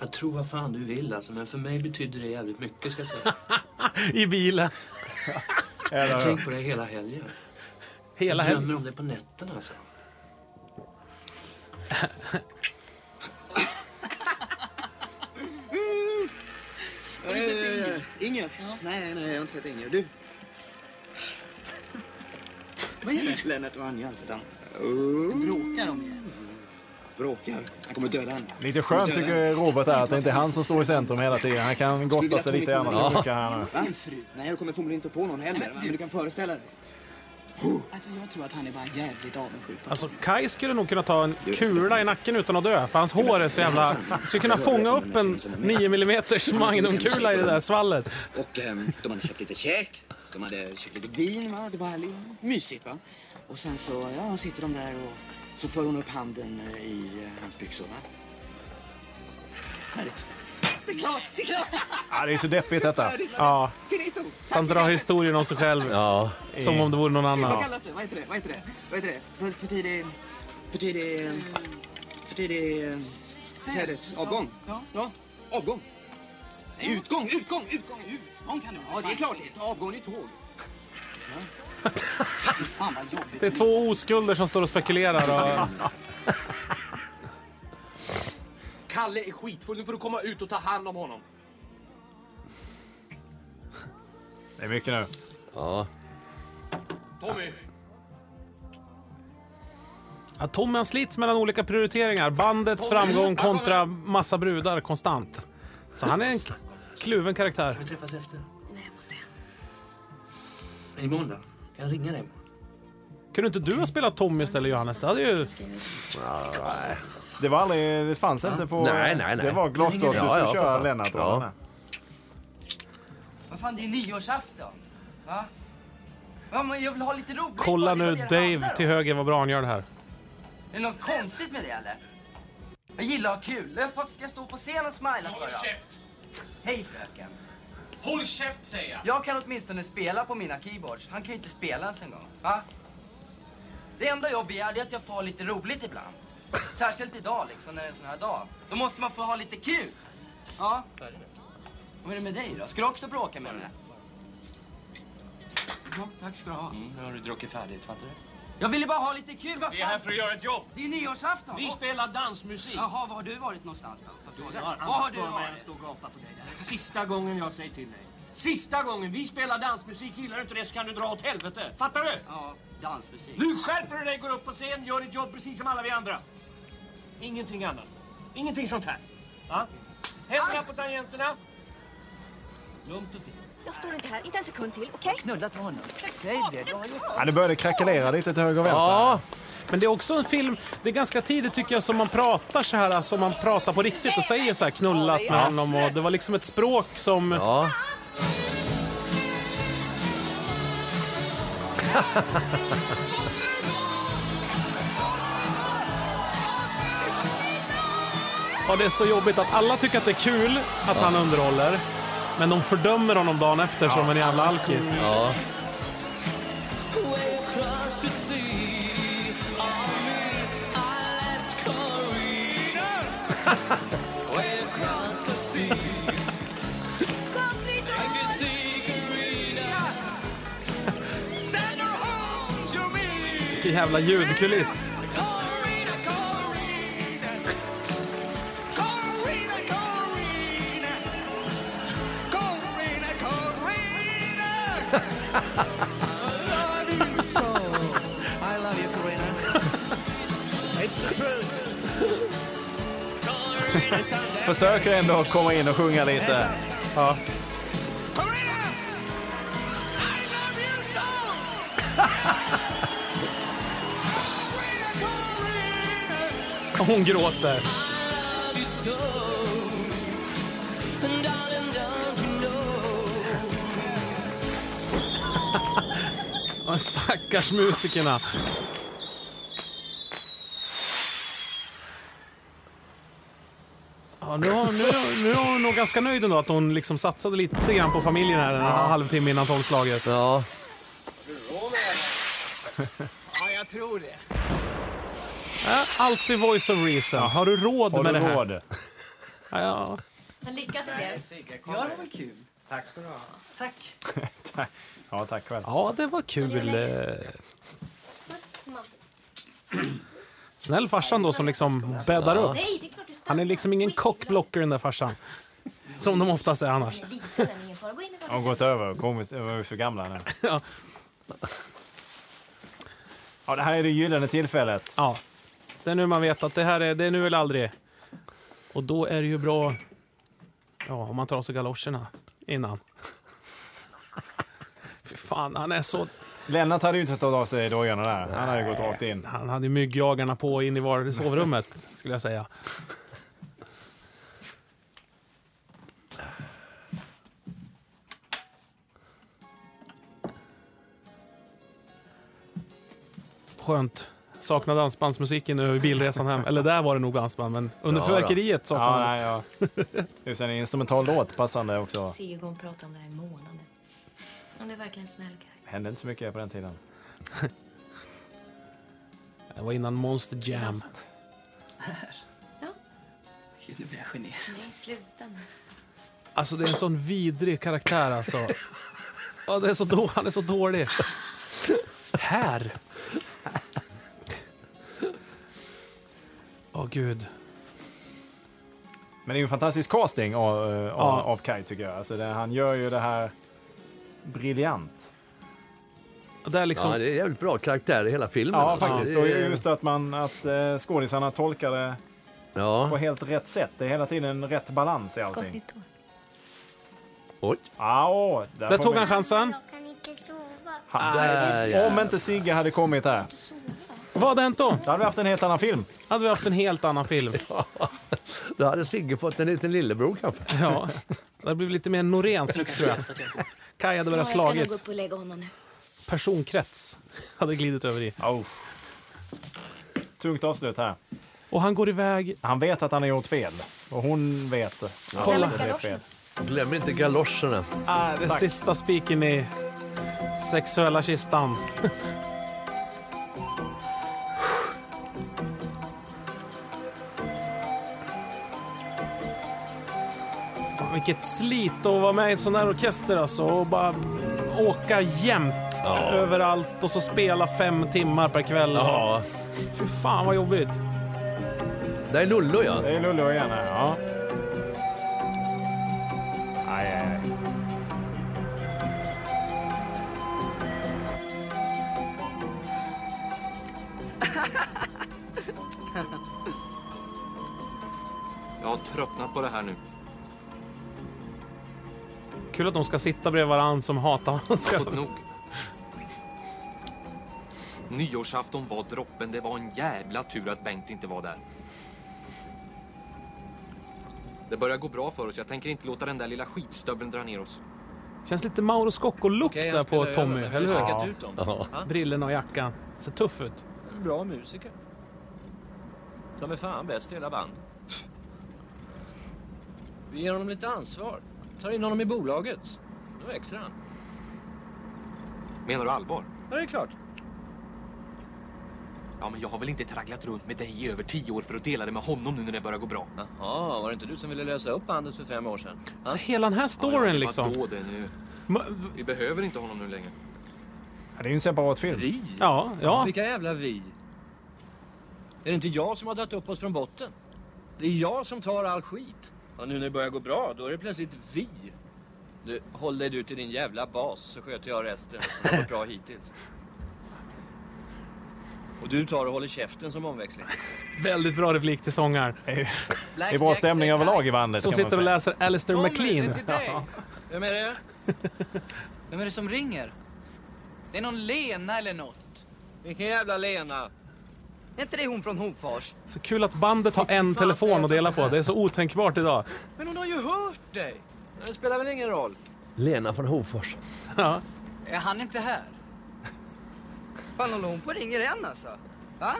[SPEAKER 16] Jag tror vad fan du vill alltså, men för mig betyder det jävligt mycket ska jag säga.
[SPEAKER 1] I bilen.
[SPEAKER 16] Jag tänker på det hela helgen.
[SPEAKER 1] Hela
[SPEAKER 16] jag
[SPEAKER 1] helgen.
[SPEAKER 16] drömmer om det på nätterna alltså.
[SPEAKER 9] Har du sett Inger? Inger? Nej, nej, jag har inte sett Inger. Du? Vad är det? Lennart och Anja alltså. Han bråkar de ju. Bråkar. Han kommer döda henne.
[SPEAKER 3] Lite skönt tycker jag Robert är att det inte är han som står i centrum hela tiden. Han kan gotta sig lite alltså. i annat som brukar här nu.
[SPEAKER 9] Va? En fru? Nej, du kommer förmodligen inte få någon heller. va? Men du kan föreställa dig.
[SPEAKER 7] Alltså, jag tror att han är bara jävligt avundsjuk.
[SPEAKER 1] Alltså Kai skulle nog kunna ta en kula i nacken utan att dö, för hans hår är så jävla... Skulle kunna fånga upp en 9 mm magnumkula i det där svallet.
[SPEAKER 9] Och ehm, de hade köpt lite käk. De hade köpt lite vin. Va? Det var härligt. mysigt. va? Och sen så ja, sitter de där och så för hon upp handen eh, i eh, hans byxor. Va? Härligt. Det är klart! Det är klart!
[SPEAKER 1] Ja, det är så deppigt detta. Ja. Han drar historien om sig själv som om det vore någon annan.
[SPEAKER 9] Vad kallas det? Vad heter det? Vad heter det? Vad heter det? För, för tidig... För tidig... eh, För tidig... eh, Sädesavgång?
[SPEAKER 7] Ja.
[SPEAKER 9] Ja, avgång. Nej, utgång, utgång, utgång!
[SPEAKER 7] Någon kan du
[SPEAKER 9] Ja, det är klart det. är. Avgång, det är tåg.
[SPEAKER 7] Fan vad jobbigt.
[SPEAKER 1] Det är två oskulder som står och spekulerar. Och...
[SPEAKER 21] Kalle är skitfull. Nu får du komma ut och ta hand om honom.
[SPEAKER 3] Det är mycket nu.
[SPEAKER 2] Ja.
[SPEAKER 21] Tommy!
[SPEAKER 1] Ja, Tommy han slits mellan olika prioriteringar. Bandets framgång kontra massa brudar konstant. Så han är en k- kluven karaktär.
[SPEAKER 16] Vi träffas efter. Nej, jag måste Imorgon då? Jag ringer dig.
[SPEAKER 1] Kunde inte du ha spelat Tommy istället Johannes? Det hade ju...
[SPEAKER 3] Det var aldrig... Det fanns inte på...
[SPEAKER 2] Nej, nej, nej.
[SPEAKER 3] Det var glasklart att du
[SPEAKER 2] Ja,
[SPEAKER 3] skulle
[SPEAKER 2] ja,
[SPEAKER 3] köra
[SPEAKER 2] pappa.
[SPEAKER 3] Lennart.
[SPEAKER 2] Ja.
[SPEAKER 3] rollen här.
[SPEAKER 10] Vad fan, det är nyårsafton. Va? Va, men jag vill ha lite roligt.
[SPEAKER 1] Kolla
[SPEAKER 10] Vad
[SPEAKER 1] nu
[SPEAKER 10] är det det handlar
[SPEAKER 1] Dave
[SPEAKER 10] om?
[SPEAKER 1] till höger vad bra han gör det här.
[SPEAKER 10] Är det något konstigt med det eller? Jag gillar att ha kul. Jag- Varför ska jag stå på scen och smila för? Håll käft! Hej fröken. Håll käft säger jag! Jag kan åtminstone spela på mina keyboards. Han kan ju inte spela ens en gång. Va? Det enda jag begär det är att jag får ha lite roligt ibland. Särskilt idag liksom, när det är en sån här dag. Då måste man få ha lite kul. Ja. Vad är det med dig då? Ska du också bråka med mig? Ja, tack ska du ha.
[SPEAKER 16] Mm, Nu har du druckit färdigt, fattar du?
[SPEAKER 10] Jag ville bara ha lite kul, vad fan?
[SPEAKER 16] Vi är här för att göra ett jobb.
[SPEAKER 10] Det är nyårsafton!
[SPEAKER 16] Vi spelar dansmusik.
[SPEAKER 10] Jaha, var har du varit någonstans då? Får
[SPEAKER 16] Jag
[SPEAKER 10] jag fråga?
[SPEAKER 16] har
[SPEAKER 10] Var har
[SPEAKER 16] annat
[SPEAKER 10] du
[SPEAKER 16] för mig än
[SPEAKER 10] varit?
[SPEAKER 16] att stå och gapa på dig. Det här är Sista gången jag säger till dig. Sista gången! Vi spelar dansmusik. Gillar du inte det så kan du dra åt helvete. Fattar du?
[SPEAKER 10] Ja, dansmusik.
[SPEAKER 16] Nu skärper du dig, går upp på scen, gör ditt jobb precis som alla vi andra. Ingenting annat. Ingenting sånt här. Va?
[SPEAKER 10] Ah!
[SPEAKER 16] Händerna på tangenterna. Lugnt och fint.
[SPEAKER 4] Jag står inte här, inte en sekund till, okej? Knullat med honom. Säg det, du har ju...
[SPEAKER 3] Ja, det började krackelera lite till höger och vänster.
[SPEAKER 1] Ja. Men det är också en film, det är ganska tidigt tycker jag som man pratar så här, som man pratar på riktigt och säger så här knullat med honom och det var liksom ett språk som...
[SPEAKER 2] Ja.
[SPEAKER 1] Ja, det är så jobbigt att alla tycker att det är kul att han underhåller, men de fördömer honom dagen efter som en jävla alkis.
[SPEAKER 9] Way across the sea, all me, I left Corina. Way across the sea, I can see Corina. Send her home to me.
[SPEAKER 1] Vilken jävla ljudkuliss.
[SPEAKER 9] Corina, Corina. I love you so. I love you, Corina. It's the truth. Corina, sounds
[SPEAKER 3] Försöker ändå komma in och sjunga lite. Ja.
[SPEAKER 1] Hon gråter. Och stackars musikerna. Ja, nu, har- nu, nu är hon nog ganska nöjd ändå att hon liksom satsade lite grann på familjen här en halvtimme innan tolvslaget.
[SPEAKER 2] Ja.
[SPEAKER 7] Ja, jag tror det.
[SPEAKER 1] Äh, Alltid voice of reason. Har du råd
[SPEAKER 3] Har
[SPEAKER 1] med
[SPEAKER 3] du
[SPEAKER 1] det här?
[SPEAKER 3] råd?
[SPEAKER 1] Ja, ja.
[SPEAKER 12] Men lycka till er.
[SPEAKER 7] Ja, det var kul.
[SPEAKER 10] Tack ska du ha.
[SPEAKER 7] Tack.
[SPEAKER 3] Ja, tack själv.
[SPEAKER 1] ja, det var kul. eh. Snäll farsan då som liksom bäddar upp.
[SPEAKER 12] Nej, det är klart du stannar.
[SPEAKER 1] Han är liksom ingen cockblocker den där farsan. Som de oftast är annars.
[SPEAKER 12] Liten, ingen fara. Gå in i
[SPEAKER 3] Har gått över och kommit över för gamla nu.
[SPEAKER 1] Ja.
[SPEAKER 3] Ja, det här är det gyllene tillfället.
[SPEAKER 1] Ja. Det är nu man vet att det här är, det är nu eller aldrig. Och då är det ju bra ja, om man tar av sig galoscherna innan. Fy fan, han är så...
[SPEAKER 3] Lennart hade ju inte tagit av sig dojorna där. Han hade gått rakt in.
[SPEAKER 1] Han hade ju myggjagarna på in i var- sovrummet, skulle jag säga. Skönt. Saknar dansbandsmusiken över bilresan hem. Eller där var det nog dansband, men under
[SPEAKER 3] Ja,
[SPEAKER 1] fyrverkeriet
[SPEAKER 3] då.
[SPEAKER 1] saknade
[SPEAKER 3] Ja,
[SPEAKER 1] man-
[SPEAKER 3] nej, ja. Det är sen en instrumental låt passande också.
[SPEAKER 12] Segon pratar om det här i månader. Han är verkligen snäll Kaj.
[SPEAKER 3] Hände inte så mycket på den tiden.
[SPEAKER 1] Det var innan Monster Jam.
[SPEAKER 4] Gud, nu blir jag generad.
[SPEAKER 12] Nej, sluta nu.
[SPEAKER 1] Alltså det är en sån vidrig karaktär alltså. Ja, det är så då, han är så dålig. Här! Åh gud.
[SPEAKER 3] Men det är ju en fantastisk casting av, eh, av,
[SPEAKER 1] Ja.
[SPEAKER 3] av Kai tycker jag. Alltså det, han gör ju det här briljant.
[SPEAKER 1] Det är
[SPEAKER 3] liksom-
[SPEAKER 2] Ja, det är jävligt bra karaktär i hela filmen.
[SPEAKER 3] Ja,
[SPEAKER 2] alltså.
[SPEAKER 3] faktiskt.
[SPEAKER 2] Det
[SPEAKER 3] Och
[SPEAKER 2] är-
[SPEAKER 3] just att, man, att eh, skådisarna tolkar det
[SPEAKER 2] Ja.
[SPEAKER 3] på helt rätt sätt. Det är hela tiden rätt balans i allting.
[SPEAKER 14] Gott nytt år.
[SPEAKER 2] Oj.
[SPEAKER 3] Au,
[SPEAKER 1] Där
[SPEAKER 3] får
[SPEAKER 1] tog
[SPEAKER 3] vi-
[SPEAKER 1] han chansen.
[SPEAKER 14] Jag kan inte sova.
[SPEAKER 3] Ha-
[SPEAKER 1] Där, ja.
[SPEAKER 3] Om inte Sigge hade kommit här.
[SPEAKER 1] Vad hade hänt då?
[SPEAKER 3] Då hade vi haft en helt annan film.
[SPEAKER 1] Hade vi haft en helt annan film.
[SPEAKER 2] Då hade Sigge fått en liten lillebror kanske.
[SPEAKER 1] Ja. Det hade blivit lite mer Norénskt tror jag. Kaj hade
[SPEAKER 19] Ja,
[SPEAKER 1] börjat
[SPEAKER 19] jag ska nog gå
[SPEAKER 1] slagits.
[SPEAKER 19] upp och lägga honom nu.
[SPEAKER 1] Personkrets hade glidit över i.
[SPEAKER 3] Tungt avslut här.
[SPEAKER 1] Och han går iväg.
[SPEAKER 3] Han vet att han har gjort fel. Och hon vet det.
[SPEAKER 2] Ja.
[SPEAKER 3] Hon
[SPEAKER 2] Glöm
[SPEAKER 3] vet att det är fel.
[SPEAKER 2] Glöm inte galoscherna.
[SPEAKER 1] Ah, det
[SPEAKER 2] Tack.
[SPEAKER 1] sista spiken i sexuella kistan. Fan, vilket slit att vara med i en sån här orkester alltså och bara åka jämt överallt och så spela fem timmar per kväll.
[SPEAKER 2] Ja.
[SPEAKER 1] Fy fan vad jobbigt.
[SPEAKER 2] Det är Lollo ja.
[SPEAKER 3] Det är Lollo igen här, ja. Aj, aj, aj.
[SPEAKER 21] Jag har tröttnat på det här nu.
[SPEAKER 1] Kul att de ska sitta bredvid varandra som hatar
[SPEAKER 21] Jag har
[SPEAKER 1] varandra.
[SPEAKER 21] fått nog. Nyårsafton var droppen. Det var en jävla tur att Bengt inte var där. Det börjar gå bra för oss. Jag tänker inte låta den där lilla skitstöveln dra ner oss.
[SPEAKER 1] Känns lite Mauro Scocco-look där på
[SPEAKER 21] spelar
[SPEAKER 1] Tommy,
[SPEAKER 21] över, men vi
[SPEAKER 1] eller hur?
[SPEAKER 21] har checkat ut dem.
[SPEAKER 1] Ja. Brillorna och jackan. Ser tuff ut.
[SPEAKER 16] Bra musiker. De är fan bäst i hela bandet. Vi ger honom lite ansvar. Tar in honom i bolaget. Då växer han.
[SPEAKER 21] Menar du allvar?
[SPEAKER 16] Ja, det är klart.
[SPEAKER 21] Ja, men jag har väl inte tragglat runt med dig i över tio år för att dela det med honom nu när det börjar gå bra.
[SPEAKER 16] Jaha, var det inte du som ville lösa upp bandet för fem år sedan?
[SPEAKER 1] Så hela den här storyn
[SPEAKER 21] det var
[SPEAKER 1] liksom.
[SPEAKER 21] då det nu. Vi behöver inte honom nu längre.
[SPEAKER 3] Ja, Det är ju en separat film.
[SPEAKER 16] Vi?
[SPEAKER 1] Ja, ja.
[SPEAKER 16] Vilka jävla vi? Är det inte jag som har dragit upp oss från botten? Det är jag som tar all skit. Och nu när det börjar gå bra, då är det plötsligt vi. Du, håll dig du till din jävla bas så sköter jag resten. Det har gått bra hittills. Och du tar och håller käften som omväxling.
[SPEAKER 1] Väldigt bra replik till sångaren.
[SPEAKER 16] Det är bra stämning överlag i bandet,
[SPEAKER 1] Som
[SPEAKER 16] kan man
[SPEAKER 1] sitter och
[SPEAKER 16] säga.
[SPEAKER 1] läser Alistair
[SPEAKER 16] Tommy,
[SPEAKER 1] MacLean.
[SPEAKER 16] det är till
[SPEAKER 1] Ja.
[SPEAKER 16] dig.
[SPEAKER 17] Vem är det? Vem är det som ringer? Det är någon Lena eller något.
[SPEAKER 16] Vilken jävla Lena?
[SPEAKER 17] Är inte det hon från Hofors?
[SPEAKER 1] Så kul att bandet har en telefon att dela på. Det är så otänkbart idag.
[SPEAKER 16] Men hon har ju hört dig! Det spelar väl ingen roll?
[SPEAKER 2] Lena från Hofors.
[SPEAKER 1] Ja.
[SPEAKER 17] Är han inte här? Fan, håller hon på och ringer än alltså? Va?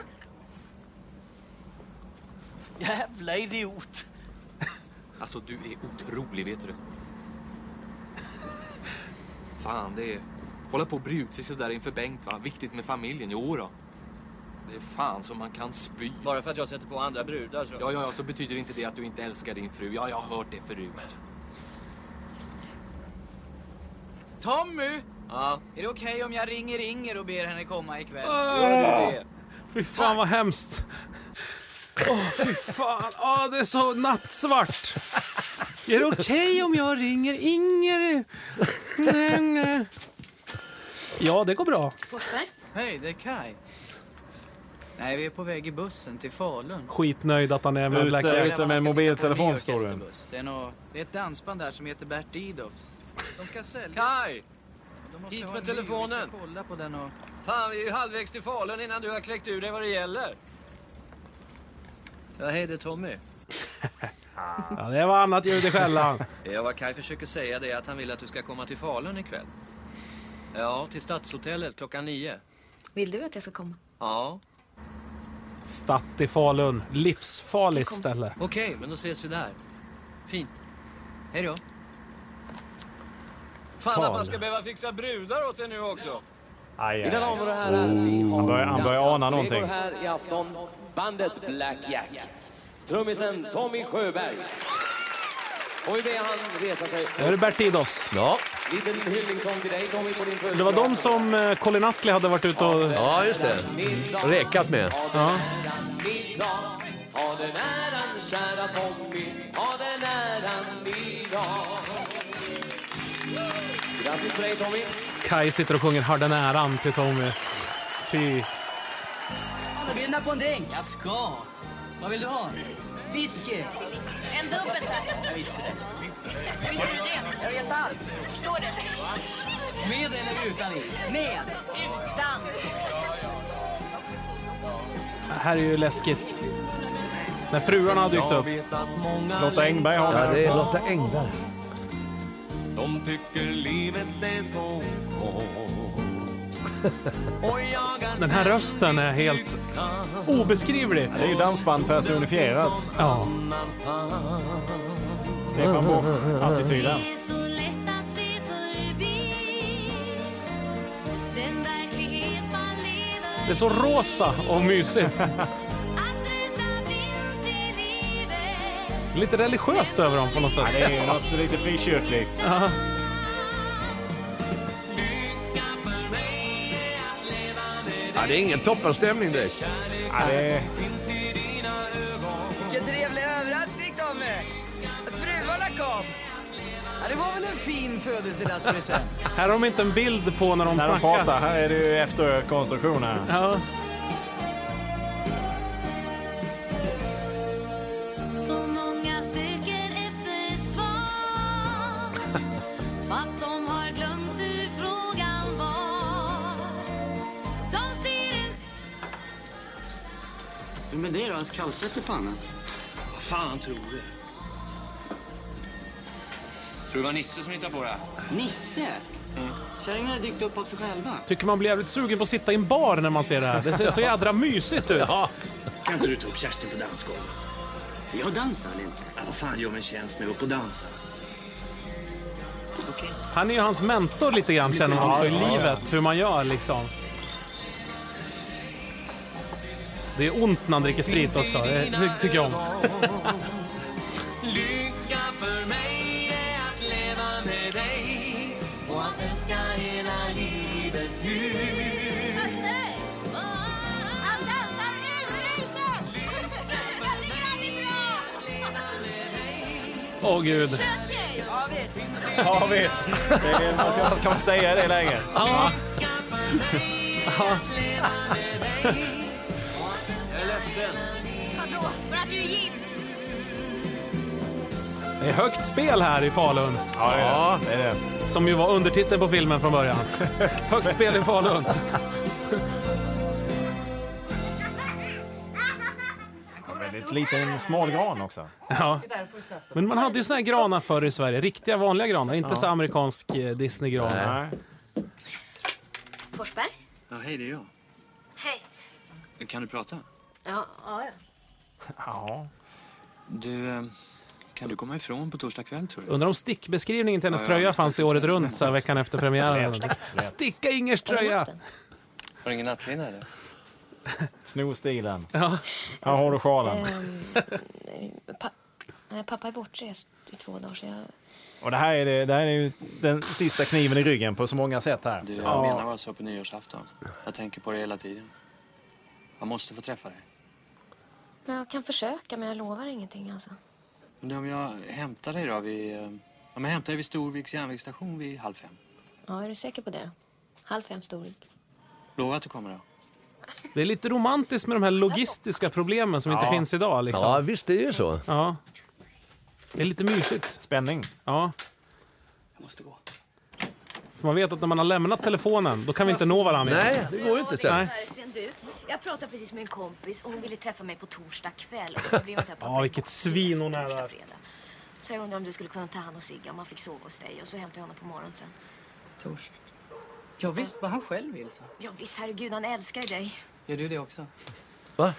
[SPEAKER 10] Jävla idiot.
[SPEAKER 21] Alltså, du är otrolig, vet du. Fan, det är... Hålla på och bry ut sig sådär inför Bengt, va? Viktigt med familjen. Jo då. Det är fan som man kan spy.
[SPEAKER 16] Bara för att jag sätter på andra brudar så...
[SPEAKER 21] Ja, ja, ja, så betyder inte det att du inte älskar din fru. Ja, jag har hört det förut.
[SPEAKER 17] Tommy!
[SPEAKER 16] Ja?
[SPEAKER 17] Är det okej om jag ringer Inger och ber henne komma ikväll?
[SPEAKER 1] Fy fan vad hemskt. Åh, fy fan. Åh, det är så nattsvart. Är det okej om jag ringer Inger? Nej, nej. Ja, det går bra.
[SPEAKER 19] Forsberg?
[SPEAKER 17] Hej, det är Kai.
[SPEAKER 6] Nej, vi är på väg i bussen till Falun.
[SPEAKER 1] Skitnöjd att han är med
[SPEAKER 3] Ute-
[SPEAKER 1] Black
[SPEAKER 3] ute
[SPEAKER 6] Man
[SPEAKER 1] Jack.
[SPEAKER 3] med
[SPEAKER 6] ska titta på en
[SPEAKER 3] mobiltelefon,
[SPEAKER 6] ny
[SPEAKER 3] står du.
[SPEAKER 6] orkesterbuss. Det är, nog, det är ett dansband där som heter Bert Didovs. De ska sälja... Kaj!
[SPEAKER 22] Hit med telefonen.
[SPEAKER 6] kolla på den och...
[SPEAKER 22] Fan, vi är ju halvvägs till Falun innan du har kläckt ur dig vad det gäller. Ja, hej, det är Tommy.
[SPEAKER 1] Ja, det var annat ljud i skällan.
[SPEAKER 22] Ja, vad Kaj försöker säga det är att han vill att du ska komma till Falun ikväll. Ja, till Stadshotellet klockan nio.
[SPEAKER 12] Vill du att jag ska komma?
[SPEAKER 22] Ja.
[SPEAKER 1] Statt i Falun. Livsfarligt ställe.
[SPEAKER 22] Okej, men då ses vi där. Fint. Hej då. Fan,
[SPEAKER 1] Fan.
[SPEAKER 22] att man ska behöva fixa brudar åt dig nu också.
[SPEAKER 3] Aj,
[SPEAKER 7] Mina damer och herrar, vi
[SPEAKER 1] Oh.
[SPEAKER 7] har
[SPEAKER 3] Han börjar, han börjar ana
[SPEAKER 7] dansbandskollegor
[SPEAKER 3] någonting.
[SPEAKER 7] här i afton. Bandet Black Jack. Trummisen Tommy Sjöberg. Och vi ber han resa sig.
[SPEAKER 1] Nu är det Bert Didovs. Ja.
[SPEAKER 7] Liten hyllningssång till dig Tommy på din födelsedag.
[SPEAKER 1] Det var de som eh, Colin Nutley hade varit ute och...
[SPEAKER 7] Ja, just det. Räkat
[SPEAKER 1] med.
[SPEAKER 7] Ja. idag. Ha den äran kära Tommy, ha den äran idag. Grattis till dig Tommy.
[SPEAKER 1] Kai sitter och sjunger Har den äran till Tommy. Fy.
[SPEAKER 10] Bjudna på en drink. Jag ska. Vad vill du ha? Whisky.
[SPEAKER 23] En dubbel tack.
[SPEAKER 10] Jag visste det.
[SPEAKER 23] Visste du det? Jag vet allt. Förstår du?
[SPEAKER 10] Med eller utan is?
[SPEAKER 23] Med. Utan.
[SPEAKER 1] Det här är ju läskigt. När fruarna har dykt upp.
[SPEAKER 3] Lotta Engberg har
[SPEAKER 2] Ja,
[SPEAKER 3] den
[SPEAKER 2] det är
[SPEAKER 3] också.
[SPEAKER 2] Lotta Engberg.
[SPEAKER 24] De tycker livet är så hårt. Och jagar
[SPEAKER 1] Den här rösten är helt obeskrivlig.
[SPEAKER 3] Det är ju dansband personifierat.
[SPEAKER 1] Ja.
[SPEAKER 3] Stefan Borsch-attityden.
[SPEAKER 25] Det är så lätt att se förbi den verklighet man lever
[SPEAKER 1] Det är så rosa och mysigt. Lite religiöst över dem på något sätt.
[SPEAKER 3] Ja, det är ju något lite frikyrkligt.
[SPEAKER 1] Ja.
[SPEAKER 2] Ja, det är ingen toppenstämning direkt.
[SPEAKER 3] Ja, det är...
[SPEAKER 10] Vilken trevlig överraskning, Tommy. Att Fruarna kom. Ja, det var väl en fin födelsedagspresent.
[SPEAKER 1] Här har de inte en bild på när de
[SPEAKER 3] När de
[SPEAKER 1] snackar.
[SPEAKER 3] pratar, här är det ju efterkonstruktion här.
[SPEAKER 1] Ja.
[SPEAKER 25] Så många söker efter svar Fast de har glömt hur frågan var De ser en
[SPEAKER 26] Hur med det då? Hans kallsvett i pannan?
[SPEAKER 22] Vad fan tror du? Tror du det var Nisse som hittade på det här?
[SPEAKER 26] Nisse?
[SPEAKER 16] Mm.
[SPEAKER 26] Kärringarna har dykt upp av sig själva.
[SPEAKER 1] Tycker man blir jävligt sugen på att sitta i en bar när man ser det här. Det ser så jädra mysigt ut.
[SPEAKER 16] Kan inte du ta upp Kerstin på dansgolvet?
[SPEAKER 26] Jag dansar väl inte?
[SPEAKER 16] Ja, vad fan, gör mig en tjänst nu. Upp och dansa.
[SPEAKER 1] Han är ju hans mentor lite grann känner man också i
[SPEAKER 16] Ja, ja, ja.
[SPEAKER 1] livet, hur man gör liksom. Det är ont när han dricker sprit också, det det tycker jag om.
[SPEAKER 24] Lycka för mig är att leva med dig och att älska hela livet ut.
[SPEAKER 27] Han dansar uruselt! Jag tycker han är bra!
[SPEAKER 1] Åh gud.
[SPEAKER 27] Kött tjej! Ja, visst.
[SPEAKER 3] Ja visst, det är, vad ska- vad ska man säga i det läget?
[SPEAKER 1] Ja.
[SPEAKER 16] Jag är ledsen.
[SPEAKER 23] Vadå? För att du är gift?
[SPEAKER 1] Det är högt spel här i Falun.
[SPEAKER 3] Ja, det är det. Det är
[SPEAKER 1] Som ju var undertiteln på filmen från början. högt spel i Falun.
[SPEAKER 3] Väldigt liten smal gran också.
[SPEAKER 1] Ja. Men man hade ju såna här granar förr i Sverige, riktiga vanliga granar, inte
[SPEAKER 3] Ja.
[SPEAKER 1] så amerikansk eh, Disney-gran.
[SPEAKER 12] Forsberg?
[SPEAKER 16] Ja, hej, det är jag.
[SPEAKER 12] Hej.
[SPEAKER 16] Kan du prata?
[SPEAKER 12] Ja, ja. ja.
[SPEAKER 16] Ja. Du, eh, kan du komma ifrån på torsdag kväll, tror du?
[SPEAKER 1] Undrar om stickbeskrivningen till hennes
[SPEAKER 16] Ja, ja,
[SPEAKER 1] tröja
[SPEAKER 16] just det.
[SPEAKER 1] fanns i året runt så här veckan efter premiären. Sticka Ingers tröja!
[SPEAKER 16] Har du ingen nattlinna, eller?
[SPEAKER 3] Sno stilen.
[SPEAKER 1] Ja.
[SPEAKER 3] Här har du sjalen.
[SPEAKER 12] Eh. Ehm, pa- nej, pappa är bortrest i två dagar så jag...
[SPEAKER 3] Och det här är, det, det här är ju den sista kniven i ryggen på så många sätt här.
[SPEAKER 16] Du, jag
[SPEAKER 3] Ja.
[SPEAKER 16] menar vad jag sa på nyårsafton. Jag tänker på det hela tiden. Jag måste få träffa dig.
[SPEAKER 12] Men jag kan försöka men jag lovar ingenting alltså.
[SPEAKER 16] Men du, om jag hämtar dig då vid... eh, Om jag hämtar dig vid Storviks järnvägsstation vid halv fem.
[SPEAKER 12] Ja, är du säker på det? Halv fem storvik.
[SPEAKER 16] Lovar att du kommer då?
[SPEAKER 1] Det är lite romantiskt med de här logistiska problemen som
[SPEAKER 2] Ja.
[SPEAKER 1] inte finns idag. Liksom.
[SPEAKER 2] Ja, visst det är ju så.
[SPEAKER 1] Ja. Det är lite mysigt. Spänning. Ja.
[SPEAKER 6] Jag måste gå.
[SPEAKER 1] För man vet att när man har lämnat telefonen, då kan vi inte nå varandra.
[SPEAKER 2] Nej, det går inte sen.
[SPEAKER 1] Nej.
[SPEAKER 12] Verkligen du. Jag pratade precis med en kompis och hon ville träffa mig på torsdag kväll. Och det blev inte på
[SPEAKER 1] Ja, vilket svin hon är
[SPEAKER 12] torsdag,
[SPEAKER 1] där.
[SPEAKER 12] fredag. Så jag undrar om du skulle kunna ta hand om Sigge om han fick sova hos dig och så hämtar jag honom på morgonen sen.
[SPEAKER 6] Torst. Ja, visst, vad han själv vill så.
[SPEAKER 12] Ja visst, herregud, han älskar ju dig.
[SPEAKER 6] Gör du det också?
[SPEAKER 2] Va?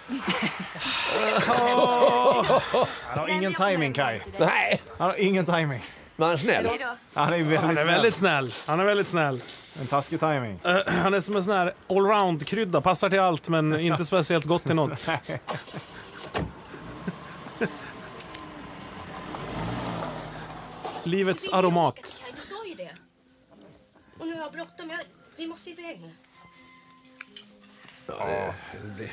[SPEAKER 3] Han har ingen timing Kai.
[SPEAKER 2] Nej.
[SPEAKER 3] Han har ingen timing.
[SPEAKER 2] Men han är
[SPEAKER 12] Hej då.
[SPEAKER 3] Han är väldigt,
[SPEAKER 1] Han är
[SPEAKER 3] snäll.
[SPEAKER 1] väldigt snäll. Han är väldigt snäll.
[SPEAKER 3] En taskig timing.
[SPEAKER 1] Eh, Han är som en sån här allround-krydda. Passar till allt, men inte speciellt gott till något. Livets aromat.
[SPEAKER 12] Jag sa ju det. Och nu har jag bråttom. Jag... Vi måste iväg nu.
[SPEAKER 2] Ja.
[SPEAKER 12] Men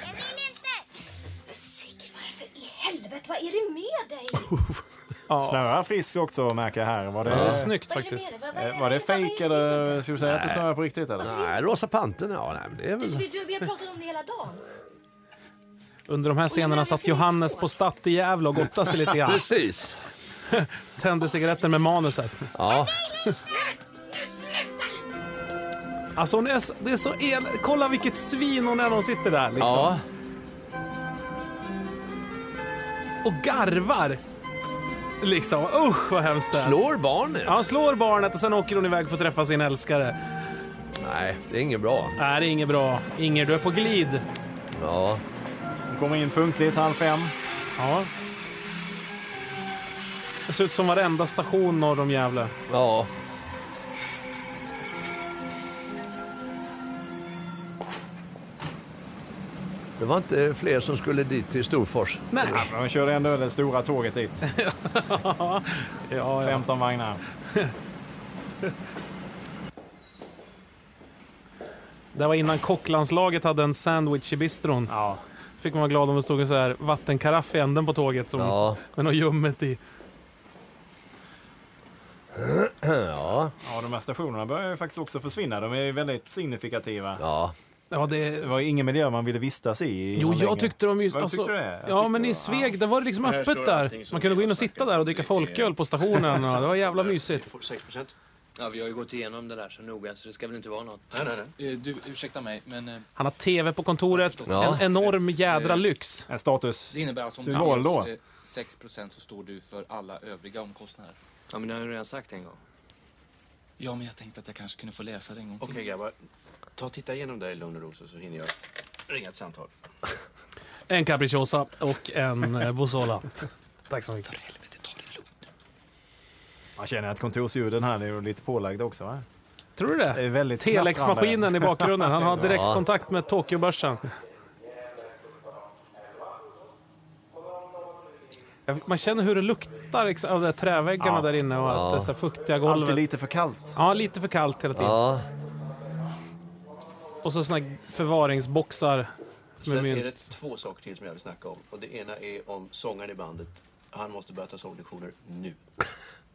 [SPEAKER 12] Sigge, varför i helvete? Vad är det med dig?
[SPEAKER 3] Snöar friskt också märker jag här. Var det,
[SPEAKER 2] Ja.
[SPEAKER 1] Snyggt
[SPEAKER 12] Vad är det med faktiskt. det? Vad- vad är
[SPEAKER 3] Eh, Var det fejk eller skulle du säga att det
[SPEAKER 2] Nej.
[SPEAKER 3] snöar på riktigt? Eller?
[SPEAKER 2] Nej, Rosa Pantern, ja. Nej, men det är
[SPEAKER 12] Du,
[SPEAKER 2] väl...
[SPEAKER 12] du, vi har pratat om det hela dagen.
[SPEAKER 1] Under de här scenerna satt Johannes på Statt i Gävle och gottade sig lite grann.
[SPEAKER 2] Precis.
[SPEAKER 1] Tände cigaretten med manuset.
[SPEAKER 2] Ja.
[SPEAKER 1] Alltså hon är, så- det är så el... Kolla vilket svin hon är när hon sitter där. Liksom.
[SPEAKER 2] Ja.
[SPEAKER 1] Och garvar. Liksom, usch vad hemskt det är.
[SPEAKER 2] Slår barnet?
[SPEAKER 1] Ja, slår barnet och sen åker hon iväg för att träffa sin älskare.
[SPEAKER 2] Nej, det är inget bra.
[SPEAKER 1] Nej, det är inget bra. Inger, du är på glid.
[SPEAKER 2] Ja.
[SPEAKER 3] Hon kommer in punktligt halv fem.
[SPEAKER 1] Ja. Det ser ut som varenda station norr om Gävle.
[SPEAKER 2] Ja. Det var inte fler som skulle dit till Storfors.
[SPEAKER 1] Nej.
[SPEAKER 3] Ja, men de körde ändå det stora tåget dit.
[SPEAKER 1] ja, ja.
[SPEAKER 3] 15 vagnar.
[SPEAKER 1] Det var innan kocklandslaget hade en sandwich i bistron.
[SPEAKER 3] Ja.
[SPEAKER 1] Fick man vara glad om det stod en så här vattenkaraff i änden på tåget som,
[SPEAKER 2] Ja.
[SPEAKER 1] med något ljummet i.
[SPEAKER 2] ja.
[SPEAKER 3] Ja, de här stationerna börjar ju faktiskt också försvinna. De är ju väldigt signifikativa.
[SPEAKER 2] Ja.
[SPEAKER 1] Ja, det...
[SPEAKER 3] var ingen miljö man ville vistas i.
[SPEAKER 1] Jo,
[SPEAKER 3] någon
[SPEAKER 1] jag
[SPEAKER 3] länge.
[SPEAKER 1] tyckte de ju...
[SPEAKER 3] Vad
[SPEAKER 1] alltså-
[SPEAKER 3] tyckte du det? Jag
[SPEAKER 1] ja, men i Sveg, det var det liksom
[SPEAKER 20] Här står
[SPEAKER 1] öppet där.
[SPEAKER 20] allting som
[SPEAKER 1] Man kunde gå in och sitta där och dricka folköl på stationen. Och det var jävla mysigt.
[SPEAKER 16] 46 procent. Ja, vi har ju gått igenom det där så noga så det ska väl inte vara något. Nej, nej, nej. Eh, Du, ursäkta mig, men eh,
[SPEAKER 1] Han har tv på kontoret.
[SPEAKER 16] Ja.
[SPEAKER 1] En enorm jädra lyx.
[SPEAKER 3] En status.
[SPEAKER 16] det innebär alltså om
[SPEAKER 1] Symbol
[SPEAKER 16] det
[SPEAKER 1] då.
[SPEAKER 16] finns, eh, 6 procent så står du för alla övriga omkostnader. Ja, men det har jag redan sagt en gång. Ja, men jag tänkte att jag kanske kunde få läsa det en gång till.
[SPEAKER 7] Okej
[SPEAKER 4] Mm.
[SPEAKER 7] grabbar, ta och titta igenom där i lugn och ro så så hinner jag ringa ett samtal.
[SPEAKER 1] En capricciosa och en eh, Bosola. Tack så mycket.
[SPEAKER 3] Man känner att kontorsljuden här är lite pålagda också, va?
[SPEAKER 1] Tror du det?
[SPEAKER 3] är väldigt
[SPEAKER 1] Telexmaskinen i
[SPEAKER 3] knattrande.
[SPEAKER 1] bakgrunden. Han har
[SPEAKER 3] Ja.
[SPEAKER 1] direkt kontakt med Tokyobörsen. Jag- Man känner hur det luktar ex- av de där träväggarna
[SPEAKER 3] Ja.
[SPEAKER 1] där inne och att
[SPEAKER 3] Ja.
[SPEAKER 1] det är så här fuktiga golvet.
[SPEAKER 3] Alltid lite för kallt.
[SPEAKER 1] Ja, lite för kallt hela tiden.
[SPEAKER 2] Ja.
[SPEAKER 1] Och så såna här förvaringsboxar med
[SPEAKER 7] Sen är
[SPEAKER 1] mynt.
[SPEAKER 7] det två saker till som jag vill snacka om. Och det ena är om sångaren i bandet. Han måste börja ta sånglektioner nu.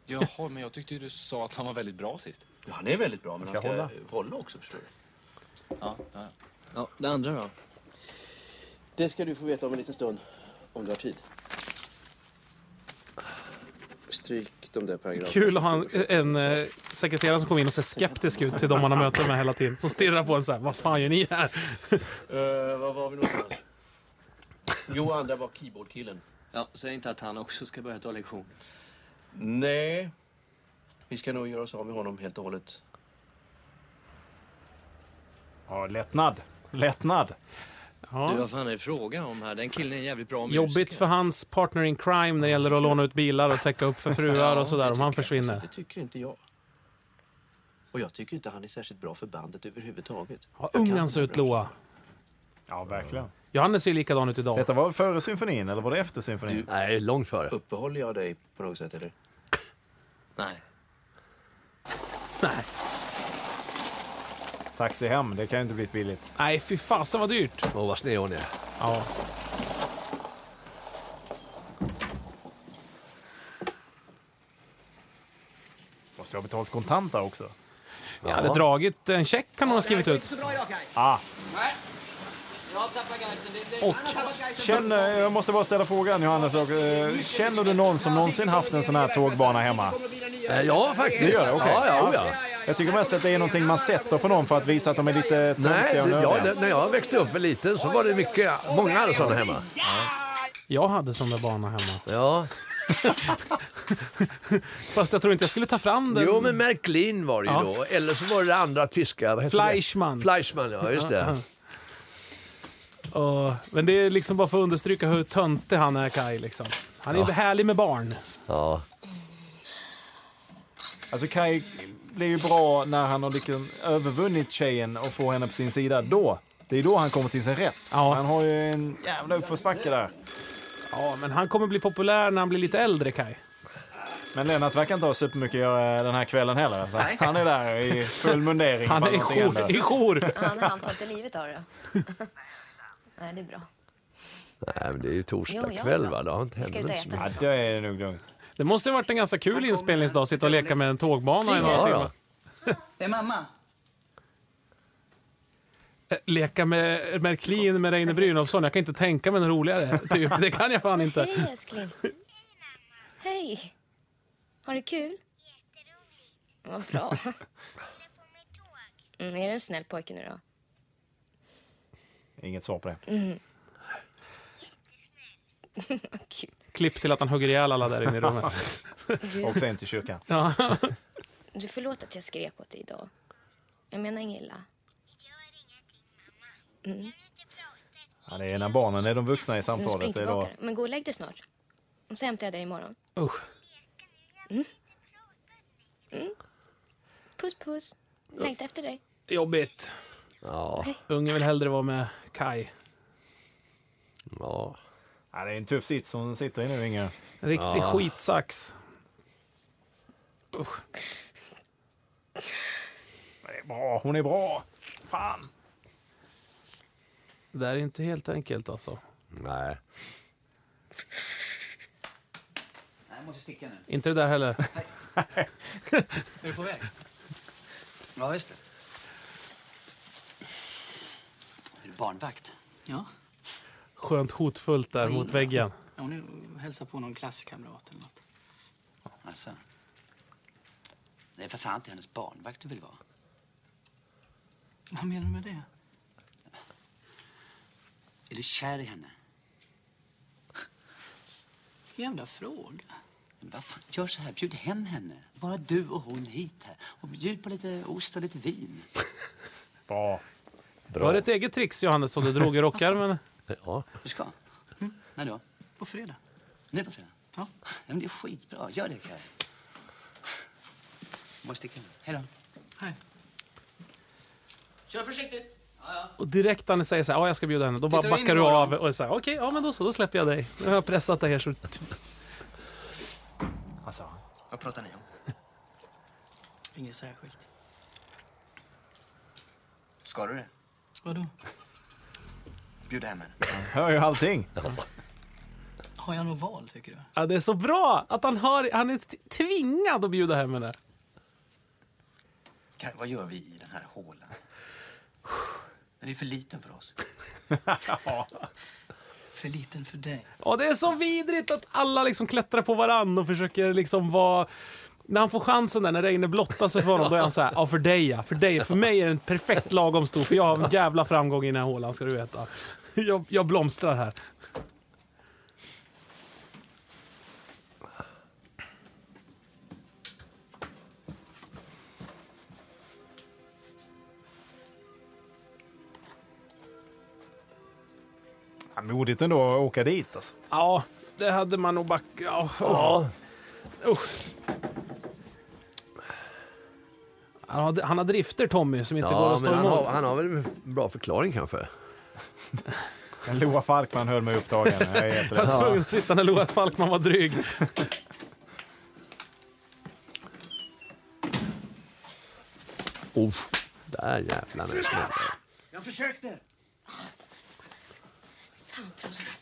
[SPEAKER 16] Jaha, men jag tyckte ju du sa att han var väldigt bra sist.
[SPEAKER 7] Ja, han är väldigt bra, men
[SPEAKER 16] Ska
[SPEAKER 7] han ska hålla,
[SPEAKER 16] hålla.
[SPEAKER 7] också förstår du.
[SPEAKER 16] Ja, ja. ja, det andra då?
[SPEAKER 7] Det ska du få veta om en liten stund, om du har tid. Stryk de där paragraferna.
[SPEAKER 1] Kul att ha en, en eh, sekreterare som kommer in och ser skeptisk ut till de man har möten med hela tiden. Som stirrar på en så här, vad fan gör ni här?
[SPEAKER 7] Eh, var var vi någonstans? jo, andra var keyboardkillen.
[SPEAKER 16] Ja, säg inte att han också ska börja ta lektion.
[SPEAKER 7] Nej, vi ska nog göra oss av med honom helt och hållet.
[SPEAKER 3] Ja, lättnad. Lättnad.
[SPEAKER 16] Du, vad fan är det frågan om här? Den killen är en jävligt bra musiker.
[SPEAKER 1] Jobbigt för hans partner in crime när det gäller att låna ut bilar och täcka upp för fruar och sådär om han försvinner.
[SPEAKER 7] Det tycker inte jag. Och jag tycker inte han är särskilt bra för bandet överhuvudtaget.
[SPEAKER 1] Vad ung han ser ut, Loa.
[SPEAKER 3] Ja, verkligen.
[SPEAKER 1] Johannes ser ju likadan ut idag.
[SPEAKER 3] Detta var före symfonin eller var det efter symfonin?
[SPEAKER 2] Nej, långt före.
[SPEAKER 7] Uppehåller jag dig på något sätt eller?
[SPEAKER 16] Nej.
[SPEAKER 3] Taxi hem, det kan ju inte bli billigt.
[SPEAKER 1] Nej, fy fasen vad dyrt.
[SPEAKER 2] Åh, vad sned hon är.
[SPEAKER 1] Ja.
[SPEAKER 3] Måste jag ha betalt kontant där också?
[SPEAKER 1] Jag hade dragit en check kan hon ha skrivit
[SPEAKER 6] Det gick
[SPEAKER 1] ut.
[SPEAKER 6] så bra idag, Kaj.
[SPEAKER 3] Ah,
[SPEAKER 6] Nej.
[SPEAKER 28] Jag har tappat geisten. Det- det-
[SPEAKER 3] Och känner, jag måste bara ställa frågan Johannes, och, eh, känner du någon som någonsin haft en sån här tågbana hemma?
[SPEAKER 2] Eh, Ja, faktiskt.
[SPEAKER 3] Du gör det? Okej.
[SPEAKER 2] Ja, ja, ja.
[SPEAKER 3] Jag tycker mest att det är någonting man sätter på någon för att visa att de är lite
[SPEAKER 2] Nej,
[SPEAKER 3] töntiga och
[SPEAKER 2] det- ja,
[SPEAKER 3] nördiga.
[SPEAKER 2] det- när jag växte upp var liten så var det mycket, många hade sådana hemma.
[SPEAKER 1] Jag hade sån där bana hemma.
[SPEAKER 2] Ja.
[SPEAKER 1] Fast jag tror inte jag skulle ta fram den.
[SPEAKER 2] Jo, men Märklin var det ju
[SPEAKER 1] Ja.
[SPEAKER 2] då. Eller så var det det andra tyska. vad hette det?
[SPEAKER 1] Fleischmann.
[SPEAKER 2] Fleischmann, ja just det.
[SPEAKER 1] Ja, men det är liksom bara för att understryka hur töntig han är, Kai. Liksom. Han är
[SPEAKER 3] Ja.
[SPEAKER 1] härlig med barn.
[SPEAKER 2] Ja.
[SPEAKER 3] Alltså Kai blir ju bra när han har liksom övervunnit tjejen och får henne på sin sida. Då, det är då han kommer till sin rätt. Han har ju en jävla uppförsbacke där.
[SPEAKER 1] Ja, men han kommer bli populär när han blir lite äldre, Kai.
[SPEAKER 3] Men Lennart verkar inte ha supermycket att göra den här kvällen heller. Så
[SPEAKER 1] Nej.
[SPEAKER 3] han är där i full mundering.
[SPEAKER 1] Han
[SPEAKER 3] ifall
[SPEAKER 1] är i
[SPEAKER 3] någonting
[SPEAKER 1] jour-
[SPEAKER 3] händer.
[SPEAKER 1] i jour.
[SPEAKER 12] Han har han tagit livet av det. Nej, det är bra.
[SPEAKER 2] Nej, men det är ju
[SPEAKER 12] torsdag Jo, ja, kväll, va?
[SPEAKER 2] Det har inte
[SPEAKER 12] Vi ska hänt ut och så äta. mycket.
[SPEAKER 3] Ja, det är nog lugnt.
[SPEAKER 1] Det måste ha varit en ganska kul inspelningsdag, sitta och leka med en tågbana i några
[SPEAKER 2] Ja,
[SPEAKER 1] timmar.
[SPEAKER 6] Det är mamma.
[SPEAKER 1] Eh, Leka med Märklin med Reine Brynolfsson, jag kan inte tänka mig en roligare. Typ. Det kan jag fan inte.
[SPEAKER 12] Hej, älskling. Hej. Har du kul? Jätteroligt. Vad bra. Mm, är du en snäll pojke nu då?
[SPEAKER 3] Inget svar på det.
[SPEAKER 12] Mm.
[SPEAKER 1] Klipp till att han hugger ihjäl alla där inne i rummet.
[SPEAKER 12] Du-
[SPEAKER 3] Och sen till kyrkan.
[SPEAKER 1] Ja.
[SPEAKER 12] Du förlåt att jag skrek åt dig idag. Jag menar inget illa. Mm.
[SPEAKER 3] Ja, det är när barnen är de vuxna i
[SPEAKER 12] Men spring
[SPEAKER 3] samtalet. Det är då...
[SPEAKER 12] tillbaka. Men gå och lägg dig snart. Och så hämtar jag dig imorgon.
[SPEAKER 1] Usch.
[SPEAKER 12] Mm. Mm. Puss, puss. Längtar efter dig.
[SPEAKER 1] Jobbigt.
[SPEAKER 2] Ja.
[SPEAKER 1] Ungen vill hellre vara med Kai.
[SPEAKER 2] Ja.
[SPEAKER 3] det är en tuff sits som sitter i nu, Inge.
[SPEAKER 1] Riktig
[SPEAKER 3] Ja.
[SPEAKER 1] skitsax. Usch.
[SPEAKER 3] Det är bra. Hon är bra. Fan.
[SPEAKER 1] Det där är inte helt enkelt alltså.
[SPEAKER 2] Nej.
[SPEAKER 4] Nej, jag måste sticka nu.
[SPEAKER 1] Inte det där heller.
[SPEAKER 4] Är du på väg? Ja, just det. Är du barnvakt?
[SPEAKER 17] Ja.
[SPEAKER 1] Skönt hotfullt där mot väggen.
[SPEAKER 17] Ja, Hon är- hälsar på någon klasskamrat eller något.
[SPEAKER 4] Alltså. Det är för fan inte hennes barnvakt du vill vara.
[SPEAKER 17] Vad menar du med det?
[SPEAKER 4] Är du kär i henne?
[SPEAKER 17] Vilken jävla fråga.
[SPEAKER 4] Men vad fan, gör så här, bjud hem henne. Bara du och hon hit här. Och bjud på lite ost och lite vin.
[SPEAKER 3] Bra.
[SPEAKER 1] Var det ett eget trix, Johannes, som du drog i rockärmen?
[SPEAKER 2] ja.
[SPEAKER 4] Du ska? Mm. När då?
[SPEAKER 17] På fredag.
[SPEAKER 4] Nu på fredag?
[SPEAKER 17] Ja.
[SPEAKER 4] Men det är skitbra. Gör det, Kaj. Jag måste sticka nu. Hej då.
[SPEAKER 17] Hej.
[SPEAKER 7] Kör försiktigt.
[SPEAKER 1] Och direkt när ni säger så här, ja jag ska bjuda henne, då bara
[SPEAKER 7] Tittar du in
[SPEAKER 1] backar du
[SPEAKER 7] imorgon?
[SPEAKER 1] av och säger okej, ja men då så, då släpper jag dig. Nu har jag pressat dig här så...
[SPEAKER 3] Alltså.
[SPEAKER 7] Vad pratar ni om?
[SPEAKER 17] Inget särskilt.
[SPEAKER 7] Ska du det?
[SPEAKER 17] Vadå?
[SPEAKER 7] Bjud hem henne.
[SPEAKER 3] Hör ju allting.
[SPEAKER 17] Har jag något val tycker du?
[SPEAKER 1] Ja, det är så bra att han, har, han är t- tvingad att bjuda hem henne.
[SPEAKER 7] Kaj, vad gör vi i den här hålan? Den är för liten för oss.
[SPEAKER 17] För liten för dig.
[SPEAKER 1] Och det är så vidrigt att alla liksom klättrar på varann och försöker liksom vara... När han får chansen där, när Reine blottar sig för honom, då är han så här, ja för dig ja, för dig. För mig är den perfekt lagom stor, för jag har en jävla framgång i den här hålan ska du veta. Jag, jag blomstrar här.
[SPEAKER 3] Ja, modigt ändå att åka dit. Alltså.
[SPEAKER 1] Ja, det hade man nog backat... Ja.
[SPEAKER 3] Ja.
[SPEAKER 1] Usch. Han har, han har drifter, Tommy, som inte går
[SPEAKER 2] Ja,
[SPEAKER 1] att stå
[SPEAKER 2] men han,
[SPEAKER 1] emot.
[SPEAKER 2] har, han har väl en bra förklaring kanske.
[SPEAKER 3] Men Loa Falkman höll mig upptagen. Jag är
[SPEAKER 1] Jag var tvungen
[SPEAKER 3] jätterädd.
[SPEAKER 1] att sitta när Loa Falkman var dryg.
[SPEAKER 2] Oh, där jävlar nu smäller det.
[SPEAKER 4] Jag försökte!
[SPEAKER 12] Fan, tror jag.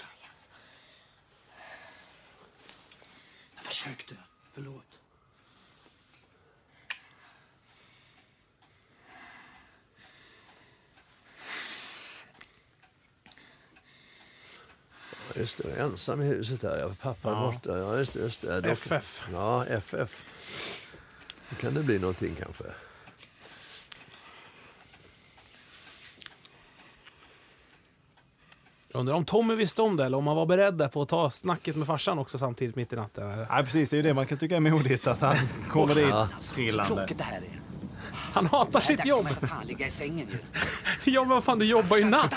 [SPEAKER 4] Jag försökte. Förlåt.
[SPEAKER 2] Just det, jag är ensam i huset här. Jag pappa är
[SPEAKER 1] Ja.
[SPEAKER 2] borta. Ja, just det, just det. Dock-
[SPEAKER 1] FF.
[SPEAKER 2] Ja, FF. Då kan det bli någonting kanske.
[SPEAKER 1] Jag undrar om Tommy visste om det eller om han var beredd där på att ta snacket med farsan också samtidigt mitt i natten. eller?
[SPEAKER 3] Nej, precis. Det är ju det man kan tycka är modigt, att han kommer
[SPEAKER 1] Ja.
[SPEAKER 3] dit trillande.
[SPEAKER 1] Tråkigt det här är. Han hatar sitt jobb.
[SPEAKER 4] Där ska man fan ligga i sängen ju.
[SPEAKER 1] Ja, men vad fan, du jobbar ju natt.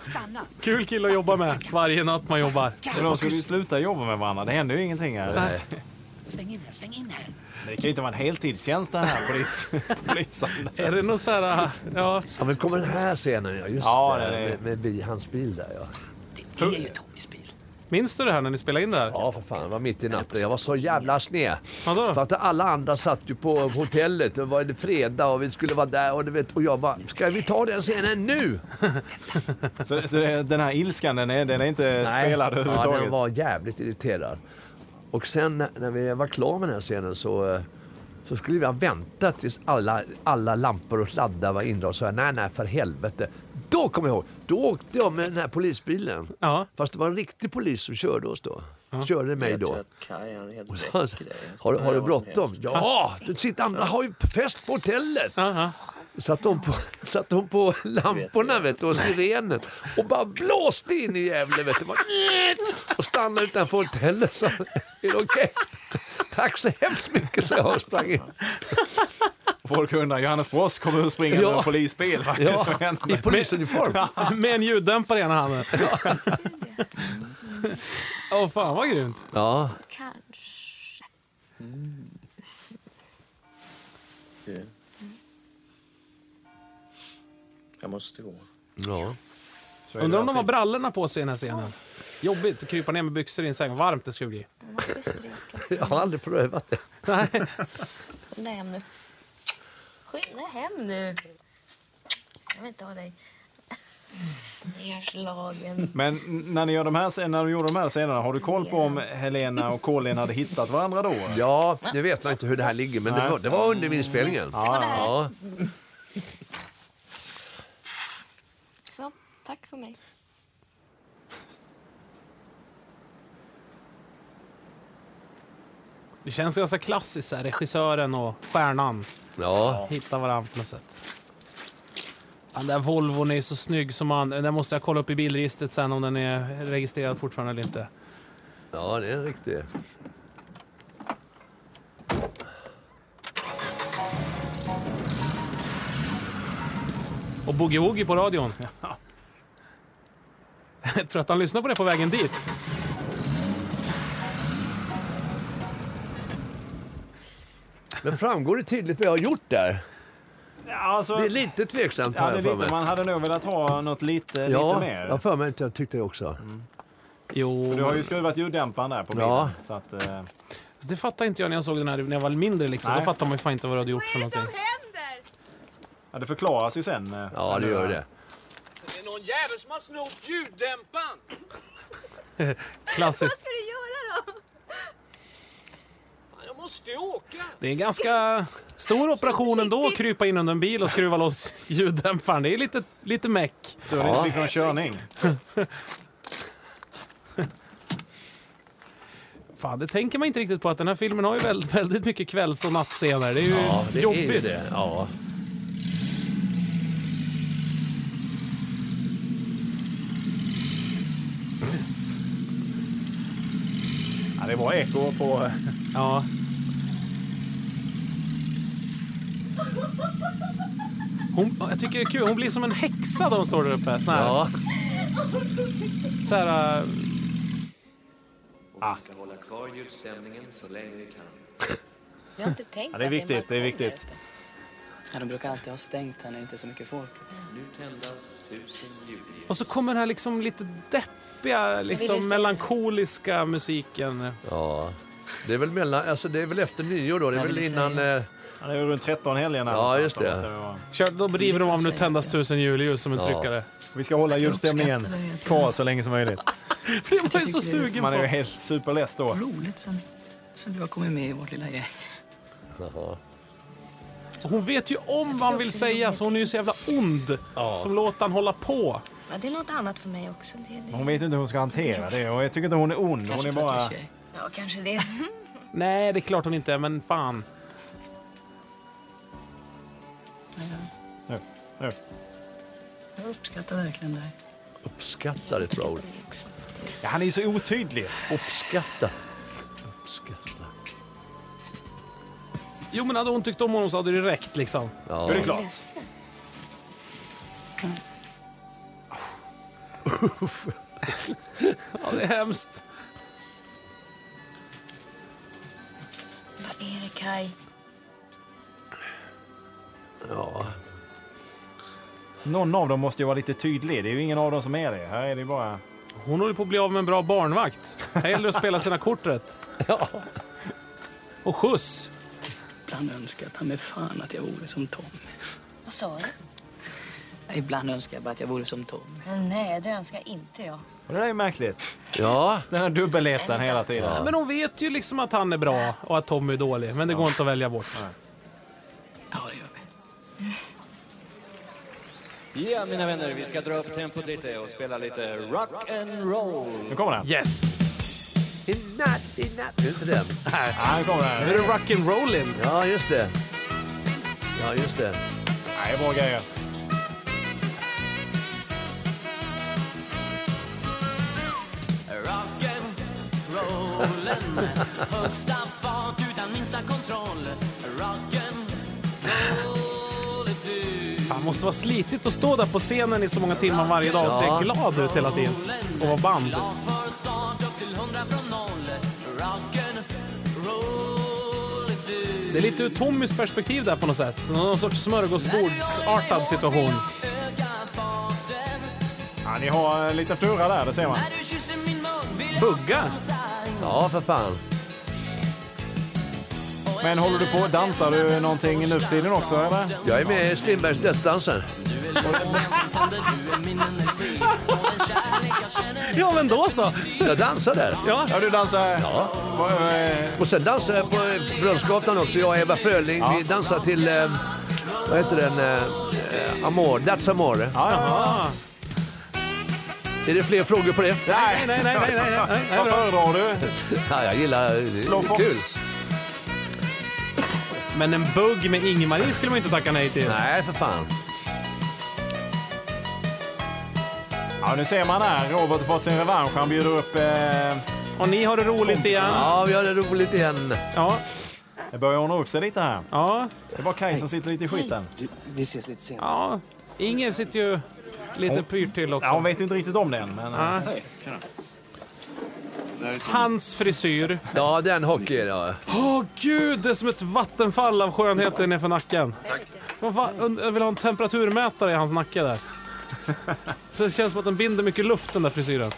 [SPEAKER 4] Stanna!
[SPEAKER 1] Kul kille att jobba med varje natt man jobbar.
[SPEAKER 3] Så de skulle ju sluta jobba med varandra. Det händer ju ingenting här.
[SPEAKER 1] Nej.
[SPEAKER 4] Sväng in här, sväng in här.
[SPEAKER 3] Men det kan ju inte vara en heltidstjänst den här polis, polisen.
[SPEAKER 1] Är det någon så här... ah, Ja.
[SPEAKER 2] ja, men kommer den här scenen? Ja, just
[SPEAKER 3] Ja,
[SPEAKER 2] det.
[SPEAKER 3] det är det.
[SPEAKER 2] Med, med bi, hans bil där, ja.
[SPEAKER 4] Det är ju Tommys bil.
[SPEAKER 1] Minns du det här när ni spelade in det här?
[SPEAKER 2] Ja, för fan. Det var mitt i natten. Jag var så jävla sned.
[SPEAKER 1] Vadå då?
[SPEAKER 2] För att alla andra satt ju på hotellet. Det var det fredag och vi skulle vara där. Och, du vet, och jag bara, ska vi ta den scenen nu?
[SPEAKER 3] Så, så det, den här ilskan, den är, den är inte spelad
[SPEAKER 2] Ja,
[SPEAKER 3] överhuvudtaget?
[SPEAKER 2] den var jävligt irriterad. Och sen när- när vi var klara med den här scenen så, eh, så skulle vi ha väntat tills alla, alla lampor och sladdar var indragna. Så jag, nej, nej, för helvete. Då kom jag ihåg. Då åkte jag med den här polisbilen. Fast det var en riktig polis som körde oss då. Körde mig då.
[SPEAKER 16] Kaj, han är helt
[SPEAKER 2] Och så-
[SPEAKER 16] väck i det.
[SPEAKER 2] Har, du- har du
[SPEAKER 16] Ja,
[SPEAKER 2] bråttom?
[SPEAKER 16] hemskt.
[SPEAKER 2] Ja, du sitter andra har ju fest på hotellet. Satt hon på, satt hon på lamporna vet du, och sirenen och bara blåste in i Gävle. Vet du. Bara, och stannade utanför hotellet. Så, är det okej? Tack så hemskt mycket, så jag och sprang in.
[SPEAKER 3] Folk undrar, Johannes Brost kommer ur springande
[SPEAKER 2] Ja.
[SPEAKER 3] med en polisbil. Vad är det
[SPEAKER 2] Ja,
[SPEAKER 3] som händer?
[SPEAKER 2] i polisuniform.
[SPEAKER 1] Ja, med en ljuddämpare i ena handen. Åh, fan vad grymt.
[SPEAKER 2] Ja.
[SPEAKER 11] Kanske.
[SPEAKER 16] Du. Jag måste gå.
[SPEAKER 2] Ja.
[SPEAKER 16] är det
[SPEAKER 1] Undrar om de har
[SPEAKER 16] alltid.
[SPEAKER 1] brallorna på sig i den här scenen. Jobbigt att krypa ner med byxor i en säng. Varmt det skulle bli.
[SPEAKER 2] Jag har aldrig prövat det.
[SPEAKER 19] Skynda hem nu. Skynda hem nu. Jag vill inte ha dig. Nerslagen.
[SPEAKER 3] Men när ni, gör de här, scen- när ni gjorde de här scenerna, har du koll på om Helena och Colin hade hittat varandra då?
[SPEAKER 2] Ja, nu vet man inte hur det här ligger, men det var- det var under inspelningen.
[SPEAKER 3] Ja, ja.
[SPEAKER 2] Ja.
[SPEAKER 11] Så, tack för mig.
[SPEAKER 1] Det känns ganska klassiskt. Så här, regissören och stjärnan
[SPEAKER 2] Ja.
[SPEAKER 1] hittar varandra på något sätt. Den där Volvon är så snygg som man... Den måste jag kolla upp i bilregistret sen om den är registrerad fortfarande eller inte.
[SPEAKER 2] ja, det är en riktig...
[SPEAKER 1] Och Boogie Woogie på radion. Jag tror att han lyssnar på det på vägen dit.
[SPEAKER 2] Men framgår det tydligt vad jag har gjort där?
[SPEAKER 3] Ja, alltså,
[SPEAKER 2] Det är lite tveksamt
[SPEAKER 3] ja,
[SPEAKER 2] har
[SPEAKER 3] det
[SPEAKER 2] jag för
[SPEAKER 3] är lite,
[SPEAKER 2] mig.
[SPEAKER 3] man hade nog velat ha något lite,
[SPEAKER 2] Ja,
[SPEAKER 3] lite mer. Mm.
[SPEAKER 2] jag har för mig att jag tyckte det också.
[SPEAKER 1] Jo.
[SPEAKER 3] För Du har ju skruvat ljuddämparen där på bilen.
[SPEAKER 2] Ja.
[SPEAKER 3] Så att, eh,
[SPEAKER 1] Så alltså, det fattar inte jag när jag såg den här när jag var mindre. Liksom. Då
[SPEAKER 3] Nej.
[SPEAKER 1] fattar man ju fan inte vad du hade gjort för någonting.
[SPEAKER 3] ja, det förklaras ju sen. eh,
[SPEAKER 1] Ja, det
[SPEAKER 3] sen
[SPEAKER 1] gör det.
[SPEAKER 7] Det är någon jävel som har snott ljuddämparen.
[SPEAKER 1] Klassiskt.
[SPEAKER 7] du göra då? Fan, jag måste ju åka.
[SPEAKER 1] Det är en ganska stor operation ändå att krypa in under en bil och skruva loss ljuddämparen. Det är lite, lite meck.
[SPEAKER 3] Tur ni inte fick någon körning.
[SPEAKER 1] Fan, det tänker man inte riktigt på att den här filmen har ju väldigt, väldigt mycket kvälls och nattscener. Det är ju
[SPEAKER 2] Ja, det är ju
[SPEAKER 1] jobbigt.
[SPEAKER 2] det. Ja.
[SPEAKER 3] Ja, det var eko på... eh,
[SPEAKER 1] Ja. Hon, jag tycker det är kul, hon blir som en häxa när hon står där uppe. Sån här.
[SPEAKER 2] Ja.
[SPEAKER 1] Så här, äh,
[SPEAKER 14] Och vi ska hålla kvar ljudstämningen så länge vi kan.
[SPEAKER 13] Jag har inte tänkt
[SPEAKER 14] Ja, det är
[SPEAKER 13] att en
[SPEAKER 14] viktigt, det är
[SPEAKER 13] balkong
[SPEAKER 14] viktigt.
[SPEAKER 13] där uppe.
[SPEAKER 6] Ja, de brukar alltid ha stängt här när det inte är så mycket folk.
[SPEAKER 14] Nu tändas tusen ljudljus.
[SPEAKER 1] och så kommer den här liksom lite deppiga,
[SPEAKER 14] Vill du
[SPEAKER 1] liksom
[SPEAKER 14] se?
[SPEAKER 1] melankoliska musiken.
[SPEAKER 2] Ja. Det är väl mellan, alltså det är väl efter nyår då. Det är
[SPEAKER 1] Ja,
[SPEAKER 2] väl
[SPEAKER 1] det vill
[SPEAKER 2] innan...
[SPEAKER 1] säga.
[SPEAKER 2] Eh,
[SPEAKER 3] Ja, det är runt 13 helgen. här
[SPEAKER 2] Ja,
[SPEAKER 3] någonstans,
[SPEAKER 2] just
[SPEAKER 3] då måste vi
[SPEAKER 2] det.
[SPEAKER 3] vara.
[SPEAKER 1] Kör, då river de av Nu tändas tusen julljus som en
[SPEAKER 3] Ja.
[SPEAKER 1] tryckare.
[SPEAKER 3] Vi ska hålla julstämningen kvar så länge som möjligt.
[SPEAKER 1] För det var ju så sugen
[SPEAKER 3] Man är
[SPEAKER 1] på.
[SPEAKER 3] ju helt superless då.
[SPEAKER 6] Roligt som, som du har kommit med i vårt lilla gäng.
[SPEAKER 1] Och Hon vet ju om vad han vill säga så hon är ju så jävla ond. Som låter han hålla på.
[SPEAKER 19] Ja, det är något annat för mig också. Det, det...
[SPEAKER 3] Hon vet inte hur hon ska hantera det och jag tycker inte hon är ond. Hon är bara...
[SPEAKER 19] Ja, kanske det.
[SPEAKER 1] Nej, det är klart hon inte är, men fan.
[SPEAKER 3] Nu, nu.
[SPEAKER 29] Jag uppskattar verkligen dig.
[SPEAKER 2] Uppskattar är ett bra ord.
[SPEAKER 3] Ja, han är ju så otydlig.
[SPEAKER 2] Uppskatta. Uppskatta.
[SPEAKER 1] Jo, men hade hon tyckt om honom så hade det räckt liksom.
[SPEAKER 2] Ja.
[SPEAKER 1] Är det klart? Ja, det är hemskt.
[SPEAKER 19] Vad är det, Kai?
[SPEAKER 2] Ja.
[SPEAKER 3] Någon av dem måste ju vara lite tydlig. Det är ju ingen av dem som är det. Här är det bara...
[SPEAKER 1] Hon håller på att bli av med en bra barnvakt. Här gäller det att spela sina kort rätt.
[SPEAKER 2] Ja.
[SPEAKER 1] Och skjuts.
[SPEAKER 29] Ibland önskar jag ta mig fan att jag vore som Tommy.
[SPEAKER 19] Vad sa du?
[SPEAKER 29] Ibland önskar jag bara att jag vore som Tommy.
[SPEAKER 19] Men nej, det önskar inte jag.
[SPEAKER 3] Och det där är märkligt.
[SPEAKER 2] Ja.
[SPEAKER 3] Den här dubbelheten hela tiden.
[SPEAKER 1] Men hon vet ju liksom att han är bra och att Tommy är dålig. Men det går inte att välja bort.
[SPEAKER 16] Ja, mina vänner, vi ska dra upp tempot lite och spela lite rock and roll.
[SPEAKER 3] Nu kommer den.
[SPEAKER 1] Yes!
[SPEAKER 2] Det är inte den.
[SPEAKER 1] Nej,
[SPEAKER 3] nu kommer den.
[SPEAKER 1] Nu är det rock'n'rollin'.
[SPEAKER 2] Ja, just det. Ja, just det.
[SPEAKER 3] Nej, bra grejer.
[SPEAKER 7] Rock'n'rollen, högsta fart utan minsta kontroll. Rock'n'roll är du.
[SPEAKER 1] Fan, måste vara slitigt att stå där på scenen i så många timmar varje dag och
[SPEAKER 7] Ja.
[SPEAKER 1] se glad ut hela tiden. Och vara band.
[SPEAKER 7] Glad för start upp till hundra från noll. Rock'n'roll är du.
[SPEAKER 1] Det är lite ur Tommys perspektiv där på något sätt. Någon sorts smörgåsbordsartad situation.
[SPEAKER 3] Ja, ni har en liten flurra där, det ser man.
[SPEAKER 1] Bugga?
[SPEAKER 2] Ja, för fan.
[SPEAKER 3] Men håller du på och dansar du någonting nu för tiden också, eller?
[SPEAKER 2] Jag är med i Strindbergs dödsdanser.
[SPEAKER 1] ja, men då så.
[SPEAKER 2] Jag dansar där.
[SPEAKER 1] Ja,
[SPEAKER 3] du dansar. eh,
[SPEAKER 2] Ja. Och sen dansar jag på eh, Brunnsgatan också. Jag och Eva Fröling, vi dansar till, eh, vad heter den, eh, eh, Amor, That's Amore.
[SPEAKER 1] Jaha.
[SPEAKER 2] Är det fler frågor på det?
[SPEAKER 1] Nej, nej, nej, nej, nej, nej, nej,
[SPEAKER 3] Vad föredrar du?
[SPEAKER 2] Ja, jag gillar, eh, det
[SPEAKER 1] Slå
[SPEAKER 2] är kul.
[SPEAKER 1] Fox. Men en bugg med Ingmarie skulle man inte tacka nej till.
[SPEAKER 2] Nej, för fan.
[SPEAKER 3] Ja, nu ser man här. Robert får sin revansch. Han bjuder upp... Eh...
[SPEAKER 1] Och ni har det roligt igen.
[SPEAKER 2] Ja, vi har det roligt igen.
[SPEAKER 1] Ja.
[SPEAKER 3] Det börjar ordna upp sig lite här.
[SPEAKER 1] Ja.
[SPEAKER 3] Det var Kaj som sitter lite i skiten.
[SPEAKER 1] Vi ses lite senare. Ja. Ingen sitter ju lite
[SPEAKER 3] Hon-
[SPEAKER 1] pyrt till också.
[SPEAKER 3] Ja, hon vet ju inte riktigt om den, men... eh,
[SPEAKER 1] Ja. Hans frisyr.
[SPEAKER 2] Ja, den hockey ja.
[SPEAKER 1] Åh gud, det är som ett vattenfall av skönhet nedanför nacken. Tack. Jag vill ha en temperaturmätare i hans nacke där. Så det känns som att den binder mycket luft den där frisyren.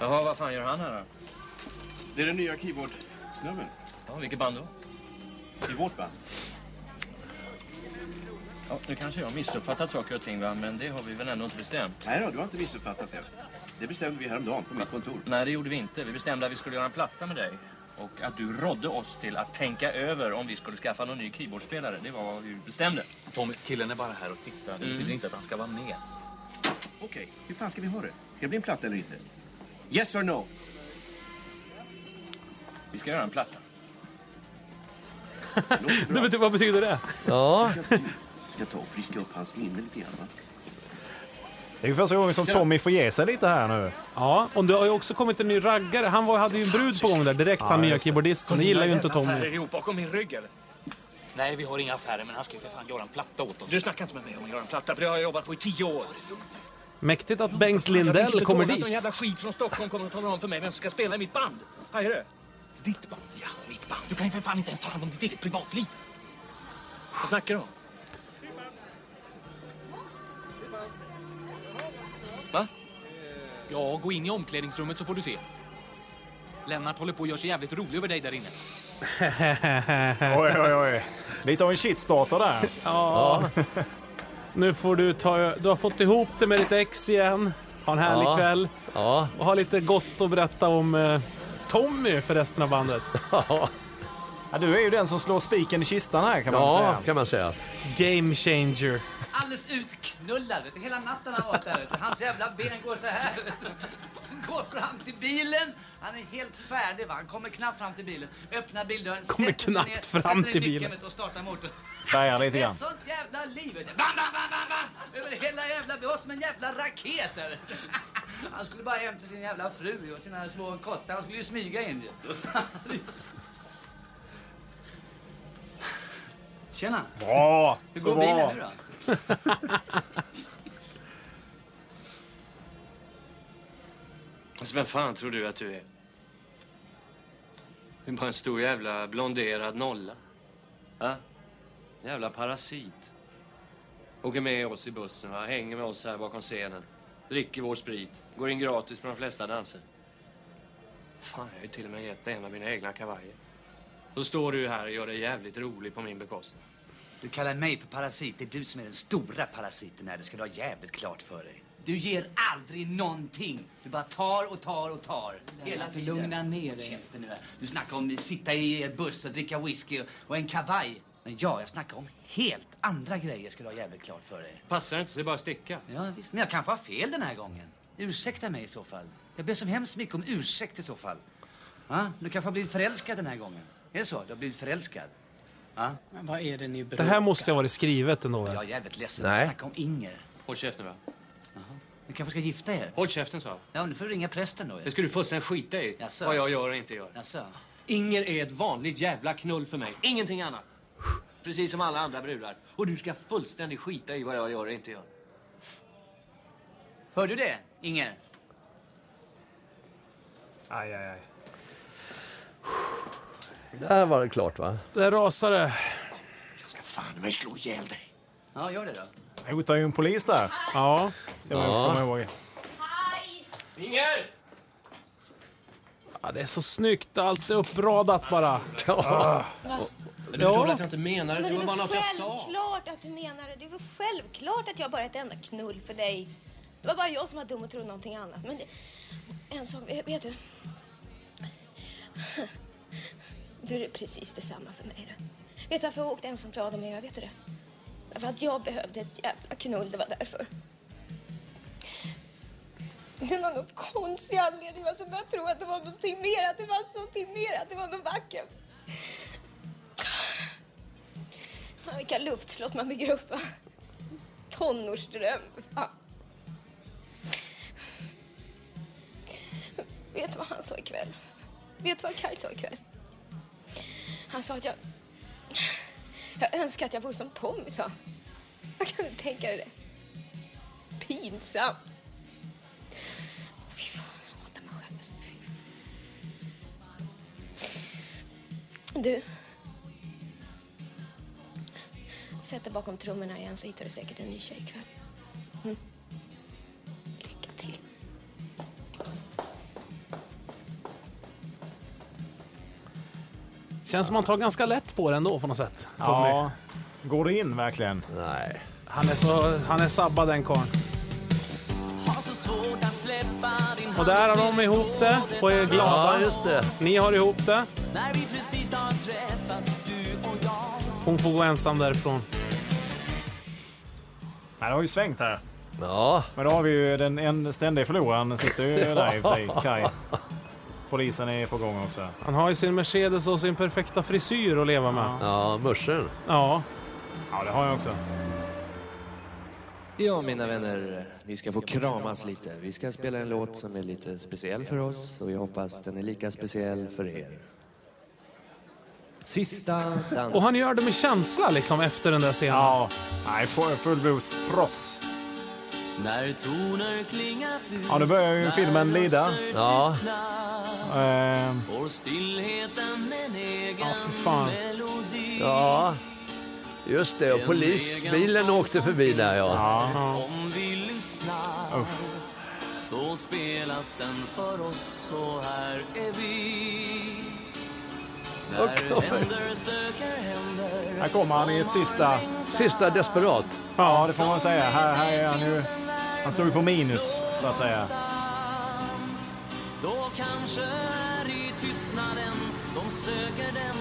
[SPEAKER 16] Jaha, vad fan gör han här då?
[SPEAKER 20] Det är den nya keyboardsnubben.
[SPEAKER 16] Ja, vilket band då?
[SPEAKER 20] I vårt band.
[SPEAKER 16] Ja, nu kanske jag har missuppfattat saker och ting, va? men det har vi väl ändå inte bestämt?
[SPEAKER 20] Nej då, du har inte missuppfattat det. Det bestämde vi häromdagen på mitt kontor.
[SPEAKER 16] Nej, det gjorde vi inte. Vi bestämde att vi skulle göra en platta med dig och att du rådde oss till att tänka över om vi skulle skaffa någon ny keyboardspelare. Det var vad vi bestämde.
[SPEAKER 21] Tommy, killen är bara här och tittar. Det
[SPEAKER 16] Mm.
[SPEAKER 21] betyder inte att han ska vara med.
[SPEAKER 20] Okej, hur fan ska vi ha det? Ska det bli en platta eller inte? Yes or no?
[SPEAKER 16] Vi ska göra en platta.
[SPEAKER 1] Det bety- vad betyder det?
[SPEAKER 2] Ja.
[SPEAKER 20] Jag tycker att du ska ta och friska upp hans minne lite grann. Va?
[SPEAKER 3] Det är ju första gången som Tommy får ge sig lite här nu.
[SPEAKER 1] Ja, och det har ju också kommit en ny raggare. Han var, hade ju en brud på gång där direkt,
[SPEAKER 3] Ja,
[SPEAKER 1] han nya
[SPEAKER 3] just det.
[SPEAKER 1] keyboardisten. Det gillar ju inte Tommy.
[SPEAKER 21] ihop bakom min rygg eller? Nej, vi har inga affärer, men han ska ju för fan göra en platta åt oss. Du snackar inte med mig om att göra en platta, för det har jag jobbat på i tio år.
[SPEAKER 1] Mäktigt att Bengt
[SPEAKER 21] Jag tänker
[SPEAKER 1] Lindell
[SPEAKER 21] inte
[SPEAKER 1] kommer
[SPEAKER 21] tåla att
[SPEAKER 1] dit.
[SPEAKER 21] någon jävla skit från Stockholm kommer och talar om för mig vem som ska spela i mitt band. Vad är det? Ditt band? Ja, mitt band. Du kan ju för fan inte ens ta hand om ditt eget privatliv. Vad snackar du om?
[SPEAKER 16] Va? Ja, gå in i omklädningsrummet så får du se. Lennart håller på och gör sig jävligt rolig över dig där inne.
[SPEAKER 4] Eh.
[SPEAKER 3] oj, oj, oj. Lite av en shitstarter där.
[SPEAKER 1] Ja. Nu får du ta... Du har fått ihop det med ditt ex igen. Ha en härlig
[SPEAKER 2] Ja.
[SPEAKER 1] kväll.
[SPEAKER 2] Ja.
[SPEAKER 1] Och ha lite gott att berätta om eh, Tommy för resten av bandet.
[SPEAKER 3] Ja, du är ju den som slår spiken i kistan här kan man
[SPEAKER 2] Ja,
[SPEAKER 3] säga.
[SPEAKER 2] kan man säga.
[SPEAKER 1] Game changer.
[SPEAKER 4] Alldeles utknullad, vet du. Hela natten har han varit där ute. Hans jävla ben går så här. vet du. Han går fram till bilen. Han är helt färdig, va. Han kommer knappt fram till bilen. Öppnar bildörren,
[SPEAKER 1] Kommer
[SPEAKER 4] sätter sig
[SPEAKER 1] knappt
[SPEAKER 4] ner,
[SPEAKER 1] fram
[SPEAKER 4] sätter i
[SPEAKER 1] till bilen.
[SPEAKER 4] nyckeln, vet du, och startar motorn.
[SPEAKER 3] Färgar lite
[SPEAKER 4] Det är
[SPEAKER 3] grann.
[SPEAKER 4] ett sånt jävla liv, vet du. Bam, bam, bam, bam, bam. Över hela jävla... Vi var som en jävla raket där. vet du. Han skulle bara hem till sin jävla fru och sina små kottar. Han skulle ju smyga in ju. Tjena!
[SPEAKER 3] Bra!
[SPEAKER 4] Hur
[SPEAKER 3] så
[SPEAKER 4] går
[SPEAKER 3] bra.
[SPEAKER 4] bilen nu då?
[SPEAKER 16] Alltså vem fan tror du att du är? Du är bara en stor jävla blonderad nolla. Va? Jävla parasit. Åker med oss i bussen, va? hänger med oss här bakom scenen. Dricker vår sprit. Går in gratis på de flesta danser. Fan, jag har ju till och med gett dig en av mina egna kavajer. Så står du här och gör dig jävligt rolig på min bekostnad.
[SPEAKER 4] Du kallar mig för parasit. Det är du som är den stora parasiten här. Det ska du ha jävligt klart för dig. Du ger aldrig någonting. Du bara tar och tar och tar. Hela
[SPEAKER 10] Lennart,
[SPEAKER 4] tiden.
[SPEAKER 10] lugna ner
[SPEAKER 4] Håll
[SPEAKER 10] dig.
[SPEAKER 4] käften nu. Du snackar om att sitta i er buss och dricka whisky och, och en kavaj. Men ja, jag snackar om helt andra grejer ska du ha jävligt klart för dig.
[SPEAKER 16] Passar det inte så det är bara att sticka.
[SPEAKER 4] Ja, visst. Men jag kanske har fel den här gången. Ursäkta mig i så fall. Jag ber så hemskt mycket om ursäkt i så fall. Ja, du kanske har blivit förälskad den här gången. Är det så? Du har blivit förälskad? Ja.
[SPEAKER 30] Men vad är det ni
[SPEAKER 1] Det här måste ju ha varit skrivet ändå.
[SPEAKER 4] Jag är jävligt ledsen.
[SPEAKER 1] Nej.
[SPEAKER 4] Nej. Snacka om Inger.
[SPEAKER 16] Håll käften va?
[SPEAKER 4] Ni kanske ska gifta er?
[SPEAKER 16] Håll käften sa jag.
[SPEAKER 4] Ja, men nu får du ringa prästen då.
[SPEAKER 16] Det ska du fullständigt skita i.
[SPEAKER 4] Jaså?
[SPEAKER 16] Vad jag gör och inte gör.
[SPEAKER 4] Jaså?
[SPEAKER 16] Inger är ett vanligt jävla knull för mig. Ingenting annat. Precis som alla andra brudar. Och du ska fullständigt skita i vad jag gör och inte gör.
[SPEAKER 4] Hör du det, Inger?
[SPEAKER 3] Aj, aj, aj.
[SPEAKER 2] Där var det klart va?
[SPEAKER 1] Där rasade det.
[SPEAKER 4] Fan, men slå ihjäl dig. Ja, gör det då.
[SPEAKER 3] Jag hotar ju en polis där.
[SPEAKER 1] Ja.
[SPEAKER 3] Se om jag
[SPEAKER 1] Ja.
[SPEAKER 3] kommer ihåg.
[SPEAKER 16] Inger!
[SPEAKER 1] Ja, det är så snyggt. Allt är uppradat bara.
[SPEAKER 16] Va?
[SPEAKER 1] Men
[SPEAKER 16] Men
[SPEAKER 1] du
[SPEAKER 16] du
[SPEAKER 1] Ja.
[SPEAKER 16] förstår att jag inte menar det?
[SPEAKER 12] Men
[SPEAKER 16] Det
[SPEAKER 12] det
[SPEAKER 16] var bara
[SPEAKER 12] var
[SPEAKER 16] något jag sa.
[SPEAKER 12] självklart att du menar det. Det var självklart att jag bara är ett enda knull för dig. Det var bara jag som var dum och trodde någonting annat. Men det, en sak, vet vet du? Du är precis detsamma för mig. Du. Vet du varför jag åkte ensam till Adam och Eva? Vet du det? För att jag behövde ett jävla knull, det var därför. Det var någon konstig anledning. Alltså, jag tror att det var någonting mer, att det fanns någonting mer, att det var något vackert. Ja, Vilka luftslott man bygger upp. va? Tonårsdröm. Fan. Vet du vad han sa ikväll? Vet du vad Kaj sa ikväll? Han sa att jag... Jag önskar att jag vore som Tommy, sa han. Jag kan inte tänka dig det. Pinsam. Fy fan, jag hatar mig själv. alltså. Fy. Du, sätt dig bakom trummorna igen så hittar du säkert en ny tjej ikväll. Mm. Lycka till.
[SPEAKER 1] Känns som man tar ganska lätt på det ändå på något sätt. Tommy.
[SPEAKER 3] Ja. Går det in verkligen?
[SPEAKER 2] Nej.
[SPEAKER 1] Han är, så, han är sabbad den karln. Och där har de ihop det och är glada.
[SPEAKER 2] Ja, just det.
[SPEAKER 1] Ni har ihop det.
[SPEAKER 7] När vi precis har träffats du och jag
[SPEAKER 1] Hon får gå ensam därifrån.
[SPEAKER 3] Nej, det har ju svängt här.
[SPEAKER 2] Ja.
[SPEAKER 3] Men då har vi ju den en ständiga förloraren sitter ju där i och för sig, Kaj. Polisen är på gång också.
[SPEAKER 1] Han har ju sin Mercedes och sin perfekta frisyr att leva med.
[SPEAKER 2] Ja, mörsen.
[SPEAKER 1] Ja.
[SPEAKER 3] Ja, det har jag också.
[SPEAKER 16] Ja, mina vänner. Ni ska få kramas lite. Vi ska spela en låt som är lite speciell för oss och vi hoppas den är lika speciell för er. Sista dans.
[SPEAKER 1] Och han gör det med känsla liksom efter den där scenen.
[SPEAKER 3] Ja. Nej, fullblodsproffs.
[SPEAKER 7] När toner klingat ut
[SPEAKER 3] Ja, nu börjar ju filmen lida.
[SPEAKER 2] Ja.
[SPEAKER 3] Ehm,
[SPEAKER 7] Får stillheten en egen
[SPEAKER 2] Fan.
[SPEAKER 7] melodi
[SPEAKER 2] Ja. Just det, och polisbilen åkte förbi där ja.
[SPEAKER 7] Om vi lyssnar så spelas den för oss och här är vi När
[SPEAKER 2] Okej.
[SPEAKER 7] händer söker händer
[SPEAKER 3] här kommer han i ett sista...
[SPEAKER 2] Sista desperat.
[SPEAKER 3] Ja, det får man säga. Här, här är han ju... Han står ju på minus, så att säga.
[SPEAKER 7] Då kanske här i tystnaden de söker den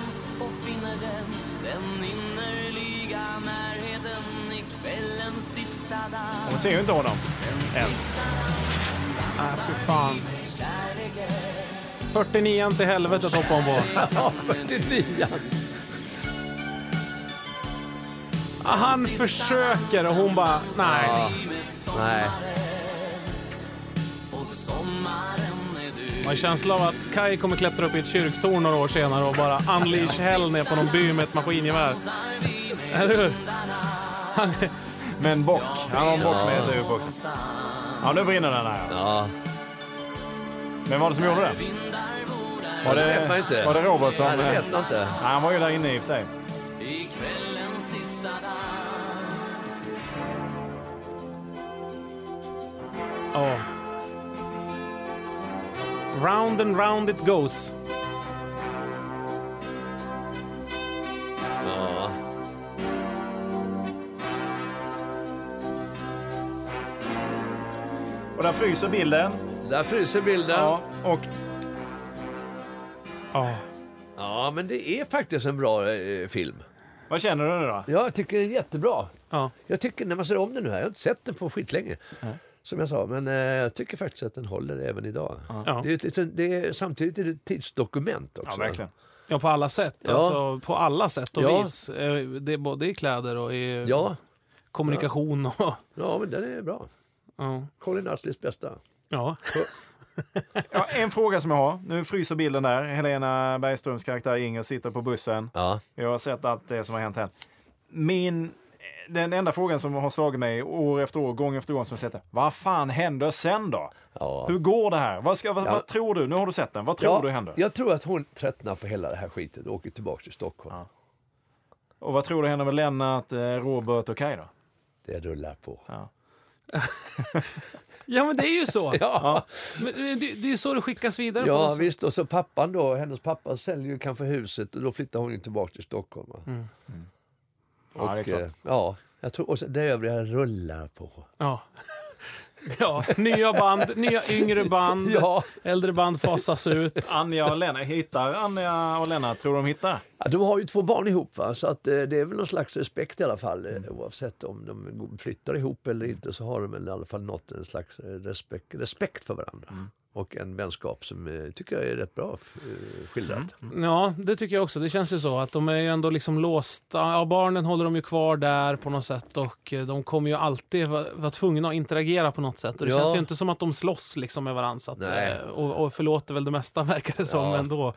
[SPEAKER 7] och finner den Den innerliga närheten i kvällens sista dag
[SPEAKER 3] Hon ser ju inte honom ens.
[SPEAKER 1] Nej, fy Äh, fan. 49 till helvetet hoppade hon på.
[SPEAKER 2] Ja, 49
[SPEAKER 1] Han försöker och hon bara, nej.
[SPEAKER 2] Nej.
[SPEAKER 7] Och sommaren är
[SPEAKER 1] Man har en känsla av att Kai kommer klättra upp i ett kyrktorn några år senare och bara unleash hell ner på någon by med ett maskingevär. Eller hur?
[SPEAKER 3] Med en bock. Han har en bock med sig upp också. Ja, nu brinner den här.
[SPEAKER 2] Ja.
[SPEAKER 3] Vem var det som gjorde den? Var
[SPEAKER 2] Det vet man inte.
[SPEAKER 3] Var det Robert som...
[SPEAKER 2] Nej, det vet man inte.
[SPEAKER 3] Nej, han var ju där inne i och för sig.
[SPEAKER 7] I kvällens sista dans
[SPEAKER 1] Ja. Round and round it goes.
[SPEAKER 2] Ja.
[SPEAKER 3] Och där fryser bilden.
[SPEAKER 2] Där fryser bilden. Ja,
[SPEAKER 3] och...
[SPEAKER 1] Ja.
[SPEAKER 2] Ja, men det är faktiskt en bra eh, film.
[SPEAKER 3] Vad känner du nu då?
[SPEAKER 2] Ja, jag tycker det är jättebra.
[SPEAKER 1] Ja.
[SPEAKER 2] Jag tycker, när man ser om den nu här, jag har inte sett den på skitlänge. Som jag sa, men eh, jag tycker faktiskt att den håller även idag.
[SPEAKER 1] Ja.
[SPEAKER 2] Det är, ett, litet- det är, samtidigt är det ett tidsdokument också.
[SPEAKER 1] Ja, på alla sätt.
[SPEAKER 2] Ja.
[SPEAKER 1] Alltså, på alla sätt och
[SPEAKER 2] Ja.
[SPEAKER 1] vis. Eh, Det är både i kläder och i
[SPEAKER 2] Ja.
[SPEAKER 1] kommunikation och...
[SPEAKER 2] Ja, men den är bra.
[SPEAKER 1] Ja.
[SPEAKER 2] Colin Astleys bästa.
[SPEAKER 1] Ja.
[SPEAKER 3] Ja, en fråga som jag har. Nu fryser bilden där. Helena Bergströms karaktär Inger sitter på bussen.
[SPEAKER 2] Ja.
[SPEAKER 3] Jag har sett allt det som har hänt här. Min, den enda frågan som har slagit mig år efter år, gång efter gång, som jag sett är, vad fan händer sen då? Hur går det här? Vad, ska, vad,
[SPEAKER 2] Ja.
[SPEAKER 3] vad tror du? Nu har du sett den. Vad tror
[SPEAKER 2] Ja,
[SPEAKER 3] du händer?
[SPEAKER 2] Jag tror att hon tröttnar på hela det här skiten och åker tillbaka till Stockholm.
[SPEAKER 3] Och vad tror du händer med Lennart, eh, Robert och Kaj då?
[SPEAKER 2] Det rullar på.
[SPEAKER 3] Ja.
[SPEAKER 1] Ja, men det är ju så.
[SPEAKER 2] Ja.
[SPEAKER 1] Men det, det är ju så det skickas vidare. på
[SPEAKER 2] Ja
[SPEAKER 1] något sätt.
[SPEAKER 2] visst, och så pappan då, hennes pappa säljer ju kanske huset och då flyttar hon ju tillbaka till Stockholm. Va?
[SPEAKER 1] Mm.
[SPEAKER 2] Och,
[SPEAKER 1] Ja, det är klart.
[SPEAKER 2] eh, ja, jag tror, och så, det övriga rullar på.
[SPEAKER 1] Ja. Ja, nya band, nya yngre band,
[SPEAKER 2] Ja.
[SPEAKER 1] äldre band fasas ut.
[SPEAKER 3] Anja och Lennart, hittar Anja och Lennart, tror du de hittar?
[SPEAKER 2] Ja, de har ju två barn ihop va? så att, eh, det är väl någon slags respekt i alla fall. eh,
[SPEAKER 1] Mm.
[SPEAKER 2] Oavsett om de go- flyttar ihop eller inte så har de väl i alla fall nått en slags eh, respekt, respekt för varandra.
[SPEAKER 1] Mm.
[SPEAKER 2] Och en vänskap som eh, tycker jag är rätt bra f- eh,
[SPEAKER 1] Mm.
[SPEAKER 2] skildrad.
[SPEAKER 1] Ja, det tycker jag också. Det känns ju så att de är ju ändå liksom låsta. Ja, barnen håller de ju kvar där på något sätt och eh, de kommer ju alltid va- vara tvungna att interagera på något sätt. Och det
[SPEAKER 2] Ja.
[SPEAKER 1] känns ju inte som att de slåss liksom med varandra. Så att,
[SPEAKER 2] Nej.
[SPEAKER 1] eh, och, och förlåter väl det mesta verkar det som
[SPEAKER 2] Ja.
[SPEAKER 1] ändå.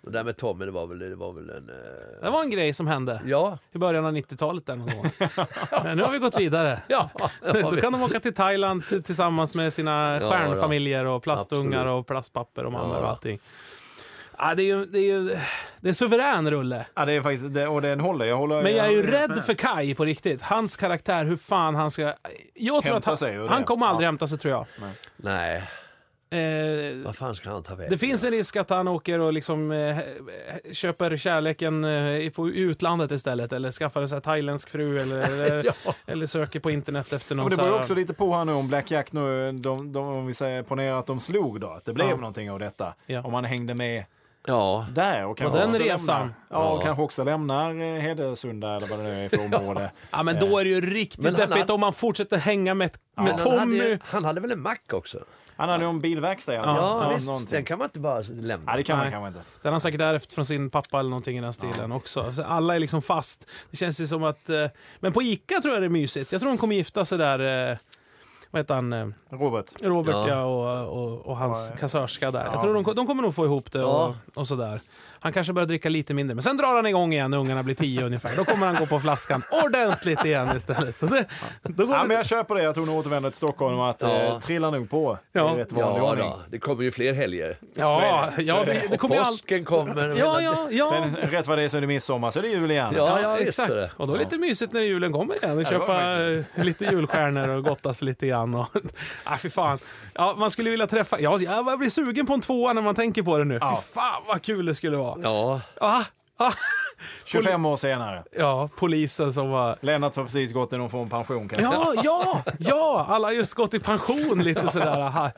[SPEAKER 2] Det där med Tommy, det var väl, det var väl en... eh,
[SPEAKER 1] Det var en grej som hände
[SPEAKER 2] Ja.
[SPEAKER 1] i början av 90-talet där någon gång. Men nu har vi gått vidare.
[SPEAKER 2] Ja, det har
[SPEAKER 1] Då
[SPEAKER 2] vi.
[SPEAKER 1] kan de åka till Thailand t- tillsammans med sina
[SPEAKER 2] Ja,
[SPEAKER 1] stjärnfamiljer och plastungar
[SPEAKER 2] Absolut.
[SPEAKER 1] och plastpapper och mammor
[SPEAKER 2] Ja.
[SPEAKER 1] och allting. Ja, det är ju, det är ju det är en suverän rulle.
[SPEAKER 3] Ja, det är faktiskt, det, och den håller. Jag håller
[SPEAKER 1] Men jag är ju rädd
[SPEAKER 3] med.
[SPEAKER 1] för Kai på riktigt. Hans karaktär, hur fan han ska... Jag tror
[SPEAKER 3] Hämta
[SPEAKER 1] att han,
[SPEAKER 3] sig ur det.
[SPEAKER 1] han kommer aldrig hämta sig tror jag.
[SPEAKER 2] Nej,
[SPEAKER 1] Eh,
[SPEAKER 2] vad fan ska han ta vägen?
[SPEAKER 1] det finns en risk att han åker och liksom, eh, köper kärleken eh, i- på i utlandet istället eller skaffar en sån här thailändsk fru eller, eller, eller söker på internet efter någon
[SPEAKER 3] Men det
[SPEAKER 1] så
[SPEAKER 3] beror
[SPEAKER 1] här-
[SPEAKER 3] också lite på här nu om Black Jack nu, de, de, om vi säger, ponera att de slog då, att det blev
[SPEAKER 1] Ja.
[SPEAKER 3] någonting av detta.
[SPEAKER 1] Ja.
[SPEAKER 3] Om man hängde med
[SPEAKER 2] Ja.
[SPEAKER 3] där och kanske
[SPEAKER 1] den
[SPEAKER 3] också
[SPEAKER 1] resan.
[SPEAKER 3] lämnar, ja, och
[SPEAKER 1] Ja.
[SPEAKER 3] kanske också lämnar eh, Hedesunda eller vad det nu är för område.
[SPEAKER 1] Ja, men då är det ju riktigt
[SPEAKER 2] Eh. Men han
[SPEAKER 1] deppigt
[SPEAKER 2] hade-
[SPEAKER 1] om man fortsätter hänga med, med
[SPEAKER 2] Men han hade,
[SPEAKER 1] Tommy.
[SPEAKER 2] ju- han hade väl en mack också?
[SPEAKER 3] Han hade ju en bilverkstad i alla
[SPEAKER 2] Ja,
[SPEAKER 3] fall. Ja,
[SPEAKER 2] visst.
[SPEAKER 3] någonting.
[SPEAKER 2] Den kan man inte bara lämna.
[SPEAKER 3] Nej, det kan man
[SPEAKER 1] Nej.
[SPEAKER 3] kanske inte.
[SPEAKER 1] Den har han säkert ärvt från sin pappa eller någonting i den stilen också. Så alla är liksom fast. Det känns ju som att... Eh, men på Ica tror jag det är mysigt. Jag tror de kommer gifta sig där... Eh, vad heter han? eh,
[SPEAKER 3] Robert.
[SPEAKER 1] Robert
[SPEAKER 2] Ja.
[SPEAKER 1] ja, och, och, och hans
[SPEAKER 2] Ja,
[SPEAKER 1] kassörska där.
[SPEAKER 2] Ja,
[SPEAKER 1] Jag tror de, de kommer nog få ihop det och,
[SPEAKER 2] Ja.
[SPEAKER 1] och sådär. Han kanske börjar dricka lite mindre, men sen drar han igång igen när ungarna blir tio ungefär. Då kommer han gå på flaskan ordentligt igen istället. Så det, då går
[SPEAKER 3] Ja,
[SPEAKER 1] det-
[SPEAKER 3] men jag köper det. Jag tror hon återvänder till Stockholm och att
[SPEAKER 2] Ja.
[SPEAKER 3] eh, trillar nog på
[SPEAKER 1] Ja.
[SPEAKER 3] i rätt vanlig
[SPEAKER 2] Ja,
[SPEAKER 3] ordning.
[SPEAKER 2] då. det kommer ju fler helger.
[SPEAKER 1] Ja,
[SPEAKER 2] Så är
[SPEAKER 1] ja,
[SPEAKER 2] Så är
[SPEAKER 1] det- det kommer ju
[SPEAKER 2] och
[SPEAKER 1] allt-
[SPEAKER 2] påsken kommer.
[SPEAKER 1] Ja, ja, ja.
[SPEAKER 3] Sen rätt vad det är så är det midsommar, så är det jul igen.
[SPEAKER 2] Ja, ja, visst
[SPEAKER 1] Exakt.
[SPEAKER 2] är det.
[SPEAKER 1] Och då är det lite mysigt när julen kommer igen. Och
[SPEAKER 3] det var
[SPEAKER 1] köpa eh, lite julstjärnor och gotta sig lite grann. Och, ah, fy fan. Ja, man skulle vilja träffa... Ja, jag blir sugen på en tvåa när man tänker på det nu.
[SPEAKER 3] Ja.
[SPEAKER 1] Fy fan vad kul det skulle vara.
[SPEAKER 2] Ja.
[SPEAKER 1] Ah, ah.
[SPEAKER 3] 25 år senare.
[SPEAKER 1] Ja, polisen som var...
[SPEAKER 3] Lennart har precis gått i någon form av pension kanske.
[SPEAKER 1] Ja, ja, ja! Alla har just gått i pension lite sådär. Aha.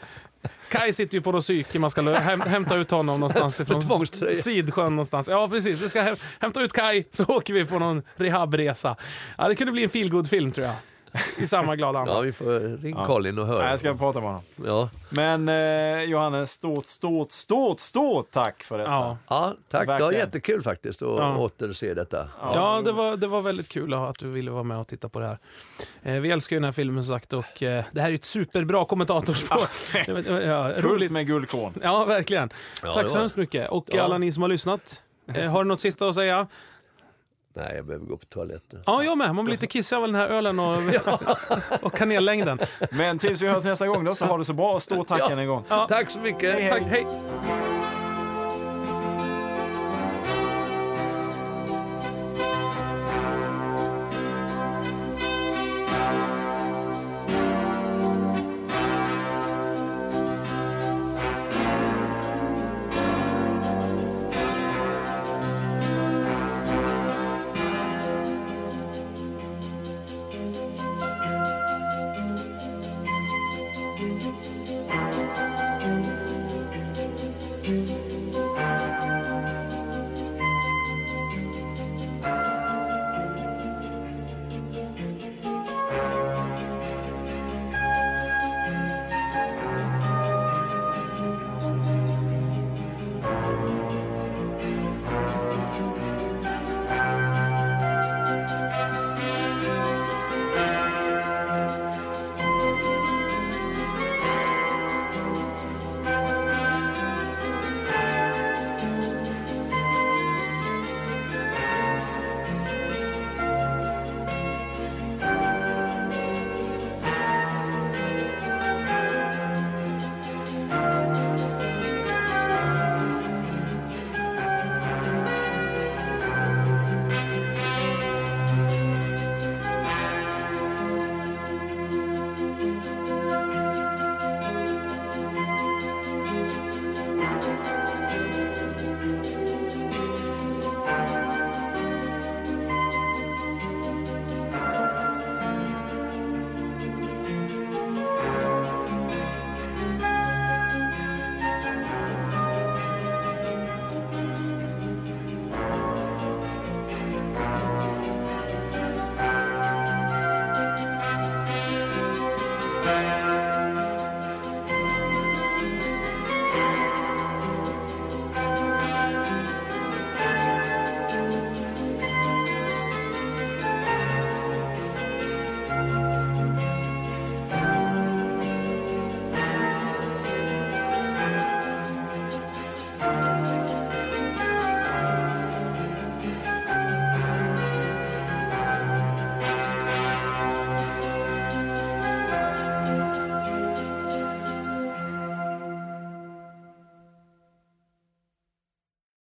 [SPEAKER 1] Kai sitter ju på något psyke. Man ska lö- häm- hämta ut honom någonstans ifrån
[SPEAKER 2] tvångströja.
[SPEAKER 1] Sidsjön någonstans. Ja, precis. Vi ska häm- hämta ut Kai så åker vi på någon rehabresa. Ja, det kunde bli en feelgood film tror jag. I samma glada anda.
[SPEAKER 2] Ja, vi får ring Colin och höra.
[SPEAKER 3] Nej, jag ska prata med honom.
[SPEAKER 2] Ja.
[SPEAKER 3] Men eh, Johannes, stort, stort, stort, stort tack för detta.
[SPEAKER 1] Ja.
[SPEAKER 2] Ja, tack. Det var
[SPEAKER 3] Verkligen.
[SPEAKER 2] jättekul faktiskt att
[SPEAKER 1] Ja.
[SPEAKER 2] återse detta.
[SPEAKER 1] Ja, det var, det var väldigt kul att du ville vara med och titta på det här. Eh, vi älskar ju den här filmen som sagt och eh, det här är ju ett superbra kommentatorspår. ja,
[SPEAKER 3] Fullt med guldkorn.
[SPEAKER 1] Ja, verkligen.
[SPEAKER 3] Ja,
[SPEAKER 1] Tack
[SPEAKER 3] det
[SPEAKER 1] så
[SPEAKER 3] var
[SPEAKER 1] hemskt
[SPEAKER 3] det.
[SPEAKER 1] mycket. Och
[SPEAKER 3] Ja.
[SPEAKER 1] alla ni som har lyssnat, eh, har du något sista att säga?
[SPEAKER 2] Nej, jag behöver gå på toaletten.
[SPEAKER 1] Ja, jag med. Man blir lite kissig av den här ölen och, och kanellängden.
[SPEAKER 3] Men tills vi hörs nästa gång då så har du så bra och stort tack
[SPEAKER 1] Ja.
[SPEAKER 3] än en gång.
[SPEAKER 1] Ja.
[SPEAKER 2] Tack så mycket.
[SPEAKER 1] Tack, hej.
[SPEAKER 2] hej.